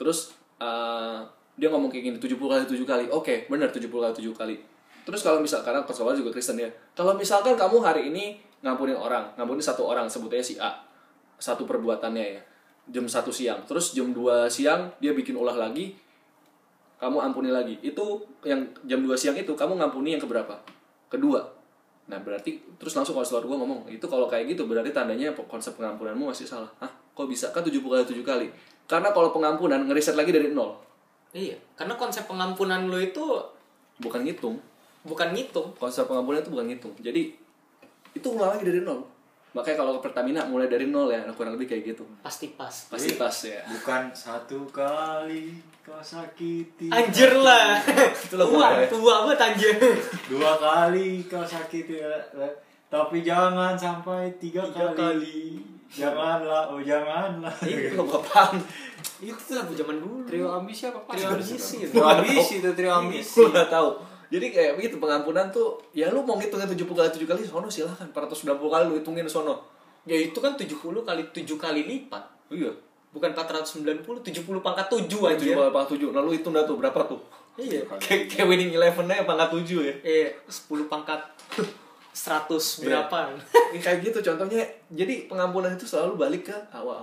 Speaker 3: Terus eh, dia ngomong kayak gini, 70 kali 7 kali. Oke, bener 70 kali 7 kali. Terus kalau misal karena konselor juga Kristen ya. Kalau misalkan kamu hari ini ngampunin orang, ngampunin satu orang sebutnya si A satu perbuatannya ya jam satu siang terus jam 2 siang dia bikin ulah lagi kamu ampuni lagi itu yang jam 2 siang itu kamu ngampuni yang keberapa kedua nah berarti terus langsung konselor gue ngomong itu kalau kayak gitu berarti tandanya konsep pengampunanmu masih salah ah kok bisa kan 70 kali 7 kali karena kalau pengampunan ngeriset lagi dari nol
Speaker 2: Iya, karena konsep pengampunan lu itu
Speaker 3: bukan ngitung
Speaker 2: bukan ngitung.
Speaker 3: konsep pengampunan itu bukan ngitung jadi itu ulang lagi dari nol makanya kalau ke Pertamina mulai dari nol ya kurang lebih kayak gitu
Speaker 2: Pasti pas.
Speaker 3: pasti pas ya
Speaker 4: Bukan satu kali kau sakiti.
Speaker 2: Anjir
Speaker 3: *laughs*
Speaker 2: lah.
Speaker 3: lah
Speaker 2: tua,
Speaker 3: pokoknya.
Speaker 2: tua banget anjir.
Speaker 4: *laughs* Dua kali kau sakiti. Tapi jangan sampai tiga,
Speaker 2: Tiga
Speaker 4: kali. Janganlah, oh janganlah.
Speaker 3: itu apaan
Speaker 2: itu lagu zaman dulu.
Speaker 4: Trio ambisi apa pas?
Speaker 2: Trio ambisi.
Speaker 4: Trio ambisi itu trio ambisi.
Speaker 3: gue gak tahu jadi kayak begitu pengampunan tuh ya lu mau ngitungnya 70 kali 7 kali sono silahkan 490 kali lu hitungin sono
Speaker 2: Ya itu kan 70 kali 7 kali lipat.
Speaker 3: iya
Speaker 2: Bukan 490, 70 pangkat 7
Speaker 3: 7
Speaker 2: anjir.
Speaker 3: kali pangkat 7 lalu Nah, hitung dah tuh berapa tuh
Speaker 2: Iya.
Speaker 3: kayak kayak winning eleven nya pangkat 7 ya
Speaker 2: Eh, 10 pangkat *laughs*
Speaker 3: Iya.
Speaker 2: 100 berapa.
Speaker 3: Ya, kayak gitu contohnya jadi pengampunan itu selalu balik ke awal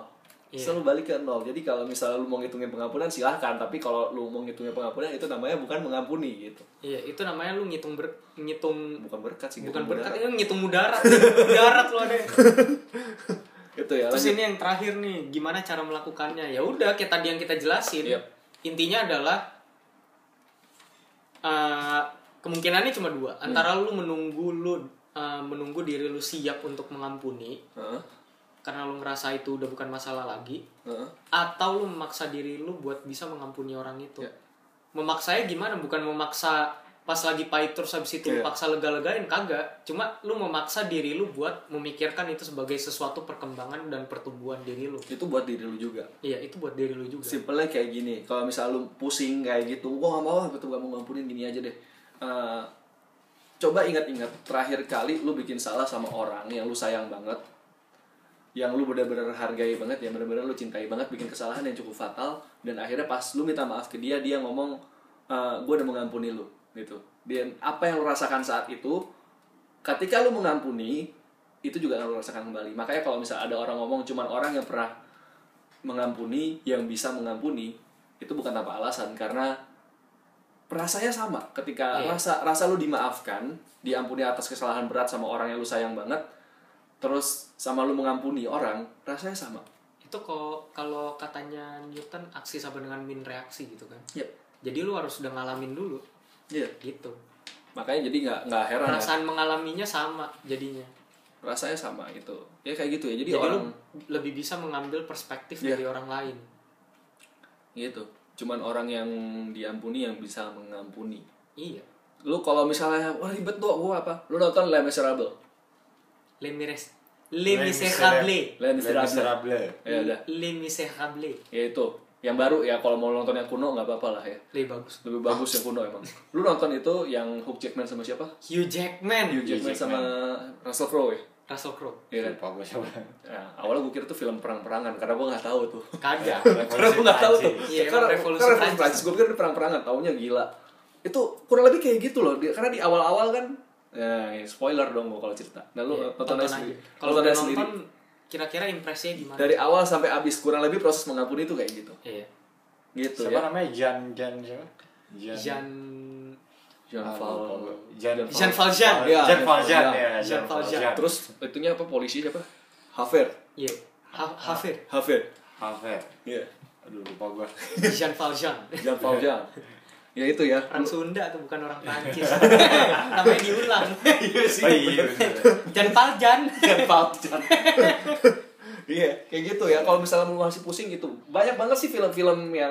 Speaker 2: Iya.
Speaker 3: selalu balik ke nol jadi kalau misalnya lu mau ngitungin pengampunan silahkan tapi kalau lu mau ngitungin pengampunan itu namanya bukan mengampuni gitu
Speaker 2: *laughs* Iya, itu namanya lu ngitung ber, ngitung
Speaker 3: bukan berkat sih gitu.
Speaker 2: bukan
Speaker 3: ngitung
Speaker 2: berkat,
Speaker 3: mudarat.
Speaker 2: itu ngitung mudarat. mudarat lu ada.
Speaker 3: *laughs* itu ya
Speaker 2: Terus
Speaker 3: lanjut.
Speaker 2: ini yang terakhir nih, gimana cara melakukannya? Ya udah, kayak tadi yang kita jelasin.
Speaker 3: Yep.
Speaker 2: Intinya adalah eh, kemungkinannya cuma dua. Antara lu menunggu lu eh, menunggu diri lu siap untuk mengampuni
Speaker 3: Heeh,
Speaker 2: karena lu ngerasa itu udah bukan masalah lagi
Speaker 3: heeh.
Speaker 2: atau lu memaksa diri lu buat bisa mengampuni orang itu.
Speaker 3: Iya.
Speaker 2: Memaksanya gimana? Bukan memaksa pas lagi pahit terus habis itu
Speaker 3: Iya.
Speaker 2: lu paksa lega-legain kagak. Cuma lu memaksa diri lu buat memikirkan itu sebagai sesuatu perkembangan dan pertumbuhan diri lu.
Speaker 3: itu buat diri lu juga
Speaker 2: Iya, itu buat diri lu juga.
Speaker 3: simpelnya kayak gini kalau misal lu pusing kayak gitu gua nggak mau ah, betul gak mau ngampunin gini aja deh Eh, coba ingat-ingat terakhir kali lu bikin salah sama orang yang lu sayang banget yang lu benar-benar hargai banget yang benar-benar lu cintai banget bikin kesalahan yang cukup fatal dan akhirnya pas lu minta maaf ke dia dia ngomong gue udah mengampuni lu gitu dan apa yang lu rasakan saat itu ketika lu mengampuni itu juga akan lu rasakan kembali makanya kalau misalnya ada orang ngomong cuman orang yang pernah mengampuni yang bisa mengampuni itu bukan tanpa alasan karena rasanya sama ketika
Speaker 2: Iya.
Speaker 3: rasa rasa lu dimaafkan diampuni atas kesalahan berat sama orang yang lu sayang banget terus sama lu mengampuni orang rasanya sama
Speaker 2: itu kok kalau katanya Newton aksi sama dengan min reaksi gitu kan
Speaker 3: Yep.
Speaker 2: jadi lu harus udah ngalamin dulu
Speaker 3: Iya.
Speaker 2: gitu
Speaker 3: Makanya jadi nggak nggak heran ya.
Speaker 2: perasaan mengalaminya sama jadinya
Speaker 3: Rasanya sama gitu. Ya kayak gitu ya. Jadi,
Speaker 2: jadi,
Speaker 3: orang
Speaker 2: lu lebih bisa mengambil perspektif
Speaker 3: Iya.
Speaker 2: dari orang lain
Speaker 3: gitu. Cuman orang yang diampuni yang bisa mengampuni.
Speaker 2: iya
Speaker 3: Lu kalau misalnya wah ribet tuh gua apa? Lu nonton Les Miserables.
Speaker 2: les mires les misérables
Speaker 3: Les Miserables.
Speaker 4: Miserable.
Speaker 2: Hmm.
Speaker 3: Ya udah.
Speaker 2: les misérables
Speaker 3: Ya itu. Yang baru ya kalau mau nonton yang kuno nggak apa-apa lah ya.
Speaker 2: lebih bagus
Speaker 3: Lebih bagus yang kuno emang. Lu nonton itu yang Hugh Jackman sama siapa?
Speaker 2: Hugh Jackman
Speaker 3: Hugh Jackman sama Russell Crowe ya.
Speaker 2: Russell Crowe
Speaker 3: Iya kan?
Speaker 4: Lupa gue coba.
Speaker 3: Nah, awalnya gue kira tuh film perang-perangan karena gue nggak tahu tuh.
Speaker 2: kagak
Speaker 3: karena gue nggak tahu tuh.
Speaker 2: Iya,
Speaker 3: karena
Speaker 2: emang
Speaker 3: revolusi
Speaker 2: revolusi
Speaker 3: karena revolusi
Speaker 2: Prancis.
Speaker 3: Prancis gue pikir ini perang-perangan, taunya gila. Itu kurang lebih kayak gitu loh. Dia- Karena di awal-awal kan Nah, ini spoiler dong gue kalau cerita. Nah, lu
Speaker 2: Iya,
Speaker 3: tonton aja sendiri.
Speaker 2: kalau
Speaker 3: Nonton
Speaker 2: udah
Speaker 3: aja sendiri.
Speaker 2: nonton kira-kira impresinya gimana
Speaker 3: Dari awal sampai habis kurang lebih proses mengampuni itu kayak gitu.
Speaker 2: iya
Speaker 3: Gitu
Speaker 4: Siapa
Speaker 3: ya.
Speaker 4: namanya? Jan Jan siapa?
Speaker 3: Iya.
Speaker 2: Jean
Speaker 3: Jean
Speaker 4: Ah, lupa
Speaker 3: Valjean.
Speaker 4: gue. Jean
Speaker 2: Jean Valjean
Speaker 3: Iya,
Speaker 4: Jan
Speaker 3: Jean
Speaker 4: Valjean
Speaker 3: Valjean.
Speaker 4: ya.
Speaker 2: Jean Valjean.
Speaker 3: Terus itunya apa polisi siapa? Haver.
Speaker 2: iya Ha- Hafir
Speaker 3: Haver.
Speaker 4: Hafer.
Speaker 3: Iya.
Speaker 4: ya. Aduh lupa gue.
Speaker 3: Ah. *laughs*
Speaker 2: Jean Valjean
Speaker 3: Jean Valjean. ya itu ya.
Speaker 2: orang Sunda tuh bukan orang
Speaker 3: *laughs*
Speaker 2: Prancis namanya diulang
Speaker 4: Oh iya. bener.
Speaker 2: Jean Valjean
Speaker 3: Iya, kayak gitu ya. Kalau misalnya lu masih pusing gitu, banyak banget sih film-film yang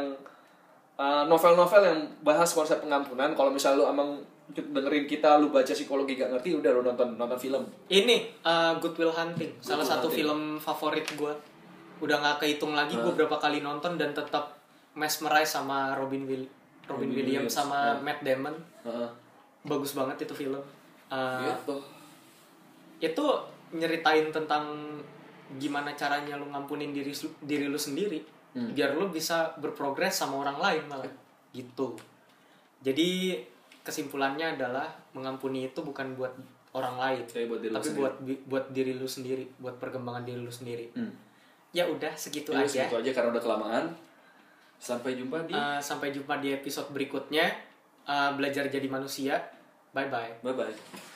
Speaker 3: uh, novel-novel yang bahas konsep pengampunan. Kalau misalnya lu emang dengerin kita, lu baca psikologi gak ngerti, udah lu nonton nonton film.
Speaker 2: ini eh, Good Will Hunting salah
Speaker 3: Will
Speaker 2: satu
Speaker 3: Hunting.
Speaker 2: film favorit gue udah nggak kehitung lagi gue berapa kali nonton dan tetap mesmerize sama Robin Will
Speaker 3: Robin
Speaker 2: Robin, Williams,
Speaker 3: Williams,
Speaker 2: sama
Speaker 3: ah.
Speaker 2: Matt Damon
Speaker 3: Heeh.
Speaker 2: bagus banget itu film Eh,
Speaker 3: Gitu. Iya.
Speaker 2: itu nyeritain tentang gimana caranya lu ngampunin diri su- diri lu sendiri
Speaker 3: Hmm.
Speaker 2: biar lu bisa berprogres sama orang lain malah gitu jadi kesimpulannya adalah mengampuni itu bukan buat orang lain
Speaker 3: Tapi buat diri lu
Speaker 2: tapi
Speaker 3: sendiri.
Speaker 2: buat bi- buat diri lu sendiri buat perkembangan diri lu sendiri
Speaker 3: Hmm.
Speaker 2: ya udah segitu
Speaker 3: Ya,
Speaker 2: aja
Speaker 3: segitu aja karena udah kelamaan. Sampai jumpa di
Speaker 2: Eh, sampai jumpa di episode berikutnya Eh, belajar jadi manusia bye bye
Speaker 3: Bye bye.